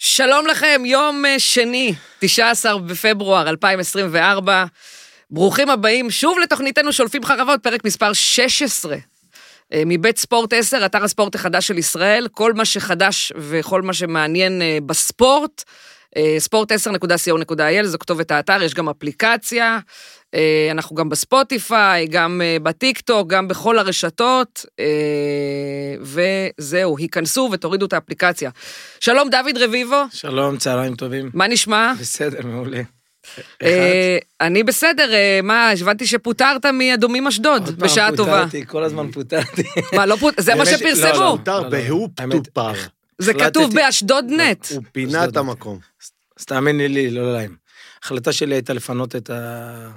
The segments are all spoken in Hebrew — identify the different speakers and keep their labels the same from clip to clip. Speaker 1: שלום לכם, יום אה, שני, 19 בפברואר 2024. ברוכים הבאים שוב לתוכניתנו שולפים חרבות, פרק מספר 16. אה, מבית ספורט 10, אתר הספורט החדש של ישראל, כל מה שחדש וכל מה שמעניין אה, בספורט, אה, sport10.co.il, זו כתובת האתר, יש גם אפליקציה, אה, אנחנו גם בספוטיפיי, גם אה, בטיקטוק, גם בכל הרשתות, אה, וזהו, היכנסו ותורידו את האפליקציה. שלום, דוד רביבו,
Speaker 2: שלום, צהריים טובים.
Speaker 1: מה נשמע?
Speaker 2: בסדר, מעולה.
Speaker 1: אה, אני בסדר, אה, מה, הבנתי שפוטרת מאדומים
Speaker 2: עוד
Speaker 1: אשדוד
Speaker 2: פעם
Speaker 1: בשעה טובה.
Speaker 2: פוטרתי, כל הזמן פוטרתי.
Speaker 1: מה, לא פוט... זה מה
Speaker 2: באמת, לא,
Speaker 1: שפרסמו,
Speaker 2: לא.
Speaker 3: מותר בהוא
Speaker 2: האמת, אה,
Speaker 3: פטופר.
Speaker 1: זה
Speaker 2: החלטתי- לא,
Speaker 1: כתוב באשדוד נט.
Speaker 3: הוא פינה את המקום.
Speaker 2: אז תאמיני לי, לא להם. ההחלטה שלי הייתה לפנות את ה...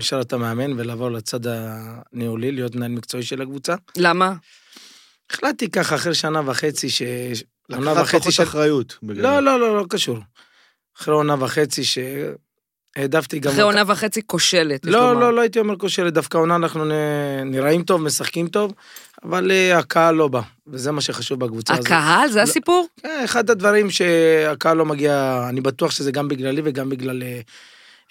Speaker 2: משרת המאמן ולעבור לצד הניהולי, להיות מנהל מקצועי של הקבוצה.
Speaker 1: למה?
Speaker 2: החלטתי ככה אחרי שנה וחצי ש... עונה
Speaker 3: לקחת
Speaker 2: וחצי
Speaker 3: פחות
Speaker 2: של...
Speaker 3: אחריות. בגדול.
Speaker 2: לא, לא, לא, לא קשור. אחרי עונה וחצי ש... העדפתי גם...
Speaker 1: אחרי
Speaker 2: אותה-
Speaker 1: עונה וחצי כושלת, יש
Speaker 2: לא,
Speaker 1: לומר.
Speaker 2: לא, לא הייתי אומר כושלת, דווקא העונה אנחנו נ... נראים טוב, משחקים טוב, אבל אה, הקהל לא בא, וזה מה שחשוב בקבוצה הזאת.
Speaker 1: הקהל, זה הסיפור?
Speaker 2: אה, אחד הדברים שהקהל לא מגיע, אני בטוח שזה גם בגללי וגם בגלל אה,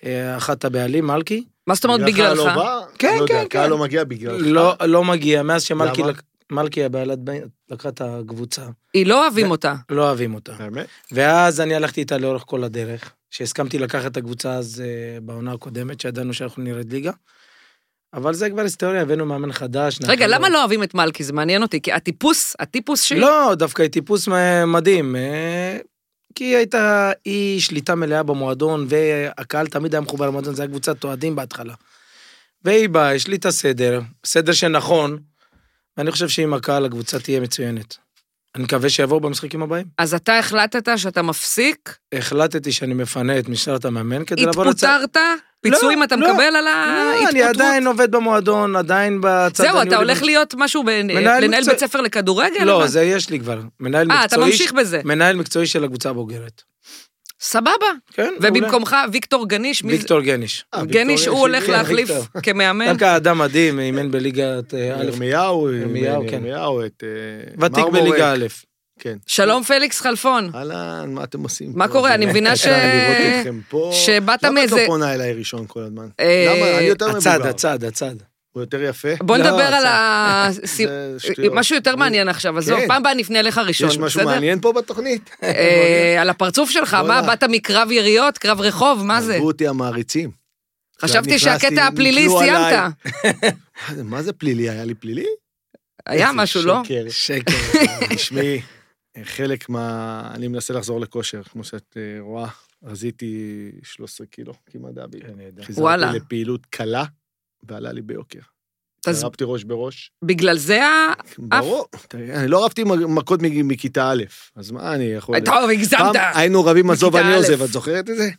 Speaker 2: אה, אחת הבעלים, מלכי.
Speaker 1: מה זאת אומרת
Speaker 3: הקהל לא
Speaker 1: בגללך?
Speaker 3: בא?
Speaker 2: כן,
Speaker 3: אני לא יודע,
Speaker 2: כן,
Speaker 3: הקהל
Speaker 2: כן.
Speaker 3: לא מגיע בגללך.
Speaker 2: לא, לא מגיע, מאז שמלכי,
Speaker 3: למה?
Speaker 2: לק... מלכי הבעלת ב- לקחה את הקבוצה,
Speaker 1: היא לא אוהבים אותה.
Speaker 2: לא אוהבים אותה.
Speaker 3: האמת?
Speaker 2: ואז אני הלכתי איתה לאורך כל הדרך, שהסכמתי לקחת את הקבוצה אז אה, בעונה הקודמת, שידענו שאנחנו נרד ליגה. אבל זה כבר היסטוריה, הבאנו מאמן חדש.
Speaker 1: רגע,
Speaker 2: נחל-
Speaker 1: למה לא אוהבים את מלכי? זה מעניין אותי, כי הטיפוס, הטיפוס שלי...
Speaker 2: לא, דווקא היא טיפוס מ- מדהים. אה, כי היא הייתה אי שליטה מלאה במועדון, והקהל תמיד היה מחובר למועדון, זה היה קבוצת אוהדים בהתחלה. והיא באה, השליטה סדר, סדר שנכון, ואני חושב שעם הקהל הקבוצה תהיה מצוינת. אני מקווה שיבואו במשחקים הבאים.
Speaker 1: אז אתה החלטת שאתה מפסיק,
Speaker 2: החלטתי שאני מפנה את משטרת המאמן כדי לעבור
Speaker 1: התפוטרת, פיצויים
Speaker 2: לא,
Speaker 1: אתה
Speaker 2: לא,
Speaker 1: מקבל על
Speaker 2: לא, אני
Speaker 1: ההתפוטרות.
Speaker 2: עדיין עובד במועדון, עדיין בצד
Speaker 1: זהו, אתה
Speaker 2: הניהולי.
Speaker 1: הולך להיות משהו, בין-
Speaker 2: מנהל
Speaker 1: לנהל
Speaker 2: מקצועי.
Speaker 1: בית ספר לכדורגל?
Speaker 2: לא,
Speaker 1: אבל-
Speaker 2: זה יש לי כבר. מנהל מקצועי...
Speaker 1: אה, אתה ממשיך בזה.
Speaker 2: מנהל מקצועי של הקבוצה הבוגרת.
Speaker 1: סבבה.
Speaker 2: כן, מעולה.
Speaker 1: ובמקומך ויקטור גניש, מי זה?
Speaker 2: ויקטור גניש.
Speaker 3: אה, ויקטוריה
Speaker 1: גניש, הוא הולך
Speaker 3: שהגיע.
Speaker 1: להחליף
Speaker 2: ויקטור. אוקיי.
Speaker 1: כמאמן.
Speaker 2: דווקא אדם מדהים, אימן בליגת אה, א',
Speaker 3: ירמיהו,
Speaker 2: ירמיהו,
Speaker 3: ירמיהו,
Speaker 2: כן.
Speaker 3: ירמיהו, את אה,
Speaker 2: ותיק
Speaker 3: מרמורק.
Speaker 2: בליגה א'.
Speaker 3: כן.
Speaker 1: שלום פליקס חלפון.
Speaker 3: אהלן, מה אתם עושים?
Speaker 1: מה
Speaker 3: פה?
Speaker 1: קורה?
Speaker 3: זה
Speaker 1: אני
Speaker 3: נורא
Speaker 1: מבינה ש-
Speaker 3: קשה לראות אתכם פה.
Speaker 1: שבאת
Speaker 3: למה
Speaker 1: מאיזה-
Speaker 3: את לא פונה אליי ראשון כל הזמן?
Speaker 1: אה,
Speaker 3: למה? אני יותר
Speaker 2: הצד,
Speaker 3: מבוגר.
Speaker 2: הצד, הצד.
Speaker 3: הוא יותר יפה.
Speaker 1: בוא
Speaker 2: לא,
Speaker 1: נדבר על
Speaker 2: זה-
Speaker 1: ה...
Speaker 3: זה שטויות.
Speaker 1: משהו יותר מעניין עכשיו, עזוב,
Speaker 3: כן.
Speaker 1: פעם הבאה נפנה אליך ראשון,
Speaker 3: יש משהו
Speaker 1: בסדר?
Speaker 3: מעניין פה בתוכנית?
Speaker 1: אה, על הפרצוף שלך, מה,
Speaker 3: וואלה.
Speaker 1: באת מקרב יריות, קרב רחוב, מה זה?
Speaker 3: אהבו אותי המעריצים.
Speaker 1: חשבתי
Speaker 3: עכשיו נכנסתי,
Speaker 1: שהקטע הפלילי
Speaker 3: נתלו עליי.
Speaker 1: סיימת.
Speaker 3: מה זה- מה זה פלילי? היה לי פלילי?
Speaker 1: היה
Speaker 3: איזה
Speaker 1: משהו, לא?
Speaker 3: שקר.
Speaker 2: שקר.
Speaker 3: תשמעי, חלק מה... אני מנסה לחזור לכושר, כמו שאת אה, רואה. רזיתי 13 קילו, כמעט דבי.
Speaker 1: כן. וואלה.
Speaker 3: חיזרתי לפעילות קלה, ועלה לי ביוקר.
Speaker 1: אז
Speaker 3: הרבתי ראש בראש.
Speaker 1: בגלל זה ה...
Speaker 3: ברור. תראה, אני לא רבתי מ- מכות מג- מכיתה א', אז מה אני יכול...
Speaker 1: טוב, הגזמת.
Speaker 3: פעם היינו רבים, עזוב,
Speaker 1: מכיתה
Speaker 3: אני
Speaker 1: א'.
Speaker 3: עוזב, את זוכרת את זה?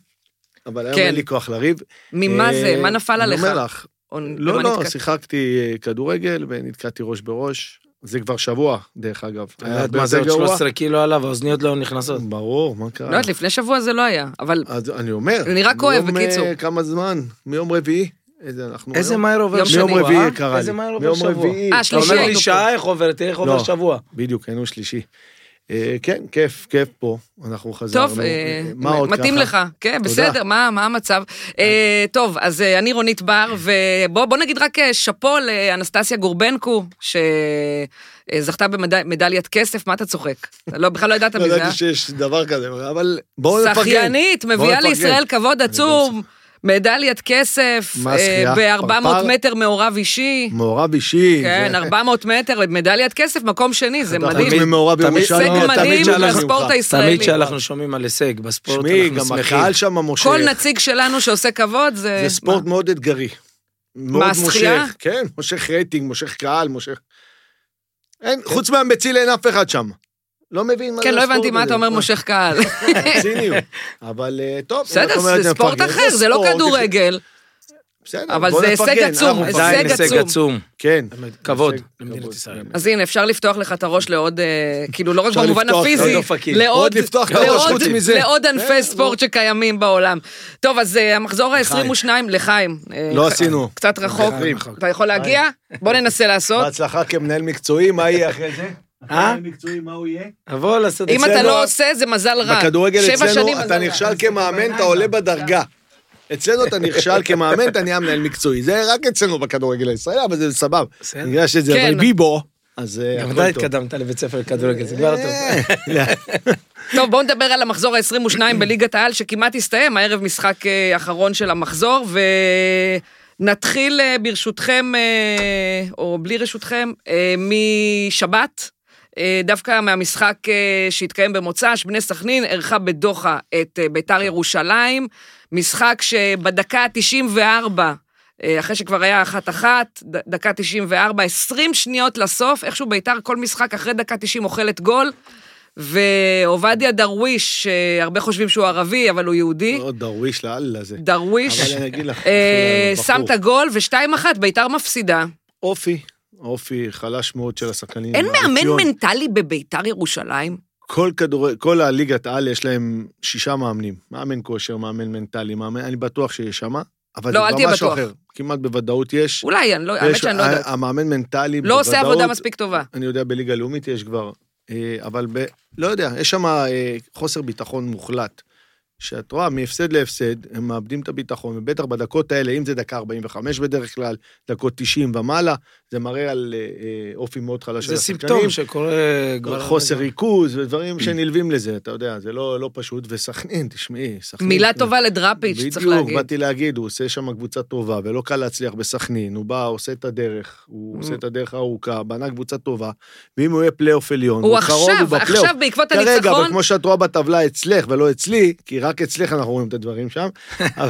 Speaker 3: אבל היום
Speaker 1: כן.
Speaker 3: אין לי כוח לריב.
Speaker 1: ממה
Speaker 3: אה,
Speaker 1: זה? מה נפל עליך?
Speaker 3: אני אומר לך,
Speaker 1: או
Speaker 3: לא,
Speaker 1: למה
Speaker 3: לא,
Speaker 1: נתק-
Speaker 3: שיחקתי אה, כדורגל ונתקעתי ראש בראש. זה כבר שבוע, דרך אגב.
Speaker 2: אה, את יודעת מה זה עוד 13 קילו עליו, האוזניות לא נכנסות.
Speaker 3: ברור, מה
Speaker 1: לא
Speaker 3: קרה?
Speaker 1: יודעת, לפני שבוע זה לא היה, אבל
Speaker 3: אז אני אומר.
Speaker 1: אני רק אוהב, בקיצור.
Speaker 3: מיום אה, כמה זמן? מיום רביעי? איזה אנחנו...
Speaker 2: איזה
Speaker 3: היום?
Speaker 2: מהר עובר
Speaker 1: יום
Speaker 2: שבוע.
Speaker 3: מיום רביעי
Speaker 2: אה?
Speaker 3: קרה לי.
Speaker 2: איזה מהר עובר
Speaker 3: מיום
Speaker 2: שבוע.
Speaker 3: רביעי.
Speaker 1: אה,
Speaker 2: אתה אומר
Speaker 1: שלישי
Speaker 2: לי
Speaker 1: היינו
Speaker 2: שעה איך עוברת, איך עובר
Speaker 3: לא.
Speaker 2: שבוע.
Speaker 3: בדיוק, היינו שלישי. אה, כן, כיף, כיף פה. אנחנו חזרנו.
Speaker 1: טוב, אה,
Speaker 3: אה, מה עוד
Speaker 1: מתאים
Speaker 3: ככה?
Speaker 1: לך, כן,
Speaker 3: תודה.
Speaker 1: בסדר, מה מה המצב? אה, טוב, אז אה, אני רונית בר, ובוא נגיד רק אה, שאפו לאנסטסיה גורבנקו, שזכתה במדליית כסף, מה אתה צוחק? אתה לא, בכלל לא ידעת
Speaker 3: לא
Speaker 1: מזה. אה?
Speaker 3: ידעתי שיש דבר כזה, אבל בואו נפרגן.
Speaker 1: שחיינית,
Speaker 3: בואו
Speaker 1: מביאה
Speaker 3: נפרגן.
Speaker 1: לישראל כבוד עצום, מדליית כסף, אה,
Speaker 3: מה שחייה?
Speaker 1: ב-400
Speaker 3: פרפר?
Speaker 1: מטר מעורב אישי,
Speaker 3: מעורב אישי.
Speaker 1: כן,
Speaker 3: זה-
Speaker 1: 400 מטר, מדליית כסף, מקום שני, זה
Speaker 3: אתה
Speaker 1: מדהים.
Speaker 3: חוץ ממעורב
Speaker 2: תמיד-
Speaker 3: ירושלים,
Speaker 2: הישג
Speaker 3: תמיד
Speaker 1: מדהים
Speaker 3: שאנחנו-
Speaker 1: לספורט הישראלי.
Speaker 2: תמיד כשאנחנו שומעים על הישג בספורט,
Speaker 3: תשמעי,
Speaker 2: אנחנו
Speaker 3: גם
Speaker 2: שמחים.
Speaker 3: הקהל שם מושך.
Speaker 1: כל נציג שלנו שעושה כבוד זה...
Speaker 3: זה ספורט מאוד אתגרי. מאוד
Speaker 1: השחייה?
Speaker 3: מושך, כן, מושך רייטינג, מושך קהל, מושך... אין, חוץ מהמציל אין אף אחד שם. לא מבין מה זה
Speaker 1: אה. כן, לא
Speaker 3: הספורט
Speaker 1: הבנתי מה
Speaker 3: הזה.
Speaker 1: אתה אומר מושך קהל.
Speaker 3: ציניות. אבל אה, טוב, אם את
Speaker 1: בסדר,
Speaker 3: אומרת,
Speaker 1: זה ספורט
Speaker 3: נפרגן.
Speaker 1: אחר, זה לא
Speaker 3: ספורט,
Speaker 1: כדורגל.
Speaker 3: בסדר,
Speaker 1: אבל
Speaker 3: בוא
Speaker 1: זה הישג
Speaker 3: נפרגן,
Speaker 1: עצום,
Speaker 3: אנחנו
Speaker 1: הישג
Speaker 2: עדיין
Speaker 3: מפרגנים.
Speaker 2: הישג עצום.
Speaker 3: כן.
Speaker 2: כבוד
Speaker 3: הישג
Speaker 2: למדינת
Speaker 3: כבוד,
Speaker 2: ישראל.
Speaker 3: באמת.
Speaker 1: אז הנה, אפשר לפתוח לך את הראש לעוד, אה, כאילו, לא רק
Speaker 3: אפשר
Speaker 1: במובן
Speaker 3: לפתוח,
Speaker 1: הפיזי,
Speaker 2: לעוד אופקים.
Speaker 1: לעוד
Speaker 3: עוד לפתוח את
Speaker 1: לעוד-
Speaker 3: הראש חוץ מזה. כן, לא.
Speaker 1: לעוד ענפי ספורט שקיימים בעולם. טוב, אז אה, המחזור ה-22 לחיים. אה,
Speaker 3: לא
Speaker 1: ח-
Speaker 3: עשינו.
Speaker 1: קצת רחוק.
Speaker 3: לחיים.
Speaker 1: אתה יכול להגיע? בוא ננסה לעשות.
Speaker 3: בהצלחה כמנהל מקצועי, מה יהיה אחרי זה?
Speaker 2: אה?
Speaker 4: מקצועי, מה הוא יהיה?
Speaker 2: אבוא לעשות
Speaker 1: אם
Speaker 2: אצלנו-
Speaker 1: אתה לא עושה, זה מזל רע.
Speaker 3: בכדורגל
Speaker 1: שבע שנים לא
Speaker 3: אצלנו
Speaker 1: מזל
Speaker 3: אתה
Speaker 1: רע.
Speaker 3: נכשל כמאמן, אתה עולה בדרגה. אצלנו אתה נכשל כמאמן, אתה נהיה מנהל מקצועי. זה רק אצלנו בכדורגל הישראלי, אבל זה סבבה.
Speaker 2: בסדר.
Speaker 3: בגלל שזה
Speaker 1: כן.
Speaker 3: אבל ביבו, אז אה,
Speaker 2: גם
Speaker 3: הכל
Speaker 2: אתה
Speaker 3: טוב.
Speaker 2: התקדמת לבית ספר לכדורגל, זה כבר טוב.
Speaker 3: אה,
Speaker 1: טוב, בואו נדבר על המחזור ה-22 בליגת העל, שכמעט הסתיים, הערב משחק אה, אחרון של המחזור, ונתחיל אה, ברשותכם, אה, או בלי רשותכם, אה, משבת, אה, דווקא מהמשחק אה, שהתקיים במוצ"ש, בני סכנין אירחה בדוחה את אה, ביתר ירושלים, משחק שבדקה ה-94, אה, אחרי שכבר היה אחת-אחת, ד- דקה 94, 20 שניות לסוף, איכשהו ביתר כל משחק אחרי דקה 90 אוכלת גול, ועובדיה דרוויש, שהרבה חושבים שהוא ערבי, אבל הוא יהודי,
Speaker 3: אה, עוד דרוויש לאללה זה.
Speaker 1: דרוויש,
Speaker 3: אבל אני אגיד לך,
Speaker 1: אה,
Speaker 3: בחור.
Speaker 1: שם את הגול, ושתיים אחת, ביתר מפסידה.
Speaker 3: אופי, אופי חלש מאוד של השחקנים.
Speaker 1: אין מאמן
Speaker 3: הרפיון.
Speaker 1: מנטלי בביתר ירושלים?
Speaker 3: כל כדור... כל הליגת על יש להם שישה מאמנים. מאמן כושר, מאמן מנטלי, מאמן... אני בטוח שיש שמה, אבל
Speaker 1: לא,
Speaker 3: זה
Speaker 1: אל
Speaker 3: כבר
Speaker 1: תהיה
Speaker 3: משהו
Speaker 1: בטוח.
Speaker 3: אחר. כמעט בוודאות יש.
Speaker 1: אולי, אני לא, האמת
Speaker 3: יש- אה,
Speaker 1: שאני לא יודעת.
Speaker 3: המאמן מנטלי
Speaker 1: לא עושה עבודה מספיק טובה.
Speaker 3: אני יודע, בליגה לאומית יש כבר, אה, אבל ב... לא יודע, יש שם אה, חוסר ביטחון מוחלט. שאת רואה, מהפסד להפסד, הם מאבדים את הביטחון, ובטח בדקות האלה, אם זה דקה 45 בדרך כלל, דקות 90 ומעלה, זה מראה על אה, אה, אופי מאוד חלש של
Speaker 2: זה
Speaker 3: השחקנים.
Speaker 2: סימפטום שקורה כבר... אה, כן. הרבה
Speaker 3: חוסר
Speaker 2: זמן.
Speaker 3: ריכוז ודברים שנלווים לזה, אתה יודע, זה לא, לא פשוט. וסכנין, תשמעי, סכנין...
Speaker 1: מילה טובה לדראפיץ', צריך
Speaker 3: כן. בדיוק,
Speaker 1: להגיד.
Speaker 3: באתי להגיד, הוא עושה שם קבוצה טובה, ולא קל להצליח בסכנין, הוא בא, עושה את הדרך,
Speaker 1: Mm.
Speaker 3: הוא עושה את הדרך הארוכה, בנה קבוצה טובה, ואם הוא יהיה פלייאוף עליון,
Speaker 1: הוא
Speaker 3: קרוב,
Speaker 1: עכשיו,
Speaker 3: בפלייאוף.
Speaker 1: עכשיו בעקבות
Speaker 3: כרגע, אבל
Speaker 1: הניצחון,
Speaker 3: כמו שאת רואה בטבלה אצלך ולא אצלי, כי רק אצלך אנחנו רואים את הדברים שם, אבל-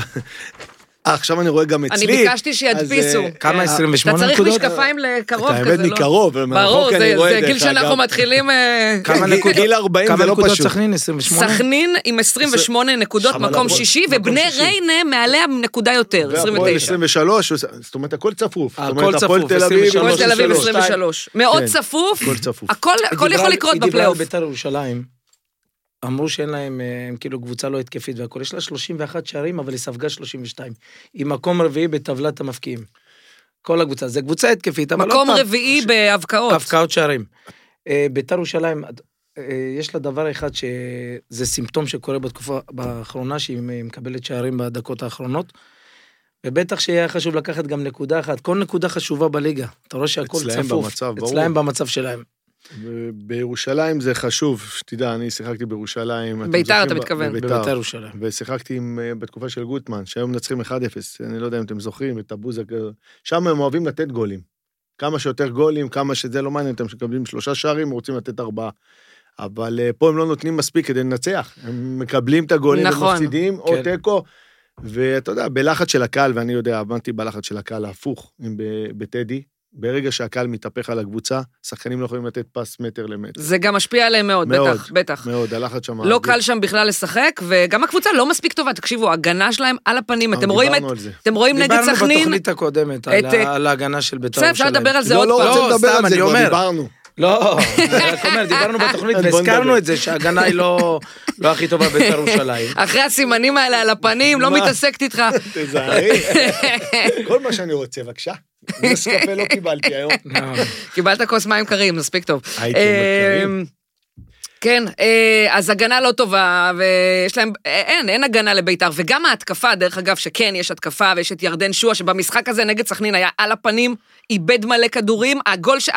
Speaker 3: אה, עכשיו אני רואה גם
Speaker 1: אני
Speaker 3: אצלי.
Speaker 1: ביקשתי שידפיסו.
Speaker 3: אז, אה,
Speaker 1: כן.
Speaker 2: כמה, 28
Speaker 1: אתה צריך
Speaker 2: נקודות?
Speaker 1: משקפיים לקרוב
Speaker 3: את
Speaker 1: כזה,
Speaker 3: האמת
Speaker 1: לא?
Speaker 3: מקרוב,
Speaker 1: ברור,
Speaker 3: מרחוק
Speaker 1: זה-
Speaker 3: אני רואה
Speaker 1: זה
Speaker 3: דרך
Speaker 1: גיל שאנחנו
Speaker 3: אגב.
Speaker 1: מתחילים... אה,
Speaker 2: כמה
Speaker 3: גיל-
Speaker 2: נקודות-
Speaker 3: גיל 40
Speaker 2: כמה
Speaker 3: זה לא
Speaker 2: נקודות
Speaker 3: פשוט.
Speaker 2: סכנין? 28?
Speaker 1: סכנין עם 28 נקודות,
Speaker 3: שם
Speaker 1: מקום
Speaker 3: על הראש,
Speaker 1: שישי,
Speaker 3: מקום
Speaker 1: ובני
Speaker 3: שישי.
Speaker 1: ריינה מעליה נקודה יותר,
Speaker 3: אה,
Speaker 1: 29.
Speaker 3: והפועל 23, זאת אומרת, הכל צפוף.
Speaker 2: הכל
Speaker 3: זאת אומרת, הפועל
Speaker 2: צפוף,
Speaker 3: תל אביב,
Speaker 2: 23.
Speaker 1: הפועל תל אביב
Speaker 2: 23.
Speaker 1: 23. מאוד
Speaker 3: כן.
Speaker 1: צפוף,
Speaker 3: הכל צפוף.
Speaker 1: הכל
Speaker 2: היא
Speaker 1: הכל
Speaker 2: דיברה
Speaker 1: יכול
Speaker 2: על-
Speaker 1: לקרות
Speaker 2: היא דיברה על
Speaker 1: בפלייאוף.
Speaker 2: בית"ר ירושלים. אמרו שאין להם, אה, הם כאילו קבוצה לא התקפית והכול. יש לה 31 שערים, אבל היא ספגה 32. היא מקום רביעי בטבלת המפקיעים. כל הקבוצה. זו קבוצה התקפית, אבל לא עוד
Speaker 1: מקום
Speaker 2: פעם,
Speaker 1: רביעי בהבקעות.
Speaker 2: הבקעות שערים. אה, בית"ר ירושלים, אה, יש לה דבר אחד שזה סימפטום שקורה בתקופה האחרונה, שהיא מקבלת שערים בדקות האחרונות. ובטח שיהיה חשוב לקחת גם נקודה אחת. כל נקודה חשובה בליגה. אתה רואה שהכל צפוף.
Speaker 3: אצלהם במצב, ברור.
Speaker 2: אצלהם במצב שלהם.
Speaker 3: ב- בירושלים זה חשוב, שתדע, אני שיחקתי בירושלים. אתם
Speaker 1: ביתר,
Speaker 3: זוכרים?
Speaker 1: אתה
Speaker 3: ב-
Speaker 1: מתכוון.
Speaker 3: בביתר.
Speaker 2: בבית"ר ירושלים.
Speaker 3: ושיחקתי עם, אה, בתקופה של גוטמן, שהיום מנצחים 1-0, אני לא יודע אם אתם זוכרים, את הבוז הכ- שם הם אוהבים לתת גולים. כמה שיותר גולים, כמה שזה לא מעניין, אתם מקבלים שלושה שערים, רוצים לתת ארבעה. אבל אה, פה הם לא נותנים מספיק כדי לנצח. הם מקבלים את הגולים,
Speaker 1: נכון.
Speaker 3: נכון, ומפסידים, או
Speaker 2: כן.
Speaker 3: תיקו. ואתה יודע, בלחץ של הקהל, ואני יודע, עבדתי בלחץ של הקהל ההפוך, עם ב- בטדי, ברגע שהקהל מתהפך על הקבוצה, שחקנים לא יכולים לתת פס מטר למטר.
Speaker 1: זה גם משפיע עליהם מאוד,
Speaker 3: מאוד.
Speaker 1: בטח, בטח.
Speaker 3: מאוד, הלחץ שם...
Speaker 1: לא קל שם בכלל לשחק, וגם הקבוצה לא מספיק טובה, תקשיבו, ההגנה שלהם על הפנים, אתם
Speaker 3: אה, דיברנו
Speaker 1: רואים את...
Speaker 3: על זה.
Speaker 1: אתם רואים נגד
Speaker 2: דיברנו
Speaker 1: סכנין,
Speaker 2: בתוכנית הקודמת על
Speaker 1: את, אה,
Speaker 2: ה- על ההגנה של בית"ר
Speaker 1: בסדר, אפשר
Speaker 2: ירושלים.
Speaker 1: לדבר על זה
Speaker 3: לא,
Speaker 1: עוד
Speaker 3: לא
Speaker 1: פעם.
Speaker 2: רוצה-
Speaker 3: רוצה לדבר
Speaker 2: סתם,
Speaker 3: על זה,
Speaker 2: אני
Speaker 3: כבר
Speaker 2: אומר.
Speaker 3: דיברנו.
Speaker 2: לא, אני רק אומר, דיברנו בתוכנית
Speaker 3: אז בוא
Speaker 2: והזכרנו
Speaker 3: נדבר.
Speaker 2: את זה שההגנה היא לא לא הכי טובה בית"ר ירושלים.
Speaker 1: אחרי הסימנים האלה על הפנים, לא
Speaker 3: מה?
Speaker 1: מתעסקת איתך.
Speaker 3: תזהרי. כל מה שאני רוצה, בבקשה. נס קפה לא קיבלתי היום.
Speaker 1: אה, קיבלת כוס מים קרים, מספיק טוב.
Speaker 3: הייתי אומר קרים.
Speaker 1: אמ, כן, אה, אז הגנה לא טובה, ויש להם, אה, אין, אין הגנה לביתר, וגם ההתקפה, דרך אגב, שכן, יש התקפה, ויש את ירדן שועה, שבמשחק הזה נגד סכנין היה על הפנים, איבד מלא כדורים, הגול, ש... ה-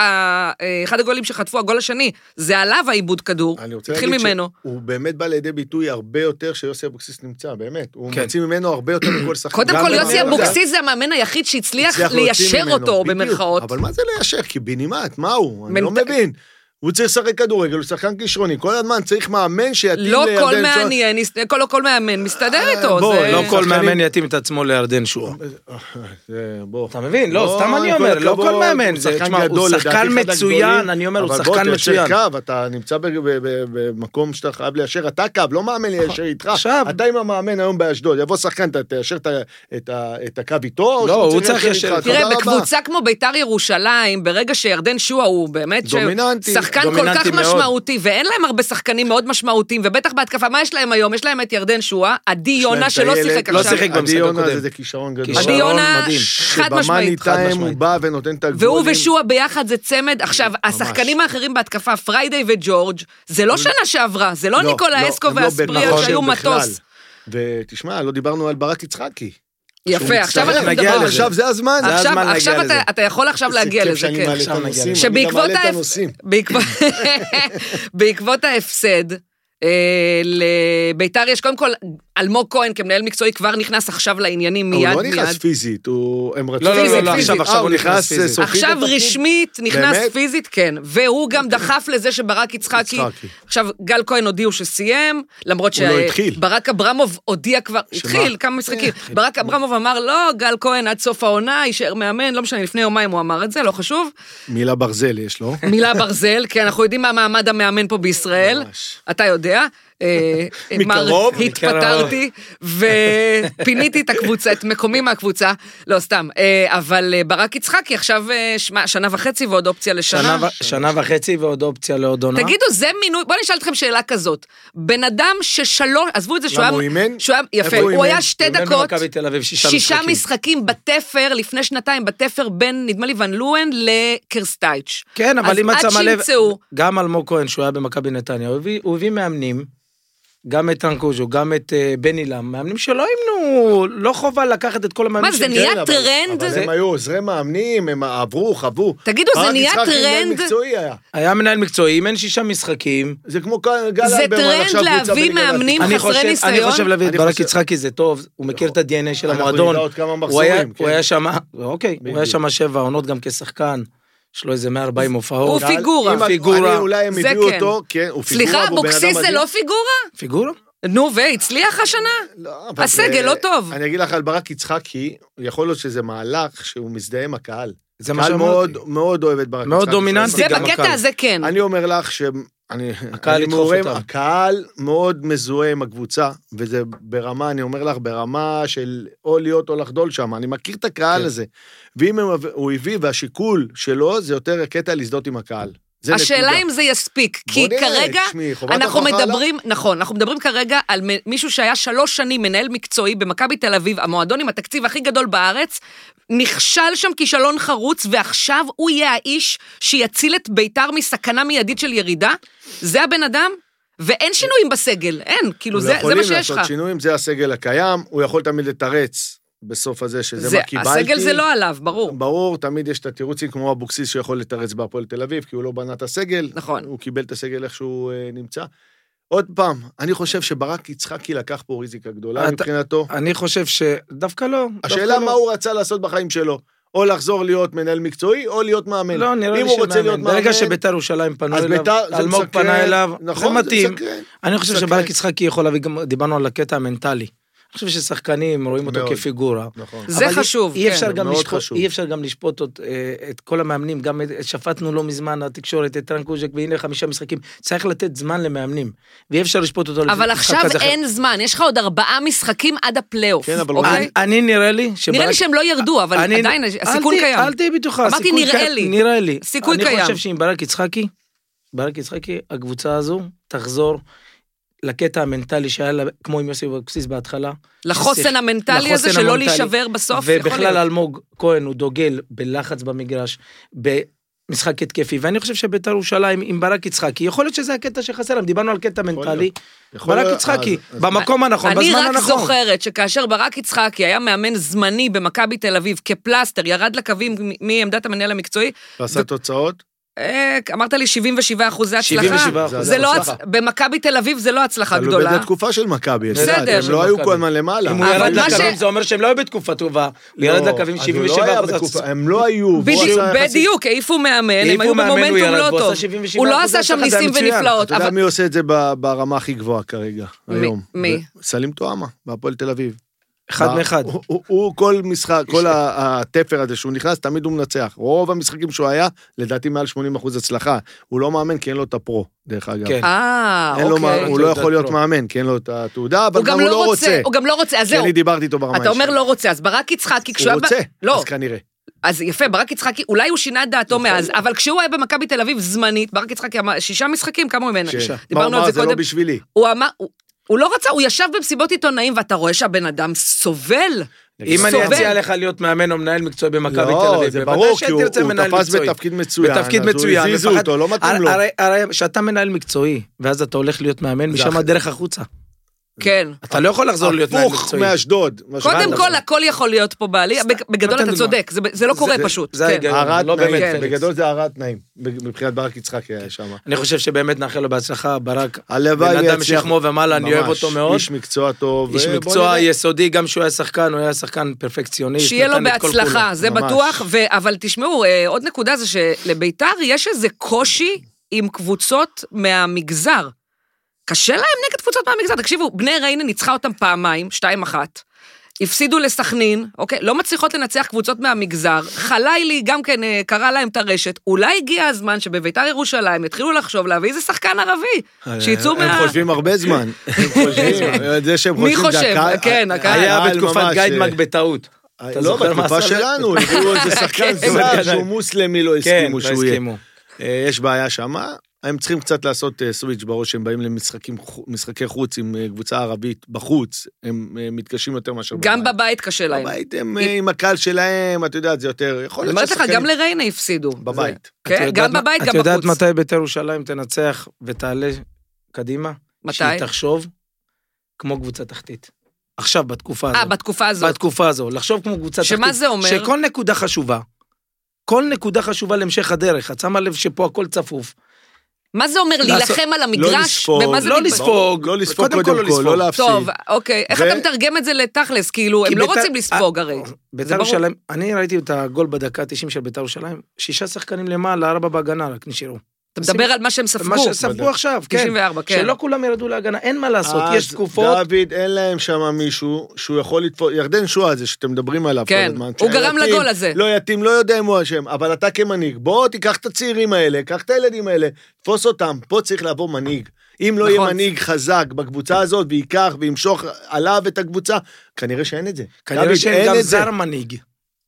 Speaker 1: אה, אחד הגולים שחטפו, הגול השני, זה עליו העיבוד כדור,
Speaker 3: אני רוצה
Speaker 1: התחיל
Speaker 3: להגיד
Speaker 1: ממנו.
Speaker 3: שהוא באמת בא לידי ביטוי הרבה יותר שיוסי אבוקסיס נמצא, באמת. הוא
Speaker 2: כן.
Speaker 3: מוציא ממנו הרבה יותר מכל שחקן.
Speaker 1: קודם
Speaker 3: גם
Speaker 1: כל,
Speaker 3: במאמן
Speaker 1: יוסי
Speaker 3: זר.
Speaker 1: אבוקסיס זה המאמן היחיד שהצליח
Speaker 3: הצליח להוציא
Speaker 1: ליישר
Speaker 3: ממנו,
Speaker 1: אותו,
Speaker 3: בדיוק.
Speaker 1: במרכאות.
Speaker 3: אבל מה זה ליישר? קיבינימט, מה הוא? אני לא
Speaker 1: מנט-
Speaker 3: מבין. הוא צריך לשחק כדורגל, הוא שחקן כישרוני. כל הזמן צריך מאמן שיתאים לירדן אה,
Speaker 1: לא כל
Speaker 3: שואה.
Speaker 1: מעניין, כל- לא כל מאמן מסתדר איתו.
Speaker 2: בוא,
Speaker 1: זה-
Speaker 2: לא כל
Speaker 3: שחקנים-
Speaker 2: מאמן יתאים את עצמו לירדן שועה.
Speaker 3: זה- בוא.
Speaker 2: אתה מבין? לא,
Speaker 3: בוא,
Speaker 2: סתם אני
Speaker 3: עם
Speaker 2: אומר,
Speaker 3: כל
Speaker 2: לא
Speaker 3: הכבוד,
Speaker 2: כל מאמן,
Speaker 3: הוא
Speaker 2: זה-
Speaker 3: שחקן
Speaker 2: תשמע, הוא
Speaker 3: גדול, לדעתי
Speaker 2: שחקן
Speaker 3: אחד
Speaker 2: מצוין,
Speaker 3: הגדולים,
Speaker 2: אני אומר, הוא
Speaker 3: אבל
Speaker 2: שחקן
Speaker 3: בוא, תיישר
Speaker 2: מצוין.
Speaker 3: קו, אתה נמצא ב- ב- ב- במקום שאתה חייב ליישר אתה קו, לא מאמן ליישר איתך.
Speaker 2: נכון, עכשיו-
Speaker 3: אתה עם המאמן היום באשדוד, יבוא שחקן, אתה תיישר את ה- את ה- את הקו איתו, או
Speaker 2: לא,
Speaker 3: שהוא
Speaker 2: הוא צריך ליישר
Speaker 3: איתך?
Speaker 2: איתך.
Speaker 1: תראה,
Speaker 3: תודה רבה.
Speaker 1: בקבוצה כמו ביתר ירושלים, ברגע שירדן שועה הוא באמת... ש-
Speaker 3: דומיננטי,
Speaker 1: שחקן כל כך
Speaker 2: דומיננטי מאוד.
Speaker 1: משמעותי, ואין להם הרבה שחקנים מאוד משמעותיים, ובטח בהתקפה, מה יש להם היום? יש להם את ירדן שואה, עדי יונה שלא שיחק
Speaker 2: לא
Speaker 1: עכשיו.
Speaker 2: שיחק במשחק
Speaker 3: עדי יונה
Speaker 2: הקודם.
Speaker 3: זה- זה כישרון גדול.
Speaker 1: עדי
Speaker 2: כישרון
Speaker 1: יונה,
Speaker 2: מדהים.
Speaker 1: חד משמעית.
Speaker 2: חד
Speaker 3: שבמאני טיים הוא
Speaker 2: משמעית.
Speaker 3: בא ונותן את הגולים.
Speaker 1: והוא ושועה ביחד זה צמד. עכשיו, השחקנים האחרים בהתקפה, פריידי וג'ורג', זה לא שנה שעברה, זה לא ניקולה אסקו
Speaker 3: הם לא
Speaker 1: והספריה
Speaker 3: בכושר
Speaker 1: שהיו
Speaker 3: בכלל.
Speaker 1: מטוס.
Speaker 3: ותשמע, לא דיברנו על ברק יצחקי.
Speaker 1: יפה, עכשיו
Speaker 2: מצטרף,
Speaker 1: אנחנו
Speaker 2: נגיע
Speaker 1: מדברים על
Speaker 2: לזה.
Speaker 1: זה.
Speaker 3: עכשיו זה הזמן. זה
Speaker 1: עכשיו-
Speaker 3: הזמן להגיע
Speaker 1: עכשיו
Speaker 3: לזה.
Speaker 1: אתה- אתה יכול עכשיו להגיע
Speaker 3: איזה כיף
Speaker 1: לזה,
Speaker 3: שאני
Speaker 1: כן.
Speaker 3: מעלה את
Speaker 2: עכשיו נגיע
Speaker 3: הנושאים,
Speaker 2: לזה.
Speaker 3: אני גם
Speaker 1: שבעקבות
Speaker 3: מעלה את
Speaker 1: ההפ-
Speaker 3: הנושאים.
Speaker 1: בעקבות- בעקבות ההפסד, אה, לביתר יש קודם כל, אלמוג כהן כמנהל מקצועי כבר נכנס עכשיו לעניינים מיד
Speaker 3: הוא
Speaker 1: מיד.
Speaker 3: לא נכנס פיזית, הוא... הם רצו...
Speaker 2: לא,
Speaker 1: לא, לא,
Speaker 2: עכשיו, עכשיו
Speaker 3: אה,
Speaker 2: הוא נכנס פיזית.
Speaker 3: סופית
Speaker 1: עכשיו
Speaker 3: לתפקיד?
Speaker 1: רשמית נכנס
Speaker 3: באמת? אוקיי.
Speaker 1: פיזית, כן. והוא גם דחף לזה שברק יצחקי...
Speaker 3: יצחקי.
Speaker 1: עכשיו, גל כהן הודיעו שסיים, למרות
Speaker 3: הוא לא התחיל. כן.
Speaker 1: שברק אברמוב הודיע כבר... התחיל, כמה משחקים. ברק אברמוב אמר, לא, גל כהן עד סוף העונה יישאר מאמן, לא משנה, לפני יומיים הוא אמר את זה, לא חשוב.
Speaker 3: מילה ברזל יש לו.
Speaker 1: מילה ברזל, כי אנחנו יודעים מה מעמד המאמן פה בישראל.
Speaker 3: ממש.
Speaker 1: אתה יודע. אה,
Speaker 2: מקרוב, כן,
Speaker 1: מר, התפטרתי, ופיניתי את הקבוצה, את מקומי מהקבוצה. לא, סתם. אה, אבל אה, ברק יצחקי עכשיו, אה, שמע, שנה וחצי ועוד אופציה לשנה.
Speaker 2: שנה ו- שנה וחצי ועוד אופציה לעוד עונה.
Speaker 1: תגידו, זה מינוי, בואו נשאל אתכם שאלה כזאת. בן אדם ששלוש, עזבו את זה שהוא
Speaker 3: למה
Speaker 1: היה...
Speaker 3: הוא אימן?
Speaker 1: שהוא היה- יפה,
Speaker 3: איפה הוא
Speaker 1: הוא היה
Speaker 3: אימן?
Speaker 1: שתי
Speaker 2: אימן
Speaker 1: דקות,
Speaker 2: במכבי תל אביב, שישה
Speaker 1: שישה
Speaker 2: משחקים.
Speaker 1: משחקים בתפר, לפני שנתיים, בתפר בין, נדמה לי, ון לואן לקרסטייץ'.
Speaker 2: כן,
Speaker 1: אז
Speaker 2: אבל אם את
Speaker 1: עד
Speaker 2: שמה לב,
Speaker 1: שימצאו.
Speaker 2: גם אלמוג כהן, שהוא היה במכבי נתניה, הוא הביא- הוא הביא מאמנים, גם את טנקוז'ו, גם את אה, בן עילם, מאמנים שלא אימנו, לא חובה לקחת את כל המאמנים
Speaker 1: מה, זה
Speaker 2: שהם-
Speaker 1: נהיה
Speaker 3: כן, אבל-
Speaker 1: טרנד?
Speaker 3: אבל
Speaker 1: זה-
Speaker 3: הם היו עוזרי מאמנים, הם עברו, חוו.
Speaker 1: תגידו, זה
Speaker 3: ברק
Speaker 1: נהיה
Speaker 3: יצחקי מנהל
Speaker 1: טרנד?
Speaker 3: מקצועי היה.
Speaker 2: היה מנהל מקצועי, אימן שישה משחקים.
Speaker 3: זה כמו גל אלברמן
Speaker 1: זה
Speaker 3: עכשיו
Speaker 1: טרנד
Speaker 3: קבוצה
Speaker 1: להביא
Speaker 3: בליגה
Speaker 1: מאמנים
Speaker 3: לאומית.
Speaker 2: אני
Speaker 1: חסרי
Speaker 2: חושב-
Speaker 1: ניסיון?
Speaker 2: אני חושב להביא את
Speaker 3: אני
Speaker 2: ברק
Speaker 3: חושב-
Speaker 2: יצחק זה טוב, הוא מכיר את ה-DNA של
Speaker 3: אנחנו
Speaker 2: המועדון.
Speaker 3: נדע עוד כמה
Speaker 2: הוא
Speaker 3: מחזורים,
Speaker 2: היה-
Speaker 3: כן.
Speaker 2: הוא היה שם, אוקיי, הוא היה
Speaker 3: בדיוק.
Speaker 2: שם שבע עונות גם כשחחקן, יש לו איזה 140 הופעות.
Speaker 1: הוא פיגורה.
Speaker 3: אם את-
Speaker 2: פיגורה.
Speaker 3: אני אולי הם
Speaker 1: זה
Speaker 3: הביאו
Speaker 1: כן.
Speaker 3: אותו, כן, הוא פיגורה,
Speaker 1: סליחה,
Speaker 3: והוא בן אדם
Speaker 1: אבוקסיס זה
Speaker 3: מדהים.
Speaker 1: לא פיגורה?
Speaker 2: פיגורה?
Speaker 1: נו, והצליח השנה?
Speaker 3: לא, אבל
Speaker 1: הסגל
Speaker 3: זה-
Speaker 1: לא טוב.
Speaker 3: אני אגיד לך על ברק יצחקי, יכול להיות שזה מהלך שהוא מזדהה עם הקהל.
Speaker 2: זה מה
Speaker 3: הקהל
Speaker 2: שאמרתי.
Speaker 3: מאוד מאוד אוהב את ברק יצחקי.
Speaker 2: מאוד דומיננטי
Speaker 1: זה
Speaker 2: גם
Speaker 1: בקטע
Speaker 2: הקהל.
Speaker 1: הזה כן.
Speaker 3: אני אומר לך ש... אני,
Speaker 2: הקהל
Speaker 3: אני
Speaker 2: ידחוף
Speaker 3: מעורה-
Speaker 2: אותם.
Speaker 3: הקהל מאוד מזוהה עם הקבוצה, וזה ברמה, אני אומר לך, ברמה של או להיות או לחדול שם. אני מכיר את הקהל
Speaker 2: כן.
Speaker 3: הזה. ואם הוא, הוא הביא, והשיקול שלו זה יותר הקטע להזדהות עם הקהל. זה
Speaker 1: השאלה
Speaker 3: נקודה.
Speaker 1: אם זה יספיק, כי
Speaker 3: בוא נראה,
Speaker 1: כרגע
Speaker 3: תשמעי, חובת לא.
Speaker 1: אנחנו
Speaker 3: ההוכחה עליו.
Speaker 1: מדברים, נכון, אנחנו מדברים כרגע על מ- מישהו שהיה שלוש שנים מנהל מקצועי במכבי תל אביב, המועדון עם התקציב הכי גדול בארץ, נכשל שם כישלון חרוץ, ועכשיו הוא יהיה האיש שיציל את ביתר מסכנה מיידית של ירידה? זה הבן אדם? ואין שינויים בסגל, אין, כאילו זה זה מה שיש לך.
Speaker 3: לא לעשות שינויים, זה הסגל הקיים, הוא יכול תמיד לתרץ בסוף הזה שזה
Speaker 1: זה-
Speaker 3: מה קיבלתי.
Speaker 1: הסגל זה לא עליו, ברור.
Speaker 3: ברור, תמיד יש את התירוצים כמו אבוקסיס שיכול לתרץ בהפועל תל אביב, כי הוא לא בנה את הסגל.
Speaker 1: נכון.
Speaker 3: הוא קיבל את הסגל איך שהוא אה, נמצא. עוד פעם, אני חושב שברק יצחקי לקח פה ריזיקה גדולה
Speaker 2: אתה-
Speaker 3: מבחינתו.
Speaker 2: אני חושב שדווקא לא.
Speaker 3: השאלה
Speaker 2: דווקא לא.
Speaker 3: מה הוא רצה לעשות בחיים שלו, או לחזור להיות מנהל מקצועי, או להיות מאמן.
Speaker 2: לא, נראה
Speaker 3: אם
Speaker 2: לי
Speaker 3: הוא רוצה להיות
Speaker 2: שמאמן.
Speaker 3: מאמן,
Speaker 2: ברגע שביתר ירושלים פנו
Speaker 3: אז ביתר,
Speaker 2: אליו,
Speaker 3: זה
Speaker 2: לא. אלמוג
Speaker 3: מסקרן.
Speaker 2: פנה אליו, זה
Speaker 3: נכון, זה
Speaker 2: מתאים.
Speaker 3: מסקרן.
Speaker 2: אני חושב
Speaker 3: מסקרן.
Speaker 2: שברק יצחקי יכול להביא, גם דיברנו על הקטע המנטלי. אני חושב ששחקנים רואים אותו
Speaker 3: מאוד.
Speaker 2: כפיגורה.
Speaker 3: נכון.
Speaker 1: זה
Speaker 2: אבל אי-
Speaker 1: חשוב,
Speaker 2: אי
Speaker 1: כן.
Speaker 2: אפשר
Speaker 3: זה
Speaker 2: גם
Speaker 3: מאוד
Speaker 2: לשפוט-
Speaker 3: חשוב.
Speaker 2: אי אפשר גם לשפוט עוד, אה, את כל המאמנים, גם את- שפטנו לא מזמן התקשורת, את רן קוז'ק, והנה חמישה משחקים. צריך לתת זמן למאמנים, ואי אפשר לשפוט אותו לפי
Speaker 1: אבל
Speaker 2: משחק
Speaker 1: עכשיו
Speaker 2: כזה אחר.
Speaker 1: אין זמן, יש לך עוד ארבעה משחקים עד הפלייאוף,
Speaker 3: כן, אבל
Speaker 1: אוקיי?
Speaker 2: אני- אני נראה לי שברק...
Speaker 1: נראה לי שהם לא ירדו, אבל
Speaker 2: אה, אני-
Speaker 1: עדיין
Speaker 2: אל
Speaker 1: הסיכון
Speaker 2: תהיי-
Speaker 1: קיים.
Speaker 2: אל תהיי בטוחה.
Speaker 1: אמרתי,
Speaker 2: הסיכון
Speaker 1: נראה
Speaker 2: קיים-
Speaker 1: לי.
Speaker 2: נראה לי.
Speaker 1: סיכוי
Speaker 2: אני
Speaker 1: קיים.
Speaker 2: חושב שעם ברק יצחקי, ברק יצחקי, הקבוצה הזו תחזור לקטע המנטלי שהיה לה, כמו עם יוסי אבוקסיס בהתחלה.
Speaker 1: לחוסן
Speaker 2: ששיח-
Speaker 1: המנטלי הזה,
Speaker 2: לחוסן
Speaker 1: שלא
Speaker 2: המנטלי.
Speaker 1: להישבר בסוף, יכול
Speaker 2: ובכלל
Speaker 1: להיות.
Speaker 2: אלמוג כהן הוא דוגל בלחץ במגרש, במשחק התקפי, ואני חושב שביתר ירושלים עם ברק יצחקי, יכול להיות שזה הקטע שחסר להם, דיברנו על קטע מנטלי.
Speaker 3: להיות. יכול
Speaker 2: ברק
Speaker 3: להיות,
Speaker 2: יצחקי,
Speaker 3: אז- אז-
Speaker 2: במקום הנכון,
Speaker 1: אני
Speaker 2: נכון, בזמן
Speaker 1: רק
Speaker 2: הנכון.
Speaker 1: זוכרת שכאשר ברק יצחקי היה מאמן זמני במכבי תל אביב כפלסטר, ירד לקווים מ- מעמדת המנהל המקצועי,
Speaker 3: ועשה תוצאות?
Speaker 1: אה, אמרת לי 77 אחוזי הצלחה.
Speaker 2: 77%.
Speaker 3: זה
Speaker 1: זה לא,
Speaker 3: הצלחה.
Speaker 1: הצ- במכבי תל אביב זה לא הצלחה
Speaker 3: תלוי
Speaker 1: גדולה.
Speaker 3: באיזה תקופה של מכבי, את יודעת,
Speaker 1: בסדר.
Speaker 3: הם לא היו
Speaker 2: מכבי.
Speaker 3: כל הזמן למעלה.
Speaker 2: אם הוא
Speaker 1: אבל
Speaker 2: ירד
Speaker 1: מה ש-
Speaker 2: לקווים זה אומר שהם לא היו בתקופה טובה, הוא ירד
Speaker 3: לא,
Speaker 2: לקווים
Speaker 3: אז הוא לא היה
Speaker 2: 77
Speaker 3: בתקופה- הם לא היו.
Speaker 1: בדיוק,
Speaker 3: והוא עשה יחסית-
Speaker 1: בדיוק, העיפו מאמן, הם
Speaker 2: העיפו
Speaker 1: היו
Speaker 2: מאמן, הוא
Speaker 1: במומנטום
Speaker 2: ירד,
Speaker 1: לא
Speaker 2: והוא
Speaker 1: טוב.
Speaker 2: עשה 77%
Speaker 1: הוא לא עשה שם
Speaker 2: הצלחה, זה היה
Speaker 1: ניסים
Speaker 2: מצוין.
Speaker 1: ונפלאות,
Speaker 3: אתה יודע
Speaker 1: אבל
Speaker 3: מי עושה את זה ב- ברמה הכי גבוהה כרגע,
Speaker 1: מי-
Speaker 3: היום?
Speaker 1: מי?
Speaker 3: ו- סלים טועמה, בהפועל תל אביב.
Speaker 2: אחד
Speaker 3: ב-
Speaker 2: מאחד.
Speaker 3: לא. הוא- הוא- הוא כל משחק, כל ה- התפר הזה שהוא נכנס, תמיד הוא מנצח. רוב המשחקים שהוא היה, לדעתי מעל 80% הצלחה. הוא לא מאמן כי אין לו את הפרו, דרך אגב.
Speaker 2: כן.
Speaker 1: אה,
Speaker 3: אין לו מה-
Speaker 1: אוקיי.
Speaker 3: הוא לא
Speaker 2: תעודת
Speaker 3: יכול להיות
Speaker 2: פרו.
Speaker 3: מאמן, כי אין לו את התעודה, אבל
Speaker 1: הוא גם לא רוצה, הוא גם לא רוצה, אז
Speaker 3: כי
Speaker 1: זהו.
Speaker 3: אני דיברתי איתו ברמה
Speaker 1: אתה אומר
Speaker 3: האישית.
Speaker 1: לא רוצה, אז ברק יצחקי, כשהוא היה...
Speaker 3: הוא
Speaker 1: ב-
Speaker 3: רוצה,
Speaker 1: לא,
Speaker 3: אז כנראה. נכון.
Speaker 1: אז יפה, ברק יצחקי, אולי הוא שינה את דעתו מאז, אבל כשהוא היה במכבי תל אביב זמנית, ברק יצחקי אמר, שישה משחקים, כמה הוא ממנה?
Speaker 3: שישה.
Speaker 1: דיברנו
Speaker 3: מה הוא
Speaker 1: על
Speaker 3: אמר?
Speaker 1: זה
Speaker 3: זה לא
Speaker 1: קודם.
Speaker 3: בשבילי.
Speaker 1: הוא אמר, הוא- הוא לא רצה, הוא ישב במסיבות עיתונאים, ואתה רואה שהבן אדם סובל.
Speaker 2: אם אני
Speaker 1: סובל.
Speaker 2: אציע לך להיות מאמן או מנהל מקצועי במכבי תל
Speaker 3: לא,
Speaker 2: אביב,
Speaker 3: זה
Speaker 2: בוודאי
Speaker 3: ברור,
Speaker 2: שהייתי
Speaker 3: כי הוא-
Speaker 2: רוצה
Speaker 3: הוא
Speaker 2: מנהל
Speaker 3: תפס
Speaker 2: מקצועי.
Speaker 3: בתפקיד מצוין,
Speaker 2: בתפקיד
Speaker 3: אז הוא
Speaker 2: מצוין.
Speaker 3: הזיזו
Speaker 2: מפחד-
Speaker 3: אותו, לא מתאים
Speaker 2: הרי-
Speaker 3: לו.
Speaker 2: הרי- הרי כשאתה מנהל מקצועי, ואז אתה הולך להיות מאמן, משם
Speaker 3: אחר.
Speaker 2: הדרך החוצה.
Speaker 1: כן.
Speaker 2: אתה לא יכול לחזור להיות מנהל
Speaker 3: הפוך
Speaker 2: מקצועי.
Speaker 3: מאשדוד. מה
Speaker 1: קודם
Speaker 3: שאמרת.
Speaker 1: כל, הכל יכול להיות פה בעלי, בג- בגדול
Speaker 2: נותן
Speaker 1: אתה
Speaker 2: דוגמה.
Speaker 1: צודק, זה ב- זה לא קורה פשוט.
Speaker 2: זה
Speaker 1: כן.
Speaker 2: ההיגיון.
Speaker 3: הרעת
Speaker 2: לא באמת,
Speaker 3: תנאים,
Speaker 2: פליקס.
Speaker 3: בגדול זה הרעת תנאים, מבחינת ברק יצחקי היה שם.
Speaker 2: אני חושב שבאמת נאחל לו בהצלחה, ברק.
Speaker 3: הלוואי
Speaker 2: בן אדם משכמו ומעלה, אני אוהב
Speaker 3: ממש,
Speaker 2: אותו מאוד.
Speaker 3: איש מקצוע טוב.
Speaker 2: איש
Speaker 3: ובוא
Speaker 2: מקצוע
Speaker 3: נראה.
Speaker 2: יסודי, גם שהוא היה שחקן, הוא היה שחקן פרפקציוניסט.
Speaker 1: שיהיה לו
Speaker 2: נתן את כל
Speaker 1: בהצלחה, זה
Speaker 3: ממש.
Speaker 1: בטוח. ו- אבל תשמעו, אה, עוד נקודה זה שלביתר יש איזה קושי עם קבוצות מהמגזר. קשה להם נגד קבוצות מהמגזר. תקשיבו, בני ריינה ניצחה אותם פעמיים, שתיים אחת. הפסידו לסכנין, אוקיי? לא מצליחות לנצח קבוצות מהמגזר. חלילי גם כן אה, קרע להם את הרשת. אולי הגיע הזמן שבביתר ירושלים יתחילו לחשוב להביא איזה שחקן ערבי. שיצאו מה...
Speaker 3: אה, הם חושבים הרבה זמן. הם חושבים, זה שהם
Speaker 1: מי
Speaker 3: חושבים, זה
Speaker 1: חושב?
Speaker 3: הקהל-
Speaker 1: כן,
Speaker 2: כולו.
Speaker 1: הקהל.
Speaker 2: היה
Speaker 3: ממש,
Speaker 2: בתקופת
Speaker 3: אה,
Speaker 2: גיידמק בטעות. אתה
Speaker 3: לא,
Speaker 2: זוכר מה
Speaker 3: בתקופה
Speaker 2: עשה?
Speaker 3: שלנו, הביאו איזה שחקן
Speaker 2: כן.
Speaker 3: זר שהוא מוסלמי, לא
Speaker 2: כן,
Speaker 3: הסכימו
Speaker 2: לא
Speaker 3: שהוא יהיה.
Speaker 2: הסכימו.
Speaker 3: אה, יש בעיה שמה, הם צריכים קצת לעשות אה, סוויץ' בראש, הם באים למשחקים, חו- משחקי חוץ עם אה, קבוצה ערבית בחוץ, הם אה, מתקשים יותר מאשר
Speaker 1: גם בבית קשה להם.
Speaker 3: בבית הם אה, עם הקהל שלהם, את יודעת, זה יותר, יכול
Speaker 1: אני
Speaker 3: להיות
Speaker 1: אומרת לך,
Speaker 3: שהשחקנים-
Speaker 1: גם לריינה הפסידו.
Speaker 3: בבית.
Speaker 1: זה- כן, גם בבית, גם
Speaker 2: את יודעת
Speaker 1: בחוץ.
Speaker 2: מתי בית"ר ירושלים תנצח ותעלה קדימה?
Speaker 1: מתי?
Speaker 2: שהיא תחשוב כמו קבוצה תחתית. עכשיו, בתקופה
Speaker 1: אה,
Speaker 2: הזאת.
Speaker 1: בתקופה הזאת.
Speaker 2: בתקופה הזו, לחשוב כמו קבוצה
Speaker 1: שמה זה אומר?
Speaker 2: שכל נקודה חשובה. כל נקודה חשובה להמשך הדרך. את שמה לב שפה הכל צפוף.
Speaker 1: מה זה אומר
Speaker 2: לעשות-
Speaker 1: להילחם על המגרש? במה זה
Speaker 2: לא
Speaker 1: מתבטא?
Speaker 2: לספוג. ברור.
Speaker 3: לא לספוג
Speaker 2: קודם
Speaker 3: קודם
Speaker 2: כל
Speaker 3: כל,
Speaker 2: לא לספוג.
Speaker 3: לא להפסיד.
Speaker 1: טוב, אוקיי. איך
Speaker 3: ו-
Speaker 1: אתה מתרגם את זה לתכלס? כאילו,
Speaker 2: כי אה,
Speaker 1: הם לא
Speaker 2: בית"ר-
Speaker 1: רוצים לספוג הרי.
Speaker 2: בית"ר
Speaker 1: ברור.
Speaker 2: ירושלים, אני ראיתי את הגול בדקה ה-90 של בית"ר ירושלים, שישה שחקנים למעלה, ארבע בהגנה רק נשארו.
Speaker 1: אתה מדבר על מה שהם
Speaker 2: מה
Speaker 1: ספגו.
Speaker 2: שספגו עכשיו, כן.
Speaker 1: 94, כן.
Speaker 2: שלא כולם ירדו להגנה, אין מה לעשות,
Speaker 3: אז
Speaker 2: יש תקופות.
Speaker 3: דוד, אין להם שם מישהו שהוא יכול לתפוס, ירדן שואה הזה שאתם מדברים עליו
Speaker 1: כן,
Speaker 3: כל הזמן.
Speaker 1: הוא
Speaker 3: שהיה
Speaker 1: גרם
Speaker 3: יתים,
Speaker 1: לגול הזה.
Speaker 3: לא יתאים, לא יודע אם הוא אשם, אבל אתה כמנהיג, בוא תיקח את הצעירים האלה, קח את הילדים האלה, תפוס אותם, פה צריך לעבור מנהיג. אם לא יהיה
Speaker 1: נכון.
Speaker 3: מנהיג חזק בקבוצה הזאת, וייקח וימשוך עליו את הקבוצה, כנראה שאין את זה. דוד,
Speaker 2: כנראה
Speaker 3: אין
Speaker 2: שהם גם
Speaker 3: את זה.
Speaker 2: זר מנהיג.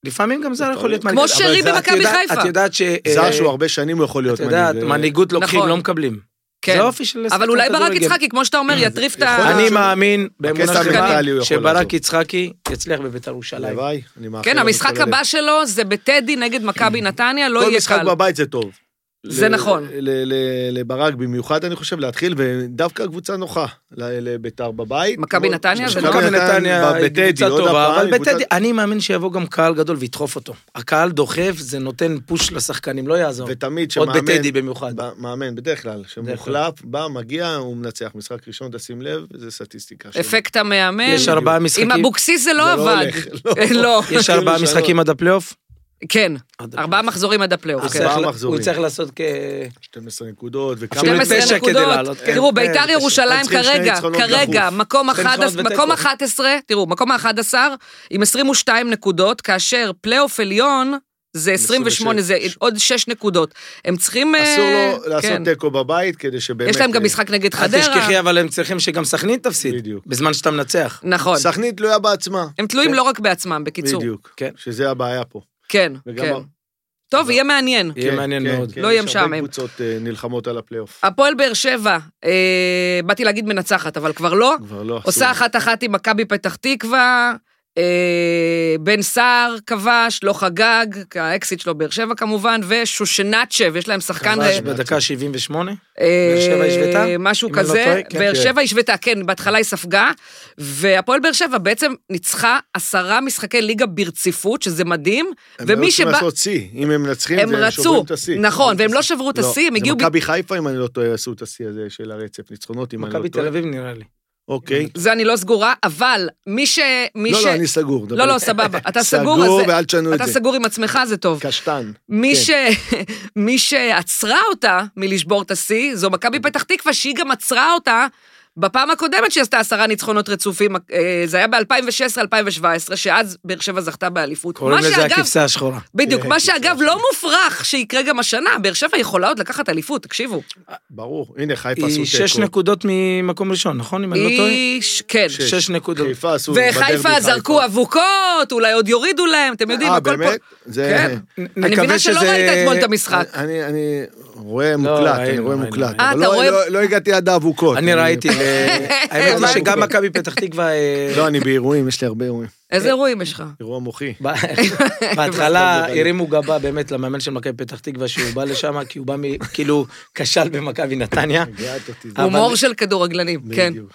Speaker 2: לפעמים גם זר יכול להיות מנהיג.
Speaker 1: כמו
Speaker 2: אבל
Speaker 1: שרי
Speaker 2: זה- את
Speaker 1: במכבי
Speaker 2: יודעת-
Speaker 1: חיפה.
Speaker 2: את יודעת ש...
Speaker 3: זר
Speaker 2: אה,
Speaker 3: שהוא הרבה שנים הוא יכול להיות
Speaker 2: את יודעת,
Speaker 3: מנהיג.
Speaker 2: מנהיגות לוקחים,
Speaker 1: נכון.
Speaker 2: לא מקבלים.
Speaker 1: כן.
Speaker 2: זה האופי של שחקן
Speaker 1: אבל אולי ברק
Speaker 2: כדורגל.
Speaker 1: יצחקי, כמו שאתה אומר, יטריף את
Speaker 3: יכול
Speaker 1: ה...
Speaker 2: אני
Speaker 3: להיות.
Speaker 2: מאמין באמונה
Speaker 3: הקטע
Speaker 2: שלמה
Speaker 3: המנטלי הוא יכול
Speaker 2: שברק
Speaker 3: לעזור.
Speaker 2: יצחקי יצליח בבית"ר ירושלים.
Speaker 3: הלוואי, אני מאחל
Speaker 1: כן,
Speaker 3: לו
Speaker 1: המשחק
Speaker 3: מכל הלב.
Speaker 1: הבא שלו זה בטדי נגד
Speaker 2: כן.
Speaker 1: מכבי נתניה, לא
Speaker 3: כל
Speaker 1: יהיה
Speaker 3: משחק
Speaker 1: קל.
Speaker 3: בבית זה טוב.
Speaker 1: זה
Speaker 3: ל-
Speaker 1: נכון.
Speaker 3: ל- ל- לברק במיוחד, אני חושב, להתחיל, ודווקא קבוצה נוחה ל- לביתר בבית.
Speaker 1: מכבי נתניה זה
Speaker 3: מכבי
Speaker 1: לא?
Speaker 2: מכבי נתניה
Speaker 3: בטדי,
Speaker 2: היא קבוצה
Speaker 3: עוד
Speaker 2: טובה,
Speaker 3: הפעם,
Speaker 2: אבל
Speaker 3: קבוצה-
Speaker 2: בטדי, אני מאמין שיבוא גם קהל גדול וידחוף אותו. הקהל דוחף, זה נותן פוש לשחקנים, לא יעזור.
Speaker 3: ותמיד
Speaker 2: עוד
Speaker 3: שמאמן,
Speaker 2: בטדי במיוחד.
Speaker 3: ב- מאמן, בדרך כלל, שמוחלף, בא, מגיע, הוא מנצח. משחק ראשון, תשים לב, זה סטטיסטיקה. שלו.
Speaker 1: אפקט
Speaker 3: כן.
Speaker 1: המאמן.
Speaker 2: יש ארבעה
Speaker 1: עם
Speaker 2: משחקים,
Speaker 1: אבוקסיס זה לא
Speaker 3: זה לא
Speaker 1: עבד.
Speaker 3: הולך, לא.
Speaker 1: לא.
Speaker 2: יש
Speaker 3: כאילו
Speaker 2: ארבעה
Speaker 3: שלוש.
Speaker 2: משחקים עד הפלייאוף.
Speaker 1: כן,
Speaker 2: עד
Speaker 1: ארבעה
Speaker 2: הפלייאוף.
Speaker 1: מחזורים עד הפלייאוף.
Speaker 2: הוא
Speaker 1: כן.
Speaker 2: צריך-
Speaker 3: אוקיי. מחזורים.
Speaker 2: הוא צריך לעשות כ...
Speaker 3: 12 נקודות, וכמה...
Speaker 1: 12
Speaker 2: תשע כדי
Speaker 1: נקודות.
Speaker 2: לעלות, כן.
Speaker 1: תראו,
Speaker 2: כן,
Speaker 1: ביתר
Speaker 2: תשע.
Speaker 1: ירושלים
Speaker 3: הם צריכים שני
Speaker 1: כרגע,
Speaker 3: ניצחונות
Speaker 1: כרגע,
Speaker 3: דחוף.
Speaker 1: מקום
Speaker 2: שני ניצחונות
Speaker 1: 11, מקום
Speaker 2: ותיקו.
Speaker 1: 11, תראו, מקום 11 עם 22 נקודות, כאשר פלייאוף עליון זה 28, זה
Speaker 3: 26.
Speaker 1: עוד 6 נקודות. הם צריכים... אה,
Speaker 3: אסור לו לעשות
Speaker 1: כן.
Speaker 3: תיקו בבית, כדי שבאמת...
Speaker 1: יש להם גם
Speaker 3: אה,
Speaker 1: משחק נגד
Speaker 2: אל
Speaker 1: חדרה.
Speaker 2: תשכחי, אבל הם צריכים שגם סכנין תפסיד.
Speaker 3: בדיוק.
Speaker 2: בזמן שאתה מנצח.
Speaker 1: נכון.
Speaker 3: סכנין תלויה בעצמה.
Speaker 1: הם תלויים לא רק בעצמם, בקיצור.
Speaker 3: כן. בדיוק.
Speaker 2: כן.
Speaker 3: שזה הבעיה פה.
Speaker 1: כן,
Speaker 3: וגם
Speaker 1: כן.
Speaker 3: ה-
Speaker 1: טוב, יהיה מעניין.
Speaker 2: יהיה
Speaker 3: כן,
Speaker 2: מעניין
Speaker 3: כן,
Speaker 2: מאוד.
Speaker 3: כן,
Speaker 1: לא יהיה
Speaker 3: יש הרבה
Speaker 1: משעמם.
Speaker 3: קבוצות אה, נלחמות על הפלייאוף.
Speaker 1: הפועל באר שבע, אה, באתי להגיד מנצחת, אבל כבר לא.
Speaker 3: כבר לא אסור.
Speaker 1: עושה אחת-אחת עם מכבי פתח תקווה, אה, בן סער כבש, לא חגג, האקסיט שלו באר שבע כמובן, ושושנצ'ב, יש להם שחקן...
Speaker 2: כבש
Speaker 1: אה,
Speaker 2: בדקה 78.
Speaker 1: אה,
Speaker 2: באר שבע השוותה?
Speaker 1: משהו
Speaker 2: אם אני לא
Speaker 1: כזה,
Speaker 2: טועה, כן.
Speaker 1: באר
Speaker 3: כן.
Speaker 1: שבע השוותה, כן, בהתחלה היא ספגה, והפועל באר שבע בעצם ניצחה עשרה משחקי ליגה ברציפות, שזה מדהים,
Speaker 3: הם לא
Speaker 1: ומי
Speaker 3: היו צריכים
Speaker 1: שבא...
Speaker 3: לעשות שיא, אם הם מנצחים,
Speaker 1: הם
Speaker 3: זה הם
Speaker 1: רצו,
Speaker 3: שוברים את השיא.
Speaker 1: נכון, והם לא שברו את
Speaker 3: לא,
Speaker 1: השיא, הם
Speaker 3: זה
Speaker 1: הגיעו... ב-
Speaker 3: מכבי חיפה, אם אני לא טועה, עשו את השיא הזה של הרצף ניצחונות, אם אני לא
Speaker 2: מכבי תל
Speaker 3: טועה.
Speaker 2: אביב נראה לי.
Speaker 3: אוקיי.
Speaker 1: זה אני לא סגורה, אבל מי ש... מי
Speaker 3: לא,
Speaker 1: ש...
Speaker 3: לא, אני סגור. דבר
Speaker 1: לא, לא,
Speaker 3: איתי.
Speaker 1: סבבה. אתה סגור,
Speaker 3: סגור,
Speaker 1: אז זה-
Speaker 3: ואל תשנו את
Speaker 1: אתה
Speaker 3: זה.
Speaker 1: סגור עם עצמך, זה טוב.
Speaker 3: קשטן.
Speaker 1: מי,
Speaker 3: כן.
Speaker 1: ש... מי שעצרה אותה מלשבור את השיא, זו מכבי פתח תקווה, שהיא גם עצרה אותה בפעם הקודמת שהיא עשתה עשרה ניצחונות רצופים, אה, זה היה ב-2016-2017, שאז באר שבע זכתה באליפות.
Speaker 2: קוראים
Speaker 1: מה
Speaker 2: לזה
Speaker 1: שאגב,
Speaker 2: הכבשה השחורה.
Speaker 1: בדיוק,
Speaker 3: אה,
Speaker 1: מה
Speaker 3: הכבשה
Speaker 1: שאגב
Speaker 3: השחורה.
Speaker 1: לא מופרך שיקרה גם השנה, באר שבע יכולה עוד לקחת אליפות, תקשיבו.
Speaker 3: ברור. הנה, חיפה עשו
Speaker 2: היא שש
Speaker 3: תיקו.
Speaker 2: נקודות ממקום ראשון, נכון? אם אני לא טועה?
Speaker 1: היא... כן.
Speaker 3: שש.
Speaker 2: שש נקודות.
Speaker 3: חיפה עשו... בדרבי
Speaker 1: וחיפה
Speaker 3: חיפה.
Speaker 1: זרקו אבוקות, אולי עוד יורידו להם, אתם יודעים,
Speaker 3: אה,
Speaker 1: הכל פה...
Speaker 3: באמת? זה...
Speaker 1: כן.
Speaker 2: נ-
Speaker 1: אני
Speaker 2: נקווה
Speaker 1: מבינה שלא
Speaker 2: שזה-
Speaker 1: ראית אתמול את המשחק.
Speaker 3: אני, אני רואה מוקלט, אני
Speaker 2: ראינו,
Speaker 3: רואה
Speaker 2: ראינו,
Speaker 3: מוקלט.
Speaker 2: ראינו.
Speaker 1: אה,
Speaker 3: אבל
Speaker 1: אתה
Speaker 3: לא-
Speaker 1: רואה-
Speaker 3: לא- לא הגעתי עד האבוקות.
Speaker 2: אני ראיתי, אה, האמת היא שגם מכבי פתח תקווה... אה,
Speaker 3: לא, אני באירועים, יש לי הרבה אירועים.
Speaker 1: איזה אירועים יש לך?
Speaker 3: אירוע מוחי.
Speaker 2: ב- בהתחלה הרימו גבה באמת למאמן של מכבי פתח תקווה שהוא בא לשם כי הוא בא מ... כאילו כשל במכבי נתניה.
Speaker 3: הגעת אותי. זה-
Speaker 2: אבל-
Speaker 1: הומור של כדורגלנים, כן.
Speaker 3: בדיוק.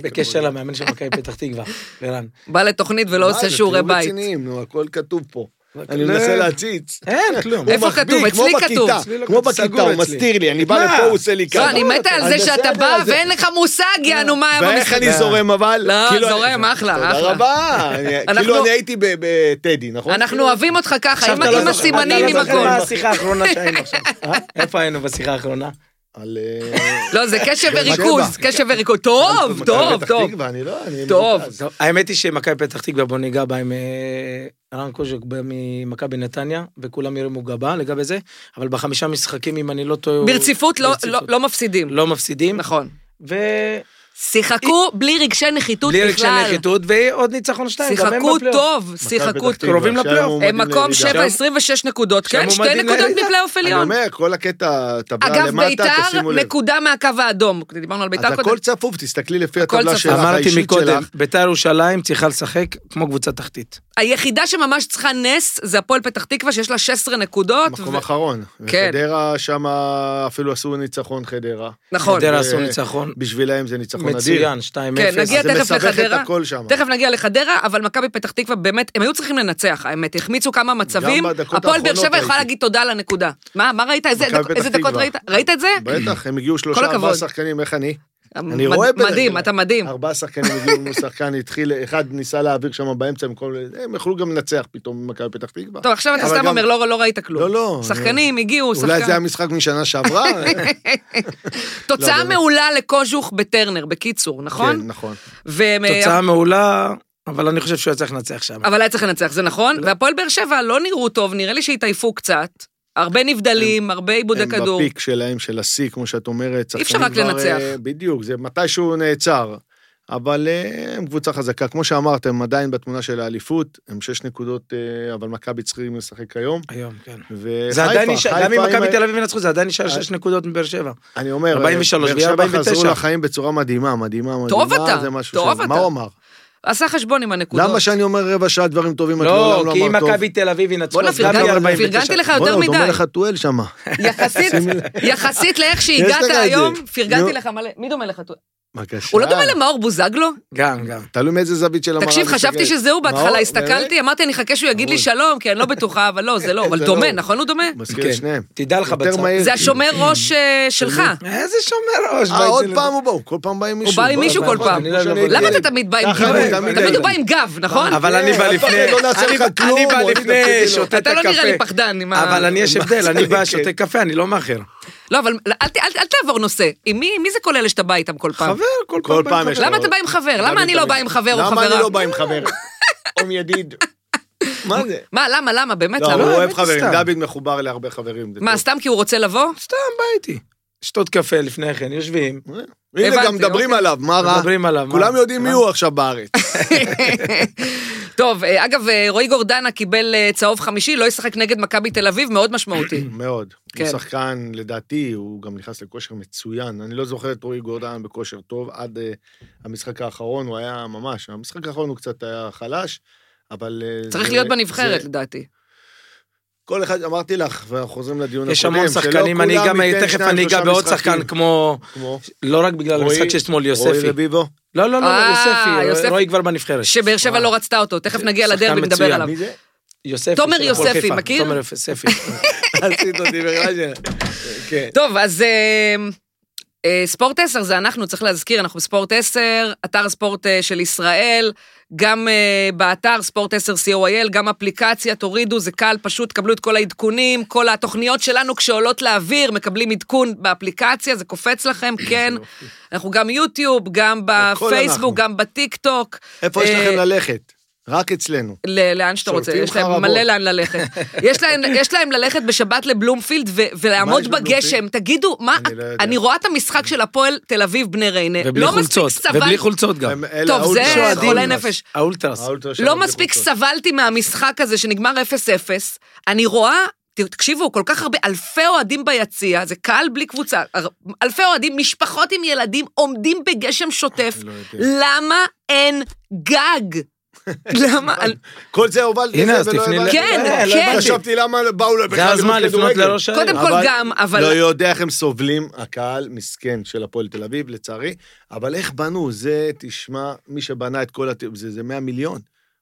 Speaker 2: בקשר למאמן של מכבי פתח תקווה, ערן.
Speaker 1: בא לתוכנית ולא
Speaker 3: מה
Speaker 1: לא עושה
Speaker 3: זה,
Speaker 1: שיעורי
Speaker 3: תהיו
Speaker 1: בית.
Speaker 3: רציניים, נו, הכל כתוב פה. אני
Speaker 2: לא.
Speaker 3: מנסה להציץ.
Speaker 2: אין, כלום.
Speaker 3: הוא
Speaker 1: איפה
Speaker 3: מחביא,
Speaker 1: כתוב?
Speaker 3: כמו
Speaker 1: אצלי כתוב.
Speaker 3: בכיתה,
Speaker 2: אצלי לא
Speaker 3: כמו
Speaker 2: כתוב,
Speaker 3: בכיתה,
Speaker 2: סגור
Speaker 3: הוא
Speaker 2: אצלי.
Speaker 3: מסתיר לי, אני בא
Speaker 2: מה?
Speaker 3: לפה, הוא עושה לי
Speaker 1: לא,
Speaker 3: ככה.
Speaker 1: אני מתה על זה
Speaker 3: בסדר,
Speaker 1: שאתה בא
Speaker 3: אז זה- לא.
Speaker 1: ואין לך מושג, יענו, מה היה
Speaker 3: ואיך
Speaker 1: במשחק.
Speaker 3: אני זורם אבל?
Speaker 1: לא,
Speaker 3: כאילו-
Speaker 1: זורם, אחלה, אחלה.
Speaker 3: תודה רבה. אני-
Speaker 1: אנחנו-
Speaker 3: כאילו אני הייתי ב- בטדי, נכון?
Speaker 1: אנחנו אוהבים אותך ככה, עם
Speaker 2: אתה לא
Speaker 1: עם
Speaker 2: זוכר-
Speaker 1: הסימנים, עם
Speaker 2: אתה לא זוכר
Speaker 1: הכל.
Speaker 2: מה השיחה האחרונה שהיינו עכשיו. אה? איפה היינו בשיחה האחרונה?
Speaker 3: על... אה,
Speaker 1: לא, זה קשב
Speaker 3: שבע.
Speaker 1: וריכוז, קשב וריכוז. טוב,
Speaker 3: מכבי
Speaker 1: טוב,
Speaker 3: פתח
Speaker 1: טוב.
Speaker 3: תקווה, אני לא... אני
Speaker 1: טוב.
Speaker 3: מרוכז.
Speaker 2: טוב, האמת היא שמכבי פתח תקווה, בוא ניגע בה עם אה, רן קוז'וק בא ממכבי נתניה, וכולם ירימו גבה לגבי זה, אבל בחמישה משחקים, אם אני לא טועה... הוא-
Speaker 1: ברציפות לא-
Speaker 2: ברציפות.
Speaker 1: לא- לא מפסידים.
Speaker 2: לא מפסידים.
Speaker 1: נכון.
Speaker 2: ובלי
Speaker 1: שיחקו בלי רגשי נחיתות
Speaker 2: רגשי
Speaker 1: בכלל.
Speaker 2: נחיתות, ועוד ניצחון שתיים, גם הם
Speaker 1: שיחקו
Speaker 2: בפלייאוף.
Speaker 1: טוב,
Speaker 3: מכבי פתח
Speaker 1: שיחקו
Speaker 3: תקווה,
Speaker 1: טוב.
Speaker 2: קרובים
Speaker 3: שהיום
Speaker 2: לפלייאוף.
Speaker 3: מועמדים
Speaker 1: הם אה, מקום
Speaker 3: לירידה.
Speaker 1: שבע,
Speaker 2: שם-
Speaker 1: 26 נקודות, כן, שתי
Speaker 2: מועמדים
Speaker 1: נקודות
Speaker 2: לירידה.
Speaker 1: מפלייאוף
Speaker 3: אני
Speaker 1: עליון.
Speaker 3: אומר, כל הקטע, טבלה
Speaker 1: אגב,
Speaker 3: למטה,
Speaker 1: ביתר,
Speaker 3: תשימו לב.
Speaker 1: נקודה מהקו האדום. דיברנו על
Speaker 3: אז
Speaker 1: ביתר קודם.
Speaker 3: הכל צפוף, תסתכלי לפי
Speaker 1: הכל
Speaker 3: הטבלה
Speaker 1: צפוף.
Speaker 3: שלך,
Speaker 2: אמרתי
Speaker 3: האישית
Speaker 2: מקודם,
Speaker 3: שלך.
Speaker 2: בית"ר ירושלים צריכה לשחק כמו קבוצה תחתית.
Speaker 1: היחידה שממש צריכה נס זה הפועל פתח תקווה, שיש לה 16 נקודות.
Speaker 3: מקום
Speaker 1: ו-
Speaker 3: אחרון.
Speaker 1: כן.
Speaker 3: וחדרה שם אפילו עשו ניצחון חדרה.
Speaker 1: נכון.
Speaker 2: חדרה
Speaker 3: אה,
Speaker 2: עשו ניצחון
Speaker 3: בשבילהם זה ניצחון אדיר.
Speaker 2: מצוין, 2-0.
Speaker 1: כן, נגיע
Speaker 3: אז זה
Speaker 1: תכף
Speaker 3: מסבך את
Speaker 1: לחדרה.
Speaker 3: הכל שם.
Speaker 1: תכף נגיע לחדרה, אבל מכבי פתח תקווה באמת, הם היו צריכים לנצח, האמת, החמיצו כמה מצבים.
Speaker 3: בדקות
Speaker 1: הפועל באר
Speaker 3: האחרונות
Speaker 1: שבע יכולה
Speaker 3: ראיתי.
Speaker 1: להגיד תודה על הנקודה. מה, מה ראית? איזה
Speaker 3: מכבי
Speaker 1: דק-
Speaker 3: פתח
Speaker 1: איזה דקות
Speaker 3: תקווה.
Speaker 1: ראית? ראית את זה?
Speaker 3: בטח, הם הגיעו שלושה, ארבעה
Speaker 1: הכבוד.
Speaker 3: שחקנים, איך אני?
Speaker 1: מד-
Speaker 3: רואה בדרך
Speaker 1: מדהים,
Speaker 3: כלל.
Speaker 1: אתה מדהים.
Speaker 3: ארבעה שחקנים הגיעו, הוא שחקן התחיל, אחד ניסה להעביר שם באמצע, במקום ל- הם יכלו גם לנצח פתאום במכבי פתח תקווה.
Speaker 1: טוב, עכשיו אתה
Speaker 3: אבל
Speaker 1: סתם
Speaker 3: גם-
Speaker 1: אומר, לא לא ראית כלום.
Speaker 3: לא, לא,
Speaker 1: שחקנים הגיעו,
Speaker 3: אולי זה
Speaker 1: שחקן.
Speaker 3: היה משחק משנה שעברה? לא,
Speaker 1: תוצאה
Speaker 3: באמת.
Speaker 1: מעולה לקוז'וך בטרנר, בקיצור,
Speaker 3: כן,
Speaker 1: נכון?
Speaker 3: נכון.
Speaker 1: והם-
Speaker 2: תוצאה מעולה, אבל אני חושב שהוא היה צריך לנצח שם.
Speaker 1: אבל היה צריך לנצח, זה נכון. והפועל באר שבע לא נראו טוב, נראה לי שהתעייפו קצת. הרבה נבדלים, הרבה עיבודי
Speaker 3: הם
Speaker 1: כדור.
Speaker 3: בפיק שלהם, של השיא, כמו שאת אומרת.
Speaker 1: אי אפשר
Speaker 3: שחקנים
Speaker 1: רק
Speaker 3: כבר,
Speaker 1: לנצח.
Speaker 3: אה, בדיוק, זה מתישהו נעצר. אבל אה, הם קבוצה חזקה. כמו שאמרת, הם עדיין בתמונה של האליפות, הם שש נקודות, אה, אבל מכבי צריכים לשחק היום.
Speaker 2: היום, כן.
Speaker 3: וחיפה,
Speaker 2: זה עדיין נשאר, גם אם
Speaker 3: אה, חיפה,
Speaker 2: מכבי תל אביב ינצחו, זה עדיין נשאר
Speaker 3: אה.
Speaker 2: 6 נקודות מבאר שבע.
Speaker 3: אני אומר,
Speaker 2: 43,
Speaker 3: באר שבע
Speaker 2: 49.
Speaker 3: חזרו לחיים בצורה מדהימה, מדהימה, מדהימה.
Speaker 1: טוב אתה,
Speaker 3: זה משהו
Speaker 1: טוב
Speaker 3: שזה-
Speaker 1: אתה.
Speaker 3: מה הוא אמר?
Speaker 1: עשה חשבון עם הנקודות.
Speaker 3: למה שאני אומר רבע שעה דברים טובים, את
Speaker 2: לא,
Speaker 3: לעולם
Speaker 2: כי אם
Speaker 3: אמרת טוב?
Speaker 2: מכבי תל אביב ינצחו,
Speaker 1: בואנה,
Speaker 2: אז גם
Speaker 1: פרגנתי-
Speaker 2: יהיה 49.
Speaker 1: פרגנתי לך יותר
Speaker 3: בוא'נה, הוא דומה
Speaker 1: מדי.
Speaker 3: לך טואל שם.
Speaker 1: יחסית, יחסית לאיך
Speaker 3: יש לך
Speaker 1: שהגעת
Speaker 3: את זה.
Speaker 1: היום, פרגנתי
Speaker 3: נו. אה.
Speaker 1: לך מלא. מי דומה לך? הוא לא דומה למאור בוזגלו?
Speaker 2: גם, גם.
Speaker 3: תלוי מאיזה זווית של המראה.
Speaker 1: תקשיב,
Speaker 3: מסתכלת.
Speaker 1: חשבתי שזה הוא בהתחלה,
Speaker 3: מאור,
Speaker 1: הסתכלתי, אמרתי, אני אחכה שהוא יגיד לי
Speaker 3: ברור.
Speaker 1: שלום, כי אני לא בטוחה, אבל לא, זה לא. אבל
Speaker 3: זה
Speaker 1: דומה,
Speaker 3: לא.
Speaker 1: נכון הוא דומה?
Speaker 3: באמת? מזכיר את
Speaker 2: כן.
Speaker 3: שניהם.
Speaker 2: תדע לך
Speaker 3: יותר
Speaker 2: בצד.
Speaker 3: מהיר.
Speaker 1: זה השומר ראש אה, שלך.
Speaker 2: איזה שומר ראש.
Speaker 3: אה,
Speaker 2: בייתי
Speaker 3: עוד
Speaker 2: לזה.
Speaker 3: פעם הוא בא, הוא כל פעם בא עם מישהו.
Speaker 1: בא עם מישהו כל פעם.
Speaker 3: אני לא יודע,
Speaker 2: למה
Speaker 3: אבל-
Speaker 1: למה אתה תמיד בא עם
Speaker 3: ככה,
Speaker 1: גב?
Speaker 2: אני
Speaker 3: תמיד
Speaker 1: תמיד
Speaker 2: אני-
Speaker 1: הוא בא עם גב, נכון?
Speaker 2: אבל אני בא
Speaker 3: כן,
Speaker 2: לפני,
Speaker 3: לא נעשה
Speaker 2: אני
Speaker 3: לך
Speaker 2: בא-
Speaker 3: כלום,
Speaker 2: אני בא
Speaker 3: מוריד את
Speaker 2: לפני,
Speaker 3: הפקיד.
Speaker 2: שותה את
Speaker 1: אתה לא נראה לי
Speaker 2: הקפה.
Speaker 1: פחדן עם ה...
Speaker 2: אבל אני יש הבדל, אני
Speaker 3: כן.
Speaker 2: בא, שותה קפה, אני לא מאחר.
Speaker 1: לא, אבל אל, אל, אל, אל תעבור נושא. עם מי, מי זה כל אלה שאתה בא איתם כל פעם?
Speaker 2: חבר, כל
Speaker 3: כל
Speaker 2: פעם.
Speaker 3: פעם
Speaker 2: חבר.
Speaker 3: יש
Speaker 1: למה אתה בא עם חבר? למה אני לא בא עם חבר או חברה?
Speaker 3: למה אני לא בא עם חבר? או עם ידיד. מה זה?
Speaker 1: מה, למה, למה? באמת,
Speaker 3: לא,
Speaker 1: למה?
Speaker 3: הוא אוהב
Speaker 2: האמת,
Speaker 3: חברים,
Speaker 2: סתם.
Speaker 3: דוד מחובר להרבה חברים. זה
Speaker 1: מה,
Speaker 3: טוב.
Speaker 1: סתם כי הוא רוצה לבוא?
Speaker 2: סתם בא איתי. שתות קפה לפני כן, יושבים,
Speaker 3: הנה,
Speaker 1: הבנתי,
Speaker 3: גם מדברים
Speaker 1: אוקיי.
Speaker 3: עליו, מה רע?
Speaker 2: מדברים עליו. מה?
Speaker 3: כולם יודעים מי הוא עכשיו בארץ.
Speaker 1: טוב, אה, אגב, אה, רועי גורדנה קיבל אה, צהוב חמישי, לא ישחק נגד מכבי תל אביב, מאוד משמעותי.
Speaker 3: מאוד.
Speaker 1: כן.
Speaker 3: הוא שחקן, לדעתי, הוא גם נכנס לכושר מצוין. אני לא זוכר את רועי גורדן בכושר טוב, עד אה, המשחק האחרון הוא היה ממש, המשחק האחרון הוא קצת היה חלש, אבל... אה,
Speaker 1: צריך
Speaker 3: זה-
Speaker 1: להיות בנבחרת,
Speaker 3: זה-
Speaker 1: לדעתי.
Speaker 3: כל אחד, אמרתי לך, ואנחנו חוזרים לדיון הקודם,
Speaker 2: יש המון
Speaker 3: שלא
Speaker 2: שחקנים, אני
Speaker 3: כולם
Speaker 2: גם,
Speaker 3: ניתן
Speaker 2: תכף
Speaker 3: שניים,
Speaker 2: אני אגע
Speaker 3: שלושה
Speaker 2: בעוד
Speaker 3: משחקים.
Speaker 2: שחקן כמו,
Speaker 3: כמו
Speaker 2: לא רק בגלל
Speaker 3: רועי-
Speaker 2: המשחק שאתמול,
Speaker 3: רועי
Speaker 2: יוספי.
Speaker 3: רביבו.
Speaker 2: לא, לא, לא,
Speaker 1: אה,
Speaker 2: לא,
Speaker 1: יוספי.
Speaker 2: יוספי, רועי כבר בנבחרת.
Speaker 1: שבאר שבע לא רצתה אותו, תכף נגיע
Speaker 2: שחקן
Speaker 1: לדרבי, נדבר
Speaker 2: מצוין.
Speaker 1: עליו.
Speaker 3: מי זה?
Speaker 2: יוספי.
Speaker 1: תומר
Speaker 2: של הפועל
Speaker 1: יוספי,
Speaker 2: חיפה.
Speaker 1: מכיר?
Speaker 2: תומר יוספי.
Speaker 3: עשית אותי ברעש. כן.
Speaker 1: טוב, אז אה, אה, ספורט 10 זה אנחנו, צריך להזכיר, אנחנו בספורט 10, אתר ספורט אה, של ישראל, גם אה, באתר ספורט 10 co.il, גם אפליקציה, תורידו, זה קל, פשוט, קבלו את כל העדכונים, כל התוכניות שלנו כשעולות לאוויר, מקבלים עדכון באפליקציה, זה קופץ לכם, כן. אנחנו גם יוטיוב, גם
Speaker 3: הכל אנחנו.
Speaker 1: בפייסבוק, גם בטיק טוק.
Speaker 3: איפה יש
Speaker 1: אה,
Speaker 3: לכם ללכת? רק אצלנו.
Speaker 1: ל- לאן שאתה רוצה,
Speaker 3: שורפים
Speaker 1: יש להם
Speaker 3: חרבות.
Speaker 1: מלא לאן ללכת. יש להם- יש להם ללכת בשבת לבלומפילד ו-
Speaker 3: יש
Speaker 1: ולעמוד בגשם,
Speaker 3: בבלומפילד?
Speaker 1: תגידו, מה,
Speaker 3: אני לא יודע.
Speaker 1: אני רואה את המשחק של הפועל תל אביב בני ריינה,
Speaker 2: ובלי
Speaker 1: לא מספיק
Speaker 2: חולצות, ובלי
Speaker 1: סבלתי,
Speaker 2: חולצות גם.
Speaker 3: הם- אלה
Speaker 1: טוב, זה
Speaker 3: האולטרס,
Speaker 1: חולי
Speaker 3: האולטרס.
Speaker 1: נפש.
Speaker 2: האולטרס.
Speaker 3: האולטרס
Speaker 1: לא
Speaker 3: שלנו בלי
Speaker 1: מספיק
Speaker 3: חולצות.
Speaker 1: סבלתי מהמשחק הזה שנגמר 0-0, אני רואה... ת- תקשיבו, כל כך הרבה, אלפי אוהדים ביציע, זה קהל בלי קבוצה, הר- אלפי אוהדים, משפחות עם ילדים עומדים בגשם שוטף.
Speaker 3: לא יודע.
Speaker 1: למה אין גג? למה?
Speaker 3: כל זה הובלתי.
Speaker 2: הנה,
Speaker 3: זה
Speaker 2: אז
Speaker 3: ולא
Speaker 2: תפני
Speaker 3: הבנתי.
Speaker 2: ל-
Speaker 1: כן,
Speaker 2: אה, לא
Speaker 1: כן.
Speaker 2: הבנתי.
Speaker 3: חשבתי למה באו לבכלל
Speaker 2: זה הזמן
Speaker 3: לראות
Speaker 2: לפנות
Speaker 3: כדורגל.
Speaker 2: לראש העיר.
Speaker 1: קודם כל גם, אבל...
Speaker 3: לא יודע איך הם סובלים, הקהל מסכן של הפועל תל אביב, לצערי, אבל איך בנו, זה, תשמע, מי שבנה את כל הטיפ, זה, זה 100 מיליון.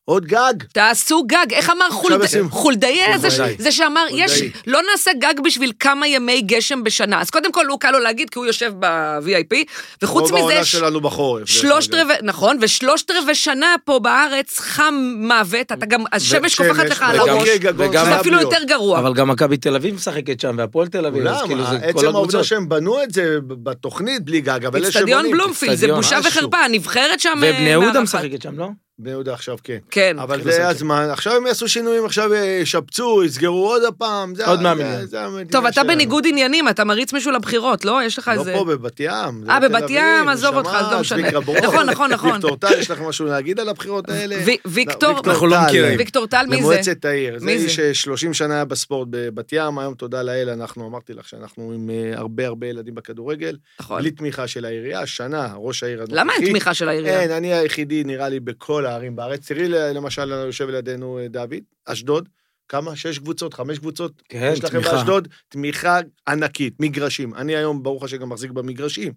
Speaker 3: עוד גג.
Speaker 1: תעשו גג, איך אמר חולד...
Speaker 3: עושים-
Speaker 1: חולדאי הזה, ש-
Speaker 3: חולדאי.
Speaker 1: זה שאמר,
Speaker 3: חולדאי.
Speaker 1: יש, לא נעשה גג בשביל כמה ימי גשם בשנה. אז קודם כל, הוא קל לו להגיד, כי הוא יושב ב-VIP, וחוץ
Speaker 3: רוב
Speaker 1: מזה,
Speaker 3: העונה
Speaker 1: ש-
Speaker 3: שלנו בחורף. דרך
Speaker 1: שלושת
Speaker 3: אגב.
Speaker 1: רבעי, נכון, ושלושת רבעי שנה פה בארץ חם מוות, אתה גם, השמש
Speaker 3: כן,
Speaker 1: קופחת לך על
Speaker 2: וגם-
Speaker 1: הראש,
Speaker 2: וגם-
Speaker 1: זה
Speaker 2: חייב
Speaker 1: אפילו יותר גרוע.
Speaker 2: אבל גם מכבי תל אביב משחקת שם, והפועל תל אביב, אז
Speaker 3: אולם,
Speaker 2: כאילו זה כל
Speaker 3: אה, עצם העובדה
Speaker 2: הקבוצות.
Speaker 3: שהם בנו את זה בתוכנית בלי גג, אבל אלה
Speaker 1: אצטדיון
Speaker 3: שבונים...
Speaker 1: בלומפילד, זה
Speaker 2: אצטדיון,
Speaker 1: בושה
Speaker 3: משהו.
Speaker 1: וחרפה, הנבחרת שם... אה,
Speaker 2: ובני יהודה
Speaker 1: מארחת.
Speaker 2: משחקת שם, לא?
Speaker 3: בני יהודה עכשיו כן.
Speaker 1: כן.
Speaker 3: אבל
Speaker 2: התחילו
Speaker 3: זה
Speaker 2: לשחק.
Speaker 3: הזמן, עכשיו הם יעשו שינויים, עכשיו אה, ישפצו, יסגרו עוד הפעם. זה-
Speaker 2: עוד
Speaker 3: זה-
Speaker 2: 100 מיליון.
Speaker 3: זה המדינה
Speaker 1: טוב, אתה
Speaker 3: שלנו.
Speaker 1: בניגוד עניינים, אתה מריץ מישהו לבחירות, לא? יש לך
Speaker 3: לא
Speaker 1: איזה...
Speaker 3: פה, בבת ים. זה
Speaker 1: אה,
Speaker 3: בתל
Speaker 1: בבת
Speaker 3: אביב,
Speaker 1: ים, עזוב
Speaker 3: נשמה,
Speaker 1: אותך, אז לא משנה.
Speaker 3: צביקה ברור.
Speaker 1: נכון, נכון, נכון.
Speaker 3: ויקטור טל, יש לך משהו להגיד על הבחירות האלה?
Speaker 1: ו- ויקטור-
Speaker 3: לא,
Speaker 2: אנחנו לא
Speaker 3: טל,
Speaker 2: מכירים.
Speaker 1: ויקטור טל, מי זה?
Speaker 3: למועצת העיר. זה
Speaker 1: מי
Speaker 3: איש
Speaker 1: זה?
Speaker 3: ש-30 שנה היה בספורט בבת ים, היום תודה לאל, אנחנו, אמרתי לך שאנחנו עם אה, הרבה הרבה ילדים בכדורגל,
Speaker 1: נכון.
Speaker 3: בלי תמיכה של העירייה, השנה, ראש העיר הנוכחי.
Speaker 1: למה אין תמיכה של העירייה?
Speaker 3: אין, אני היחידי, נראה לי, בכל הערים בארץ. תראי, למשל, יושב לידינו אה, דוד, אשדוד. כמה? שש קבוצות, חמש קבוצות?
Speaker 2: כן,
Speaker 3: יש לכם
Speaker 2: תמיכה.
Speaker 3: באשדוד תמיכה ענקית, מגרשים. אני היום, ברוך השם, גם מחזיק במגרשים.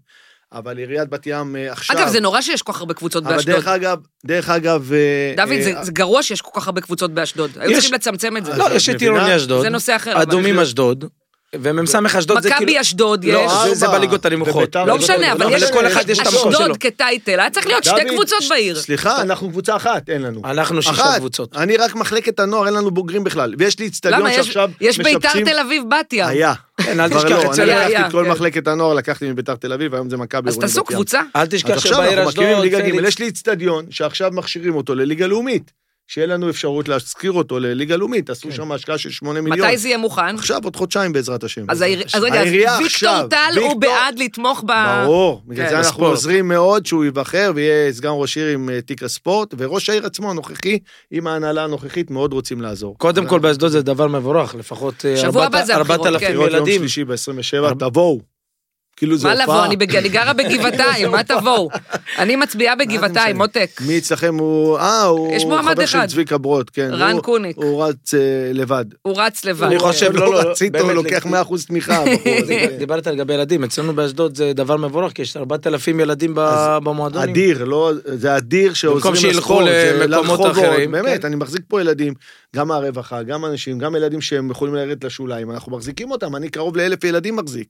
Speaker 3: אבל עיריית בת ים אה, עכשיו...
Speaker 1: אגב, זה נורא שיש כל כך הרבה קבוצות
Speaker 3: אבל
Speaker 1: באשדוד.
Speaker 3: דרך אגב, דרך אגב... אה,
Speaker 1: דוד,
Speaker 3: אה,
Speaker 1: זה- זה גרוע שיש כל כך הרבה קבוצות באשדוד. היו
Speaker 2: יש-
Speaker 1: צריכים לצמצם את זה.
Speaker 3: אז
Speaker 2: לא,
Speaker 3: את
Speaker 2: יש את
Speaker 3: מבינה?
Speaker 2: עירוני אשדוד.
Speaker 1: זה נושא אחר. אבל-
Speaker 2: אדומים אשדוד, ומ"ס אשדוד זה כאילו...
Speaker 1: מכבי אשדוד
Speaker 2: לא,
Speaker 1: יש.
Speaker 2: זה-
Speaker 3: ארבע.
Speaker 2: זה בליגות הנמוכות.
Speaker 3: וביתר-
Speaker 1: לא משנה, אבל
Speaker 2: לא,
Speaker 1: יש...
Speaker 2: ולכל אחד יש את המקום שלו.
Speaker 1: אשדוד כטייטל, היה צריך להיות שתי
Speaker 3: דוד,
Speaker 1: קבוצות
Speaker 3: ש-
Speaker 1: בעיר.
Speaker 3: סליחה, אנחנו קבוצה אחת, אין לנו.
Speaker 2: אנחנו לא שישה
Speaker 3: אחת.
Speaker 2: קבוצות.
Speaker 3: אני רק מחלקת הנוער, אין לנו בוגרים בכלל. ויש לי
Speaker 1: למה?
Speaker 3: אצטדיון
Speaker 1: יש-
Speaker 3: שעכשיו משפצים...
Speaker 1: יש ביתר תל אביב בת ים.
Speaker 3: היה.
Speaker 2: כן, אל
Speaker 3: כבר
Speaker 2: תשכח
Speaker 3: לא,
Speaker 2: את
Speaker 3: אני
Speaker 2: זה.
Speaker 1: היה,
Speaker 3: לקחתי
Speaker 1: היה,
Speaker 3: את כל
Speaker 1: כן.
Speaker 3: מחלקת הנוער, לקחתי מביתר תל אביב, היום זה מכבי
Speaker 1: אז
Speaker 3: עירוני
Speaker 1: תעשו
Speaker 3: בת ים.
Speaker 1: קבוצה. לא,
Speaker 2: אל
Speaker 3: אז
Speaker 2: תשכח
Speaker 3: עכשיו
Speaker 2: שבעיר
Speaker 3: אנחנו מקימים
Speaker 2: אשדוד...
Speaker 3: ליגה ג',
Speaker 2: צדיק.
Speaker 3: יש לי אצטדיון שעכשיו מכשירים אותו לליגה לאומית. שיהיה לנו אפשרות להשכיר אותו לליגה לאומית, עשו שם השקעה של 8 מיליון.
Speaker 1: כן. מתי זה יהיה מוכן?
Speaker 3: עכשיו, עוד חודשיים בעזרת השם.
Speaker 1: אז העיר- אז רגע, אז
Speaker 3: העירייה
Speaker 1: ויקטור
Speaker 3: עכשיו,
Speaker 1: טל הוא
Speaker 3: ויקטור-
Speaker 1: בעד לתמוך ב...
Speaker 3: ברור, בגלל
Speaker 1: כן.
Speaker 3: זה אנחנו
Speaker 2: בספורט.
Speaker 3: עוזרים מאוד שהוא ייבחר ויהיה סגן ראש עיר עם אה, תיק הספורט, וראש העיר עצמו הנוכחי, עם ההנהלה הנוכחית, מאוד רוצים לעזור.
Speaker 2: קודם כל באשדוד זה דבר מבורך, לפחות אה,
Speaker 1: שבוע
Speaker 2: ארבעת-
Speaker 1: הבא זה הבחירות, כן.
Speaker 2: 4,000
Speaker 3: בחירות יום
Speaker 2: ילדים.
Speaker 3: שלישי ב-27, תבואו. כאילו זה
Speaker 1: מה
Speaker 3: הופעה.
Speaker 1: לבוא? אני בג- אני גרה בגבעתיים, מה תבואו? אני מצביעה בגבעתיים,
Speaker 3: משנה?
Speaker 1: מותק.
Speaker 3: מי אצלכם הוא... אה, הוא
Speaker 1: יש מועמד
Speaker 3: חבר של
Speaker 1: אחד.
Speaker 3: צביקה ברוט, כן.
Speaker 1: רן אה,
Speaker 3: הוא-
Speaker 1: קוניק.
Speaker 3: הוא רץ אה, לבד.
Speaker 1: הוא רץ לבד.
Speaker 2: אני חושב-
Speaker 3: לא,
Speaker 2: לא,
Speaker 3: לא,
Speaker 2: לא,
Speaker 3: רצית,
Speaker 2: באמת,
Speaker 3: הוא לוקח
Speaker 2: לצ-
Speaker 3: 100% תמיכה. הבחור הזה. כן.
Speaker 2: דיברת לגבי ילדים, אצלנו באשדוד זה דבר מבורך, כי יש 4,000 ילדים ב-
Speaker 3: אז
Speaker 2: במועדונים.
Speaker 3: אדיר, לא, זה אדיר שעוזרים
Speaker 2: שילכו
Speaker 3: לספורט, זה
Speaker 2: למקומות
Speaker 3: לרחובות,
Speaker 2: אחרים,
Speaker 3: באמת,
Speaker 2: כן.
Speaker 3: אני מחזיק פה ילדים, גם מהרווחה, גם אנשים, גם ילדים שהם יכולים לרדת לשוליים, אנחנו מחזיקים אותם, אני קרוב לאלף ילדים מחזיק,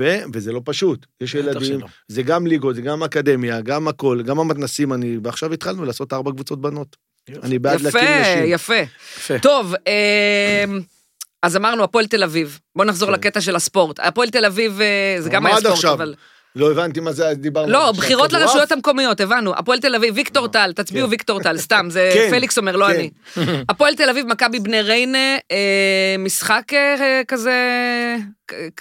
Speaker 3: ו, וזה לא פשוט, יש
Speaker 2: בטח
Speaker 3: ילדים,
Speaker 2: שלא.
Speaker 3: זה גם ליגות, זה גם אקדמיה, גם הכל, גם המתנסים אני, ועכשיו התחלנו לעשות ארבע קבוצות בנות. אני בעד
Speaker 1: יפה,
Speaker 3: להקים נשים.
Speaker 1: יפה.
Speaker 2: יפה.
Speaker 1: טוב, אמ, אז אמרנו, הפועל תל אביב. בואו נחזור לקטע של הספורט. הפועל תל אביב, אה, זה גם
Speaker 3: כן. מה
Speaker 1: היה
Speaker 3: עד
Speaker 1: ספורט,
Speaker 3: עכשיו?
Speaker 1: אבל...
Speaker 3: לא הבנתי מה זה, דיברנו
Speaker 1: לא,
Speaker 3: עכשיו,
Speaker 1: בחירות
Speaker 3: כדורעף?
Speaker 1: לרשויות המקומיות, הבנו. הפועל תל אביב, ויקטור טל, תצביעו
Speaker 3: כן.
Speaker 1: ויקטור טל, סתם, זה
Speaker 3: כן,
Speaker 1: פליקס אומר, לא
Speaker 3: כן.
Speaker 1: אני. הפועל תל אביב, מכבי בני ריינה, אה, משחק אה, כזה...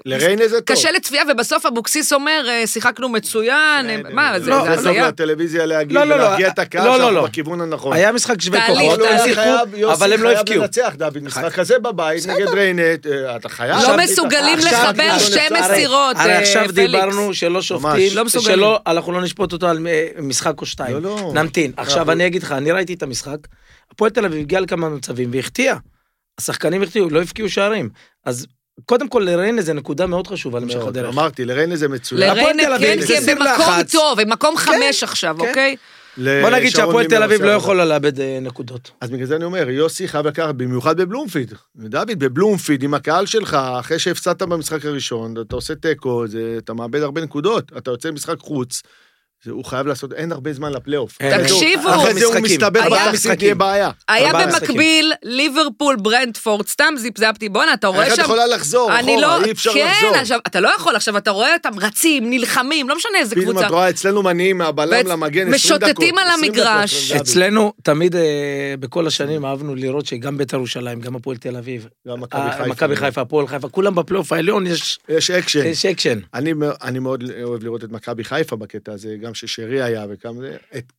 Speaker 3: לריינה זה טוב.
Speaker 1: קשה לצפייה, ובסוף אבוקסיס אומר, אה, שיחקנו מצוין, אה, מה, זה
Speaker 2: לא,
Speaker 1: זה
Speaker 2: אבל-
Speaker 3: כן, זה
Speaker 1: הזיה?
Speaker 3: לטלוויזיה להגיד,
Speaker 2: לא, לא, לא.
Speaker 3: ולהרגיע את הקהל
Speaker 2: לא, לא,
Speaker 3: שאנחנו
Speaker 2: לא.
Speaker 3: בכיוון הנכון.
Speaker 2: היה משחק שווה
Speaker 1: תהליך,
Speaker 2: כוחות,
Speaker 1: תהליך.
Speaker 2: הם
Speaker 3: יוסי חייב-
Speaker 2: שיחקו,
Speaker 3: יוסי
Speaker 2: אבל הם לא
Speaker 3: חייב
Speaker 2: הבקיעו.
Speaker 3: לנצח, דוד, משחק כזה בבית, נגד ריינת, אה, אתה חייב.
Speaker 1: לא מסוגלים
Speaker 3: עכשיו כאילו
Speaker 1: לחבר
Speaker 3: ניצחון
Speaker 1: שתי
Speaker 3: אפשרי.
Speaker 1: מסירות. מסירות,
Speaker 2: הרי
Speaker 1: אה,
Speaker 2: עכשיו
Speaker 1: פליקס.
Speaker 2: דיברנו שלא שופטים,
Speaker 1: לא מסוגלים.
Speaker 2: שלא, אנחנו לא נשפוט אותו על אה, משחק או שתיים.
Speaker 3: לא, לא.
Speaker 2: נמתין. עכשיו
Speaker 3: אנחנו-
Speaker 2: אני אגיד לך, אני ראיתי את המשחק, הפועל תל אביב הגיע לכמה מצבים והחטיאה. השחקנים החטיאו, לא הבקיעו שערים. אז קודם כל לריינה זה נקודה מאוד חשובה להמשך
Speaker 3: מאוד,
Speaker 2: הדרך.
Speaker 3: לא, אמרתי, לריינה זה כן, מצוין.
Speaker 2: הפועל
Speaker 1: לריינה
Speaker 2: תל
Speaker 1: כן,
Speaker 2: אביב,
Speaker 1: כי
Speaker 2: זה
Speaker 1: הם
Speaker 2: סיר
Speaker 1: במקום
Speaker 2: לחץ.
Speaker 1: טוב, הם מקום חמש עכשיו,
Speaker 2: כן.
Speaker 1: אוקיי?
Speaker 2: בוא נגיד
Speaker 3: לשרון
Speaker 2: שהפועל
Speaker 3: מימר
Speaker 2: תל אביב
Speaker 3: אה, עושה
Speaker 2: לא
Speaker 3: עבודה.
Speaker 2: יכולה לאבד אה, נקודות.
Speaker 3: אז בגלל זה אני אומר, יוסי חייב לקחת, במיוחד בבלומפיד. דוד, בבלומפיד, עם הקהל שלך, אחרי שהפסדת במשחק הראשון, אתה עושה תיקו, זה- אתה מאבד הרבה נקודות, אתה יוצא למשחק חוץ, זה- הוא חייב לעשות, אין הרבה זמן לפלייאוף.
Speaker 2: אין, אין.
Speaker 1: תקשיבו.
Speaker 3: אה, אחרי זה הוא
Speaker 2: משחקים.
Speaker 3: מסתבך
Speaker 1: היה-
Speaker 3: בתחתית, תהיה בעיה.
Speaker 1: היה
Speaker 2: ארבעה
Speaker 1: במקביל ליברפול ברנדפורד, סתם זיפזפתי, בואנה, אתה רואה
Speaker 3: איך
Speaker 1: שם...
Speaker 3: את יכולה לחזור
Speaker 1: אני
Speaker 3: אחורה?
Speaker 1: לא-
Speaker 3: אי אפשר
Speaker 1: כן,
Speaker 3: לחזור.
Speaker 1: עכשיו, אתה לא יכול, עכשיו אתה רואה אותם רצים, נלחמים, לא משנה איזה
Speaker 3: פתאום
Speaker 1: קבוצה.
Speaker 3: את רואה אצלנו מניעים מהבלם
Speaker 1: ואת-
Speaker 3: למגן 20 דקות.
Speaker 1: משוטטים על
Speaker 3: 20 דקות,
Speaker 1: המגרש.
Speaker 3: דוד.
Speaker 2: אצלנו תמיד, אה, בכל השנים אהבנו לראות שגם בית"ר ירושלים, גם הפועל תל אביב,
Speaker 3: גם מכבי
Speaker 2: אה,
Speaker 3: חיפה. לא. כן.
Speaker 2: מכבי חיפה, הפועל חיפה, כולם בפלייאוף העליון יש
Speaker 3: יש אקשן.
Speaker 2: יש אקשן.
Speaker 3: אני, אני מאוד אוהב לראות את מכבי חיפה בקטע הזה, גם ששרי היה וגם זה,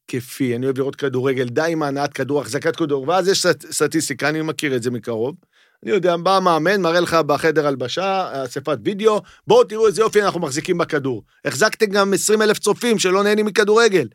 Speaker 3: התקפי, אני אוהב לראות כדורגל, די עם הנעת כדור, החזקת כדור, ואז יש סט- סטטיסטיקה, אני מכיר את זה מקרוב. אני יודע, בא המאמן, מראה לך בחדר הלבשה, אספת וידאו, בואו תראו איזה יופי אנחנו מחזיקים בכדור. החזקתם גם 20 אלף צופים שלא נהנים מכדורגל.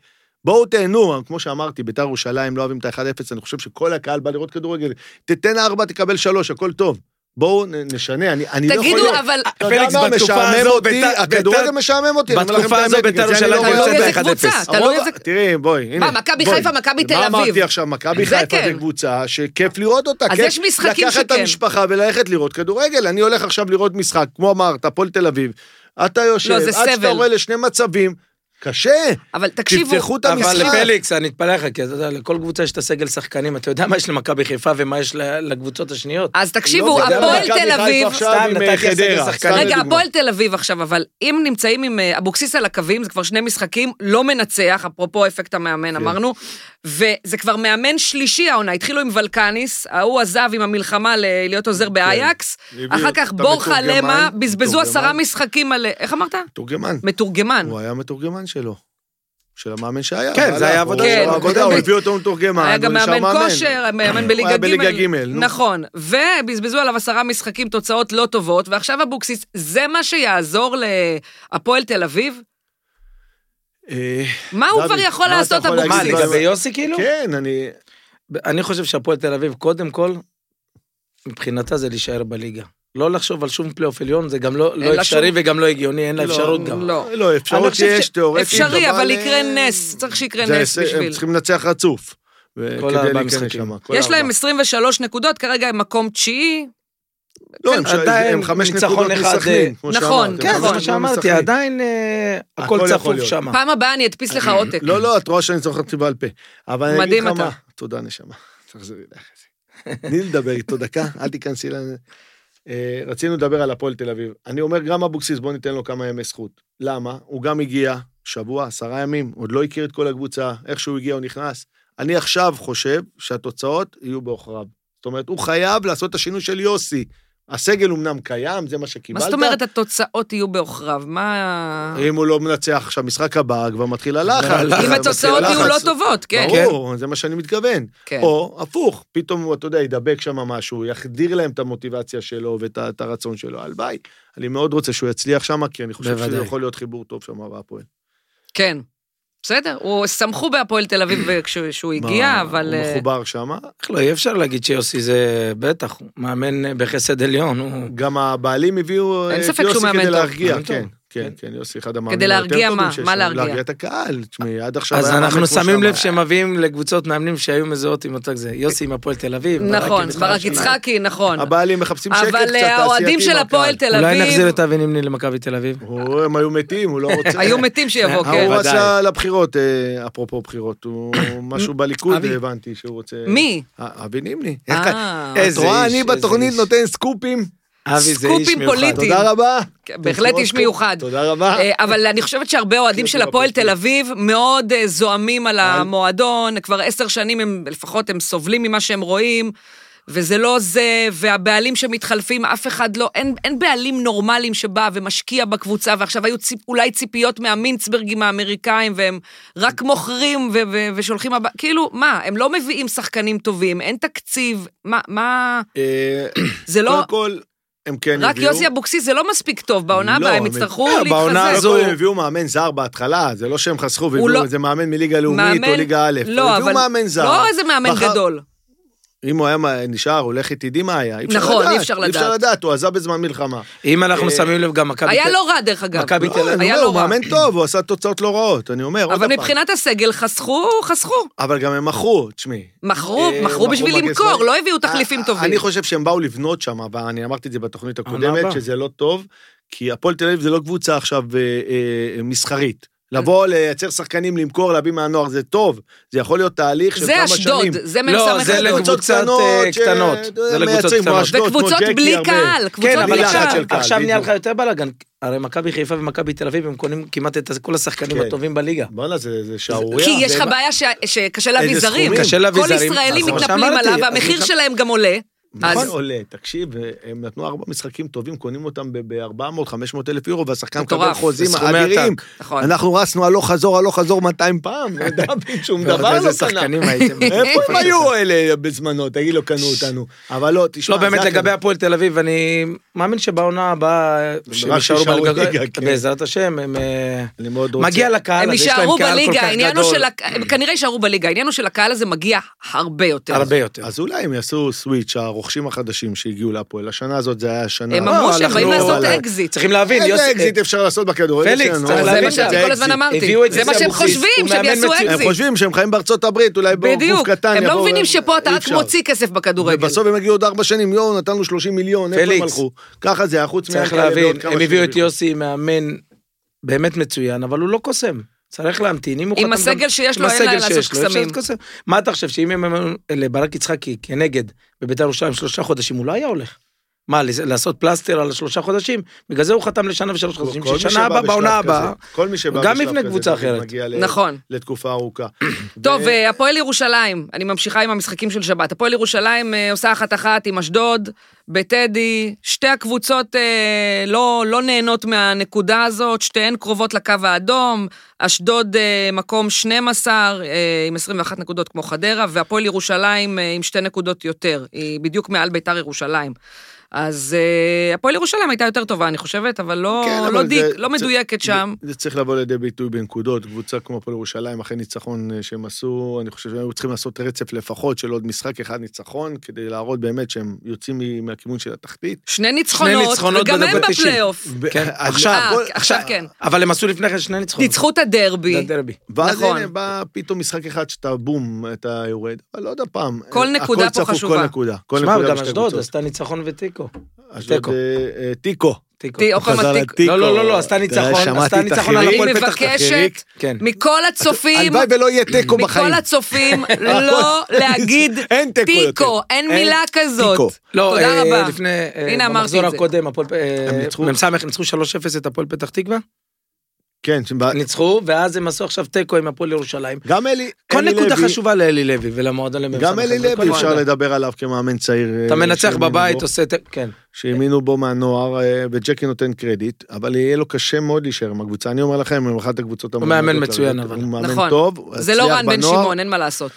Speaker 3: בואו תהנו, כמו שאמרתי, בית"ר ירושלים לא אוהבים את ה-1-0, אני חושב שכל הקהל בא לראות כדורגל. תתן 4, תקבל 3, הכל טוב. בואו נ- נשנה, אני, אני לא יכול...
Speaker 1: תגידו,
Speaker 3: להיות-
Speaker 1: אבל...
Speaker 3: אתה יודע
Speaker 2: אה, פליקס,
Speaker 3: מה,
Speaker 2: בתקופה
Speaker 3: משעמם
Speaker 2: הזו,
Speaker 3: אותי,
Speaker 2: ביתר-
Speaker 3: הכדורגל
Speaker 2: ביתר-
Speaker 3: משעמם אותי, אני אומר לכם את
Speaker 2: בתקופה הזו
Speaker 3: האמת,
Speaker 2: בית"ר
Speaker 3: בגלל זה אני לא
Speaker 2: ירושלים
Speaker 3: רואה
Speaker 1: תלוי
Speaker 3: את זה.
Speaker 1: איזה קבוצה,
Speaker 3: הרוב-
Speaker 1: תלוי לא איזה...
Speaker 3: לא, תראי, בואי, הנה.
Speaker 1: מה, מכבי
Speaker 3: בואי.
Speaker 1: חיפה, מכבי תל
Speaker 3: מה אמרתי
Speaker 1: אביב.
Speaker 3: עכשיו, מכבי
Speaker 1: זה
Speaker 3: חיפה
Speaker 1: כן.
Speaker 3: זה קבוצה שכיף לראות אותה.
Speaker 1: אז
Speaker 3: כיף
Speaker 1: יש משחקים
Speaker 3: לקחת את
Speaker 1: שכן.
Speaker 3: המשפחה וללכת לראות כדורגל. אני הולך עכשיו לראות משחק, כמו אמרת, הפועל תל אביב. אתה יושב,
Speaker 1: לא, זה
Speaker 3: עד שאתה
Speaker 1: סבל.
Speaker 3: רואה לשני מצבים, קשה. לא
Speaker 1: אבל תקשיבו,
Speaker 3: תפתחו לא, את
Speaker 2: אבל
Speaker 3: המשחק.
Speaker 2: פליקס, אני אתפלא לך, כי אתה יודע, לכל קבוצה יש את הסגל שחקנים, אתה יודע מה יש למכבי חיפה ומה יש ל- לקבוצות השניות.
Speaker 1: אז
Speaker 3: לא,
Speaker 1: תקשיבו,
Speaker 3: אתה יודע מה,
Speaker 1: הפועל
Speaker 3: מכבי
Speaker 1: תל
Speaker 3: חיפה
Speaker 1: אביב...
Speaker 3: עכשיו
Speaker 2: סתם,
Speaker 3: עם,
Speaker 2: נתתי
Speaker 3: אה,
Speaker 2: הסגל
Speaker 3: חדרה,
Speaker 2: שחקנים.
Speaker 3: סתם
Speaker 1: רגע,
Speaker 3: לדוגמה.
Speaker 1: הפועל תל אביב עכשיו, אבל אם נמצאים עם אה, אבוקסיס על הקווים, זה כבר שני משחקים, לא מנצח, אפרופו אפקט
Speaker 3: כן.
Speaker 1: המאמן, אמרנו, וזה כבר מאמן שלישי העונה, התחילו עם ולקניס, ההוא עזב עם המלחמה ל- להיות עוזר
Speaker 3: כן.
Speaker 1: באייקס,
Speaker 3: הביא
Speaker 1: אחר
Speaker 3: את
Speaker 1: כך בורחה
Speaker 3: המתורגמן,
Speaker 1: למה, בזבזו
Speaker 3: מתורגמן.
Speaker 1: עשרה משחקים על... איך אמרת?
Speaker 3: מתורגמן.
Speaker 1: מתורגמן.
Speaker 3: הוא היה המתורגמן שלו. של המאמן שהיה.
Speaker 2: כן,
Speaker 3: אבל
Speaker 2: זה היה
Speaker 3: הוא-
Speaker 2: עבודה
Speaker 1: כן,
Speaker 3: הוא-
Speaker 1: הוא
Speaker 3: עבודה, הוא
Speaker 1: באמת-
Speaker 3: הביא אותו מתורגמן.
Speaker 1: היה גם
Speaker 3: הוא נשאר
Speaker 1: מאמן כושר, מאמן בליגה ג'.
Speaker 3: היה בליגה ג', נו.
Speaker 1: נכון. ובזבזו עליו עשרה משחקים, תוצאות לא טובות, ועכשיו אבוקסיס, זה מה שיעזור להפועל תל אביב?
Speaker 3: אה,
Speaker 1: מה הוא
Speaker 3: דוד,
Speaker 1: כבר יכול
Speaker 3: מה אתה
Speaker 1: לעשות
Speaker 3: יכול
Speaker 2: מה,
Speaker 3: להגיד?
Speaker 1: אבוקסיס?
Speaker 2: לגבי יוסי כאילו?
Speaker 3: כן, אני...
Speaker 2: אני חושב שהפועל תל אביב, קודם כל, מבחינתה זה להישאר בליגה. לא לחשוב על שום פלייאוף עליון, זה גם לא לא
Speaker 1: לה
Speaker 2: אפשרי
Speaker 1: שום-
Speaker 2: וגם לא הגיוני, אין לה
Speaker 1: לא,
Speaker 2: אפשרות גם.
Speaker 1: לא.
Speaker 3: לא,
Speaker 1: אני
Speaker 3: אפשרות
Speaker 1: חושבת
Speaker 3: שיש,
Speaker 1: ש-
Speaker 3: תיאורטית. אה,
Speaker 1: אפשרי, אבל יקרה נס, צריך שיקרה
Speaker 3: זה
Speaker 1: נס
Speaker 3: הישג,
Speaker 1: בשביל.
Speaker 3: הם צריכים לנצח רצוף. ו-
Speaker 2: כל
Speaker 3: כדי
Speaker 2: ארבעה
Speaker 3: להיכנס
Speaker 2: משחקים.
Speaker 3: שמה, כל
Speaker 1: יש להם
Speaker 3: ארבעה.
Speaker 1: 23 נקודות, כרגע הם מקום תשיעי.
Speaker 3: לא, הם
Speaker 2: כן,
Speaker 3: ש-
Speaker 2: עדיין
Speaker 3: הם חמש
Speaker 2: ניצחון
Speaker 3: נקודות
Speaker 2: אחד,
Speaker 3: מסכנין,
Speaker 2: אה,
Speaker 3: כמו
Speaker 1: נכון,
Speaker 3: שאמרת,
Speaker 2: כן,
Speaker 3: הם
Speaker 2: זה
Speaker 1: נכון.
Speaker 2: מה
Speaker 3: חמש נקודות
Speaker 2: שאמרתי,
Speaker 3: מסכנין.
Speaker 2: עדיין אה,
Speaker 3: הכל
Speaker 2: הכל
Speaker 3: יכול
Speaker 2: צפוף
Speaker 3: להיות.
Speaker 2: שם.
Speaker 1: פעם הבאה אני אדפיס לך עותק.
Speaker 3: לא, לא, את רואה שאני זוכר אותי בעל פה. אבל אני אגיד
Speaker 1: מדהים
Speaker 3: לך
Speaker 1: אתה.
Speaker 3: מה. תודה, נשמה. תחזרי אליי אחרי זה. תני לי לדבר איתו דקה, אל תיכנסי ל... אה, רצינו לדבר על הפועל תל אביב. אני אומר, גם אבוקסיס, בוא ניתן לו כמה ימי זכות. למה? הוא גם הגיע, שבוע, עשרה ימים, עוד לא הכיר את כל הקבוצה, איך שהוא הגיע, הוא נכנס. אני עכשיו חושב שהתוצאות יהיו בעוכריו. זאת אומרת, הוא חייב לעשות את השינוי של יוסי. הסגל אומנם קיים, זה מה
Speaker 1: מה
Speaker 3: שקיבלת.
Speaker 1: זאת אומרת התוצאות יהיו בעוכריו? מה...
Speaker 3: אם הוא לא מנצח עכשיו, משחק הבא, כבר מתחיל הלחץ.
Speaker 2: הלחץ.
Speaker 1: אם
Speaker 3: מתחיל
Speaker 1: התוצאות יהיו לא
Speaker 3: הלחץ.
Speaker 1: טובות, כן.
Speaker 3: ברור, זה מה שאני מתכוון.
Speaker 1: כן.
Speaker 3: או הפוך, פתאום הוא, אתה יודע, ידבק שם משהו, יחדיר להם את המוטיבציה שלו ואת ה- את הרצון שלו. הלוואי. אני מאוד רוצה שהוא יצליח שם, כי אני חושב שזה
Speaker 2: בוודאי.
Speaker 3: יכול להיות חיבור טוב שם בהפועל.
Speaker 1: כן. בסדר, הוא שמחו בהפועל תל אביב כשהוא כשהוא הגיע,
Speaker 3: מה,
Speaker 1: אבל...
Speaker 3: הוא
Speaker 1: אה,
Speaker 3: מחובר שם.
Speaker 2: איך לא, אי אפשר להגיד שיוסי זה בטח, הוא מאמן בחסד עליון, הוא...
Speaker 3: גם הבעלים הביאו
Speaker 1: אה.
Speaker 3: אה,
Speaker 1: אין
Speaker 3: את
Speaker 1: ספק
Speaker 3: יוסי
Speaker 1: שהוא מאמן
Speaker 3: כדי
Speaker 1: טוב.
Speaker 3: להרגיע.
Speaker 2: מאמן
Speaker 3: כן,
Speaker 2: טוב.
Speaker 3: כן,
Speaker 2: כן.
Speaker 3: כן, יוסי אחד המאמנים היותר
Speaker 1: להרגיע
Speaker 3: טובים
Speaker 1: מה?
Speaker 3: שיש
Speaker 1: מה
Speaker 3: לנו.
Speaker 1: להרגיע? אה.
Speaker 3: להרגיע את הקהל. תשמעי, עד עכשיו
Speaker 2: אז
Speaker 3: היה מאמן,
Speaker 2: אנחנו
Speaker 3: כמו
Speaker 2: שמים לב
Speaker 3: שאמרת.
Speaker 2: שמביאים לקבוצות מאמנים שהיו מזוהות עם אותו זה. יוסי עם הפועל תל אביב. ברק
Speaker 1: נכון,
Speaker 2: עם מכבי
Speaker 1: ברק
Speaker 2: ירושלים.
Speaker 1: יצחקי, נכון.
Speaker 3: הבעלים מחפשים שקט קצת,
Speaker 1: אבל
Speaker 3: תעשייתי
Speaker 1: אה, האוהדים של
Speaker 3: מהקהל.
Speaker 1: הפועל תל
Speaker 2: אולי נחזיר
Speaker 1: אביב
Speaker 2: את אבי נימני למכבי תל אביב?
Speaker 3: או, הם היו מתים, הוא לא רוצה.
Speaker 1: היו מתים שיבוא, כן.
Speaker 3: ההוא
Speaker 2: ודאי.
Speaker 3: עשה לבחירות, אה, אפרופו בחירות, הוא משהו בליכוד
Speaker 2: אבי.
Speaker 3: הבנתי שהוא רוצה...
Speaker 1: מי?
Speaker 3: אה, אבי נימני. איך כ-
Speaker 1: אה,
Speaker 3: את
Speaker 2: איזה
Speaker 3: רואה,
Speaker 2: איש,
Speaker 3: אני
Speaker 2: איזה
Speaker 3: בתוכנית
Speaker 2: איש.
Speaker 3: נותן סקופים.
Speaker 2: אבי זה איש
Speaker 1: סקופים
Speaker 2: מיוחד.
Speaker 1: פוליטיים.
Speaker 3: תודה רבה.
Speaker 1: כן, בהחלט איש מיוחד.
Speaker 3: תודה רבה.
Speaker 1: אה, אבל אני חושבת שהרבה אוהדים של הפועל תל אביב מאוד אה, זועמים על המועדון, כבר עשר שנים הם, לפחות הם סובלים ממה שהם רואים, וזה לא זה, והבעלים שמתחלפים, אף אחד לא, אין, אין בעלים נורמליים שבא ומשקיע בקבוצה, ועכשיו היו ציפ, אולי ציפיות מהמינצברגים האמריקאים, והם רק מוכרים ו, ו, ושולחים הבא, כאילו, מה, הם לא מביאים שחקנים טובים, אין תקציב, מה, מה,
Speaker 3: אה,
Speaker 1: זה לא...
Speaker 3: קודם כל, הם כן הביאו.
Speaker 1: רק יוסי אבוקסיס זה לא מספיק טוב, בעונה
Speaker 3: לא,
Speaker 1: הבאה הם
Speaker 3: הם-
Speaker 1: יצטרכו
Speaker 2: אה,
Speaker 1: להתחזק.
Speaker 2: בעונה
Speaker 3: קודם
Speaker 2: הזו-
Speaker 3: כל, הם הביאו מאמן זר בהתחלה, זה לא שהם חסכו והביאו
Speaker 1: לא-
Speaker 3: איזה מאמן מליגה לאומית או
Speaker 1: מאמן-
Speaker 3: ליגה א'.
Speaker 1: לא,
Speaker 3: הביאו
Speaker 1: אבל...
Speaker 3: מאמן זר.
Speaker 1: לא איזה מאמן
Speaker 3: בחר-
Speaker 1: גדול.
Speaker 3: אם הוא היה מה- נשאר, הולך איתי, די מה היה.
Speaker 1: נכון, אי אפשר
Speaker 3: אי אפשר
Speaker 1: לדעת.
Speaker 3: לדעת, הוא עזב בזמן מלחמה.
Speaker 2: אם אנחנו
Speaker 3: אה,
Speaker 2: שמים לב, גם מכבי...
Speaker 1: היה
Speaker 2: תל-
Speaker 1: לא רע, דרך אגב.
Speaker 2: מכבי
Speaker 3: לא, אני
Speaker 1: היה
Speaker 3: אומר,
Speaker 1: לא
Speaker 3: הוא
Speaker 1: רע.
Speaker 3: מאמן טוב, הוא עשה תוצאות לא רעות, אני אומר, עוד
Speaker 1: אבל
Speaker 3: פעם.
Speaker 1: מבחינת הסגל חסכו, חסכו.
Speaker 3: אבל גם הם מכרו, תשמעי.
Speaker 1: מכרו,
Speaker 3: אה,
Speaker 1: מכרו בשביל
Speaker 3: מגן
Speaker 1: למכור,
Speaker 3: שמאלי.
Speaker 1: לא הביאו תחליפים
Speaker 3: אה,
Speaker 1: טובים.
Speaker 3: אני חושב שהם באו לבנות שם, ואני אמרתי את זה בתוכנית
Speaker 2: הבאה.
Speaker 3: הקודמת, שזה לא טוב, כי הפועל תל אביב זה לא קבוצה עכשיו אה, אה, מסחרית.
Speaker 1: כן.
Speaker 3: לבוא, לייצר שחקנים, למכור, להביא מהנוער, זה טוב. זה יכול להיות תהליך של
Speaker 1: זה
Speaker 3: כמה שנים.
Speaker 1: אשדוד, זה מ"ס
Speaker 2: לא, זה
Speaker 1: אשדוד.
Speaker 2: לקבוצות אה,
Speaker 3: ש-
Speaker 2: קטנות. זה לקבוצות
Speaker 3: מייצרים, כמו
Speaker 2: קטנות.
Speaker 3: אשדוד, כמו
Speaker 1: וקבוצות
Speaker 3: ג'קי,
Speaker 1: בלי
Speaker 3: הרבה.
Speaker 1: קהל, קבוצות
Speaker 2: כן,
Speaker 3: קבוצות
Speaker 1: בלי
Speaker 2: אבל
Speaker 3: בלחץ
Speaker 2: עכשיו-
Speaker 1: קהל.
Speaker 3: של קהל,
Speaker 2: עכשיו נהיה לך
Speaker 3: בדיוק.
Speaker 2: יותר בלאגן. הרי מכבי חיפה ומכבי תל אביב, הם קונים כמעט את כל השחקנים
Speaker 3: כן.
Speaker 2: הטובים בליגה.
Speaker 3: בואנה, זה זה שערורייה.
Speaker 1: כי יש לך
Speaker 3: והם-
Speaker 1: בעיה ש- שקשה להביא
Speaker 3: איזה
Speaker 1: זרים.
Speaker 3: סכומים.
Speaker 2: קשה להביא
Speaker 1: כל
Speaker 2: זרים,
Speaker 1: ישראלים
Speaker 2: נכון.
Speaker 1: מתנפלים
Speaker 2: שאמרתי,
Speaker 1: עליו,
Speaker 2: אז
Speaker 1: והמחיר
Speaker 2: גם-
Speaker 1: שלהם גם עולה.
Speaker 3: נכון,
Speaker 1: אז
Speaker 3: עולה, תקשיב, הם נתנו ארבע משחקים טובים, קונים אותם ב-400-500 אלף יורו, והשחקן מקבל
Speaker 1: מטורף.
Speaker 3: חוזים
Speaker 2: בסכומי
Speaker 3: אדירים.
Speaker 2: עתק.
Speaker 1: נכון.
Speaker 3: אנחנו רצנו הלוך חזור, הלוך חזור 200 פעם, ודוד שום דבר
Speaker 2: איזה
Speaker 3: לא קנה.
Speaker 2: שחקנים הייתם.
Speaker 3: איפה הם היו אלה בזמנו? תגיד לו, קנו אותנו. אבל לא, תשמע,
Speaker 2: לא באמת
Speaker 3: זה
Speaker 2: לגבי
Speaker 3: הכדור.
Speaker 2: הפועל תל אביב אני מאמין שבעונה הבאה שהם
Speaker 3: רק
Speaker 2: יישארו
Speaker 3: יישארו
Speaker 2: בליגה,
Speaker 3: בליגה, כן.
Speaker 2: בעזרת השם הם אה,
Speaker 3: אני מאוד רוצה.
Speaker 2: מגיע לקהל
Speaker 1: הם
Speaker 2: הזה, יש להם
Speaker 1: יישארו
Speaker 2: קהל כל
Speaker 1: בליגה,
Speaker 2: כך
Speaker 1: העניין הוא
Speaker 2: גדול, Mm.
Speaker 1: של... הק- הם כנראה יישארו בליגה, העניין הוא שלקהל הזה מגיע הרבה יותר.
Speaker 2: הרבה יותר.
Speaker 3: אז אולי הם יעשו סוויץ', הרוכשים החדשים שהגיעו להפועל. השנה הזאת זה היה השנה.
Speaker 1: הם
Speaker 2: לא,
Speaker 1: אמרו שהם
Speaker 2: אנחנו-
Speaker 1: באים לעשות
Speaker 2: אבל-
Speaker 1: אקזיט.
Speaker 2: צריכים להבין,
Speaker 3: איזה
Speaker 2: יוסי-
Speaker 3: אקזיט אפשר לעשות בכדורגל
Speaker 2: פליקס,
Speaker 3: שלנו?
Speaker 2: צריך
Speaker 3: אבל
Speaker 1: זה
Speaker 2: להבין
Speaker 1: מה
Speaker 3: באמת
Speaker 2: את
Speaker 1: שאני
Speaker 3: זה
Speaker 1: כל הזמן
Speaker 3: אקזיט.
Speaker 1: אמרתי.
Speaker 2: הביאו את
Speaker 1: זה
Speaker 2: זה
Speaker 1: מה שהם
Speaker 2: אבוקסיס,
Speaker 1: חושבים,
Speaker 2: הוא
Speaker 1: שהם
Speaker 2: מאמן
Speaker 1: יעשו
Speaker 2: מצוין.
Speaker 3: הם
Speaker 1: אקזיט.
Speaker 3: חושבים שהם חיים בארצות הברית, אולי בגוף
Speaker 1: בדיוק.
Speaker 3: קטן.
Speaker 1: הם לא
Speaker 3: יבואו-
Speaker 1: מבינים שפה אתה
Speaker 3: אי
Speaker 1: רק
Speaker 3: אפשר.
Speaker 1: מוציא כסף בכדורגל.
Speaker 3: ובסוף הם הגיעו עוד ארבע שנים, יואו, נתנו 30 מיליון, איפה הם
Speaker 2: פליקס.
Speaker 3: הלכו? ככה זה היה, חוץ מהם
Speaker 2: צריך
Speaker 3: כאלה
Speaker 2: להבין,
Speaker 3: בעוד כמה
Speaker 2: הם הביאו
Speaker 3: שנים.
Speaker 2: את יוסי מאמן באמת מצוין אבל הוא לא קוסם. צריך להמתין, אם הוא
Speaker 1: עם
Speaker 2: חתם גם-
Speaker 1: הסגל שיש לו,
Speaker 2: עם
Speaker 1: אין להם
Speaker 2: הסגל
Speaker 1: לעשות
Speaker 2: שיש לו, אפשר
Speaker 1: קסמים.
Speaker 2: להתקוסם. מה אתה חושב, שאם הם אמרו לברק יצחקי כנגד בביתר ירושלים שלושה חודשים, הוא לא היה הולך? מה, לס- לעשות פלסטר על השלושה חודשים? בגלל זה הוא חתם לשנה ושלוש חודשים,
Speaker 3: כל מי
Speaker 2: ששנה
Speaker 3: שבא
Speaker 2: הבאה,
Speaker 3: בשלב
Speaker 2: בעונה
Speaker 3: כזה,
Speaker 2: הבאה,
Speaker 3: כל מי שבא
Speaker 2: הוא גם
Speaker 3: בשלב
Speaker 2: יבנה
Speaker 3: כזה,
Speaker 2: קבוצה
Speaker 3: תמיד
Speaker 2: אחרת.
Speaker 3: מגיע ל-
Speaker 1: נכון.
Speaker 3: לתקופה ארוכה.
Speaker 1: טוב,
Speaker 3: ו-
Speaker 1: אה, הפועל ירושלים, אני ממשיכה עם המשחקים של שבת. הפועל ירושלים אה, עושה אחת-אחת עם אשדוד, בטדי, שתי הקבוצות אה, לא, לא נהנות מהנקודה הזאת, שתיהן קרובות לקו האדום, אשדוד אה, מקום 12 אה, עם 21 נקודות כמו חדרה, והפועל ירושלים אה, עם שתי נקודות יותר, היא בדיוק מעל ביתר ירושלים. אז אה, הפועל ירושלים הייתה יותר טובה, אני חושבת, אבל לא,
Speaker 3: כן,
Speaker 1: לא,
Speaker 3: אבל
Speaker 1: דיק,
Speaker 3: זה-
Speaker 1: לא
Speaker 3: זה-
Speaker 1: מדויקת שם.
Speaker 3: זה צריך לבוא לידי ביטוי בנקודות, קבוצה כמו הפועל ירושלים, אחרי ניצחון אה, שהם עשו, אני חושב שהם היו צריכים לעשות רצף לפחות של עוד משחק אחד ניצחון, כדי להראות באמת שהם יוצאים מ- מהכיוון של התחתית.
Speaker 1: שני ניצחונות,
Speaker 2: ניצחונות
Speaker 1: וגם הם
Speaker 2: בדקות 90.
Speaker 1: בפלייאוף.
Speaker 2: כן,
Speaker 3: אז-
Speaker 1: אה,
Speaker 2: עכשיו,
Speaker 1: עכשיו כן.
Speaker 2: אבל הם עשו לפני כן שני ניצחונות.
Speaker 1: ניצחו את הדרבי.
Speaker 2: זה הדרבי.
Speaker 3: ואז
Speaker 1: נכון.
Speaker 3: נכון. הנה בא פתאום משחק אחד שאתה בום, אתה יורד, אבל עוד פעם.
Speaker 1: כל
Speaker 3: אה,
Speaker 1: נקודה
Speaker 3: הכל
Speaker 1: פה
Speaker 3: צפוף,
Speaker 1: חשובה.
Speaker 3: כל נקודה. כל
Speaker 2: שמע,
Speaker 3: נקודה
Speaker 2: גם
Speaker 3: בשתי
Speaker 2: אשדוד
Speaker 3: קבוצות.
Speaker 2: עשתה ניצחון ותיקו.
Speaker 3: אשדוד,
Speaker 2: תיקו.
Speaker 3: אה, אה, תיקו.
Speaker 2: תיקו.
Speaker 1: תיקו. עוד פעם
Speaker 3: חזר
Speaker 1: התיק-
Speaker 3: לתיקו.
Speaker 2: לא, לא, לא, לא, עשתה
Speaker 3: אתה
Speaker 2: ניצחון,
Speaker 3: יודע, שמעתי
Speaker 2: עשתה
Speaker 3: את
Speaker 2: ניצחון על
Speaker 3: החיריק.
Speaker 1: אני
Speaker 2: הפועל פתח תקווה,
Speaker 1: מבקשת
Speaker 3: חיריק.
Speaker 2: כן.
Speaker 1: מכל הצופים,
Speaker 3: הלוואי ולא יהיה תיקו בחיים.
Speaker 1: מכל הצופים, לא להגיד
Speaker 3: אין תיקו יותר.
Speaker 1: תיקו, אין
Speaker 3: אין
Speaker 1: מילה
Speaker 3: תיקו.
Speaker 1: כזאת.
Speaker 2: לא,
Speaker 1: תודה
Speaker 2: אה,
Speaker 1: רבה.
Speaker 2: לפני, אה,
Speaker 1: הנה, אמרתי
Speaker 2: במחזור
Speaker 1: את זה.
Speaker 2: הקודם, הפועל, אה,
Speaker 3: הם ניצחו.
Speaker 2: מ"ס ניצחו 3-0 את הפועל פתח תקווה,
Speaker 3: כן, שבא-
Speaker 2: ניצחו, ואז הם עשו עכשיו תיקו עם הפועל ירושלים.
Speaker 3: גם אלי,
Speaker 2: כל
Speaker 3: אלי
Speaker 2: נקודה
Speaker 3: לוי-
Speaker 2: חשובה לאלי לוי ולמועדון למ"ס.
Speaker 3: גם אלי
Speaker 2: כל
Speaker 3: לוי אפשר
Speaker 2: נקודה.
Speaker 3: לדבר עליו כמאמן צעיר.
Speaker 2: אתה
Speaker 3: אה,
Speaker 2: מנצח
Speaker 3: שהאמינו
Speaker 2: בבית,
Speaker 3: בו-
Speaker 2: עושה תיקו, כן.
Speaker 3: שהאמינו בו מהנוער, אה, וג'קי נותן קרדיט, אבל יהיה לו קשה מאוד להישאר עם הקבוצה. אני אומר לכם, הם אחת הקבוצות
Speaker 2: מאמן
Speaker 3: המועמדות
Speaker 2: מצוין,
Speaker 3: לרדת.
Speaker 2: אבל.
Speaker 3: הוא מאמן
Speaker 1: נכון.
Speaker 3: טוב, הוא
Speaker 1: זה לא
Speaker 3: הצליח
Speaker 1: רן בן
Speaker 3: בנוער.
Speaker 1: שמעון, אין מה לעשות.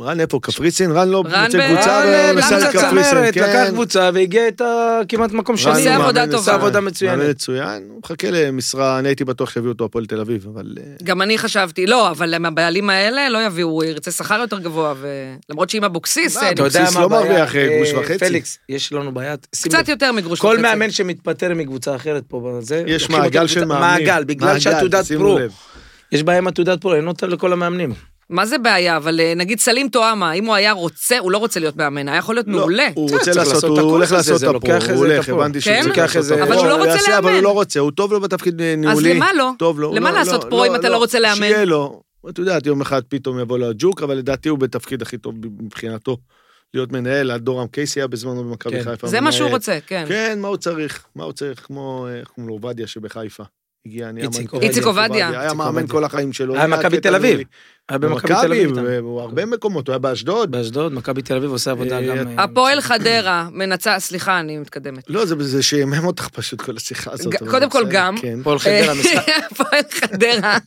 Speaker 3: רן איפה? קפריסין? רן לא
Speaker 1: רן
Speaker 3: יוצא
Speaker 1: ב-
Speaker 3: קבוצה,
Speaker 1: רן,
Speaker 3: אבל הוא
Speaker 1: אה,
Speaker 3: נסע
Speaker 1: קבוצה
Speaker 3: לקפריסין.
Speaker 2: צמרת, לקח
Speaker 3: כן.
Speaker 2: קבוצה והגיע איתה כמעט מקום
Speaker 3: רן הוא
Speaker 1: עושה
Speaker 2: שני.
Speaker 3: מאמן
Speaker 1: עבודה
Speaker 3: מצוין.
Speaker 1: טובה.
Speaker 2: עבודה מצוינת.
Speaker 3: מאמן מצוין, הוא מחכה למשרה, אני הייתי בטוח שיביאו אותו הפועל תל אביב, אבל... אה,
Speaker 1: גם אני חשבתי, לא, אבל עם הבעלים האלה לא יביאו, הוא ירצה שכר יותר גבוה, ו- למרות שאם אבוקסיס,
Speaker 3: מה,
Speaker 1: אה,
Speaker 3: אתה יודע,
Speaker 2: אתה יודע
Speaker 3: אבוקסיס
Speaker 2: מה
Speaker 3: לא
Speaker 2: הבעיה?
Speaker 3: מרוויח, אה, גרוש
Speaker 2: אה,
Speaker 3: וחצי.
Speaker 2: פליקס, יש לנו בעיה. שים לב.
Speaker 1: קצת יותר מגרוש
Speaker 2: כל
Speaker 1: וחצי.
Speaker 2: מאמן שמתפטר מקבוצה אחרת פה, בזה,
Speaker 3: יש
Speaker 2: לוקחים אותו
Speaker 3: מעגל של
Speaker 2: לקבוצה-
Speaker 3: מאמנים.
Speaker 2: מעגל, בגלל
Speaker 3: מעגל,
Speaker 2: שהתעודת
Speaker 3: שימו
Speaker 2: פרו.
Speaker 3: לב.
Speaker 2: יש בעיה עם התעודת פרו, אין אותה לכל המאמנים.
Speaker 1: מה זה בעיה? אבל אה, נגיד סלים טועמה, אם הוא היה רוצה, הוא לא רוצה להיות מאמן, היה יכול להיות
Speaker 3: לא,
Speaker 1: מעולה.
Speaker 3: הוא
Speaker 2: צריך
Speaker 3: רוצה
Speaker 2: לעשות
Speaker 3: לעשות,
Speaker 2: את
Speaker 3: הוא
Speaker 2: הקורס
Speaker 3: הולך
Speaker 2: הזה,
Speaker 3: לעשות
Speaker 2: זה
Speaker 3: את הפרו,
Speaker 2: לוקח איזה
Speaker 3: הוא הולך,
Speaker 2: את הפרו.
Speaker 3: הבנתי
Speaker 1: כן?
Speaker 3: שהוא
Speaker 2: לוקח איזה-
Speaker 1: אבל הוא לא רוצה
Speaker 3: יעשה, אבל הוא
Speaker 1: לאמן.
Speaker 3: לא רוצה, הוא טוב לו בתפקיד ניהולי.
Speaker 1: למה לא?
Speaker 3: טוב לו. הוא
Speaker 1: למה
Speaker 3: לא-
Speaker 1: לעשות
Speaker 3: לא-
Speaker 1: פרו אם אתה לא רוצה לאמן?
Speaker 3: שיהיה לו. את יודעת, יום אחד פתאום יבוא לו הג'וק, אבל לדעתי הוא בתפקיד הכי טוב מבחינתו. להיות מנהל, הדורם קייסי היה בזמנו במכבי
Speaker 2: כן.
Speaker 3: חיפה.
Speaker 1: זה מה שהוא
Speaker 3: מנהל.
Speaker 1: רוצה, כן.
Speaker 3: כן, מה הוא צריך? מה הוא צריך? כמו, אה, איך קוראים לו, עובדיה שבחיפה. הגיע, נהיה
Speaker 2: איציק
Speaker 3: מנכ"ל,
Speaker 1: איציק עובדיה.
Speaker 3: היה
Speaker 2: איציק
Speaker 3: מאמן
Speaker 2: עובדיה.
Speaker 3: כל החיים שלו.
Speaker 2: היה מכבי תל אביב. היה אה, במכבי תל אביב. איתם.
Speaker 3: הוא הרבה מקומות, הוא היה באשדוד.
Speaker 2: באשדוד, מכבי תל אביב עושה עבודה
Speaker 3: אה,
Speaker 2: גם... אה,
Speaker 1: הפועל חדרה מנצח, סליחה, אני מתקדמת.
Speaker 3: לא, זה- זה שימם אותך פשוט כל השיחה הזאת.
Speaker 1: ג-
Speaker 3: אבל
Speaker 1: קודם כל
Speaker 3: בסדר,
Speaker 1: גם.
Speaker 3: כן.
Speaker 2: הפועל חדרה משחק
Speaker 1: אה, הפועל חדרה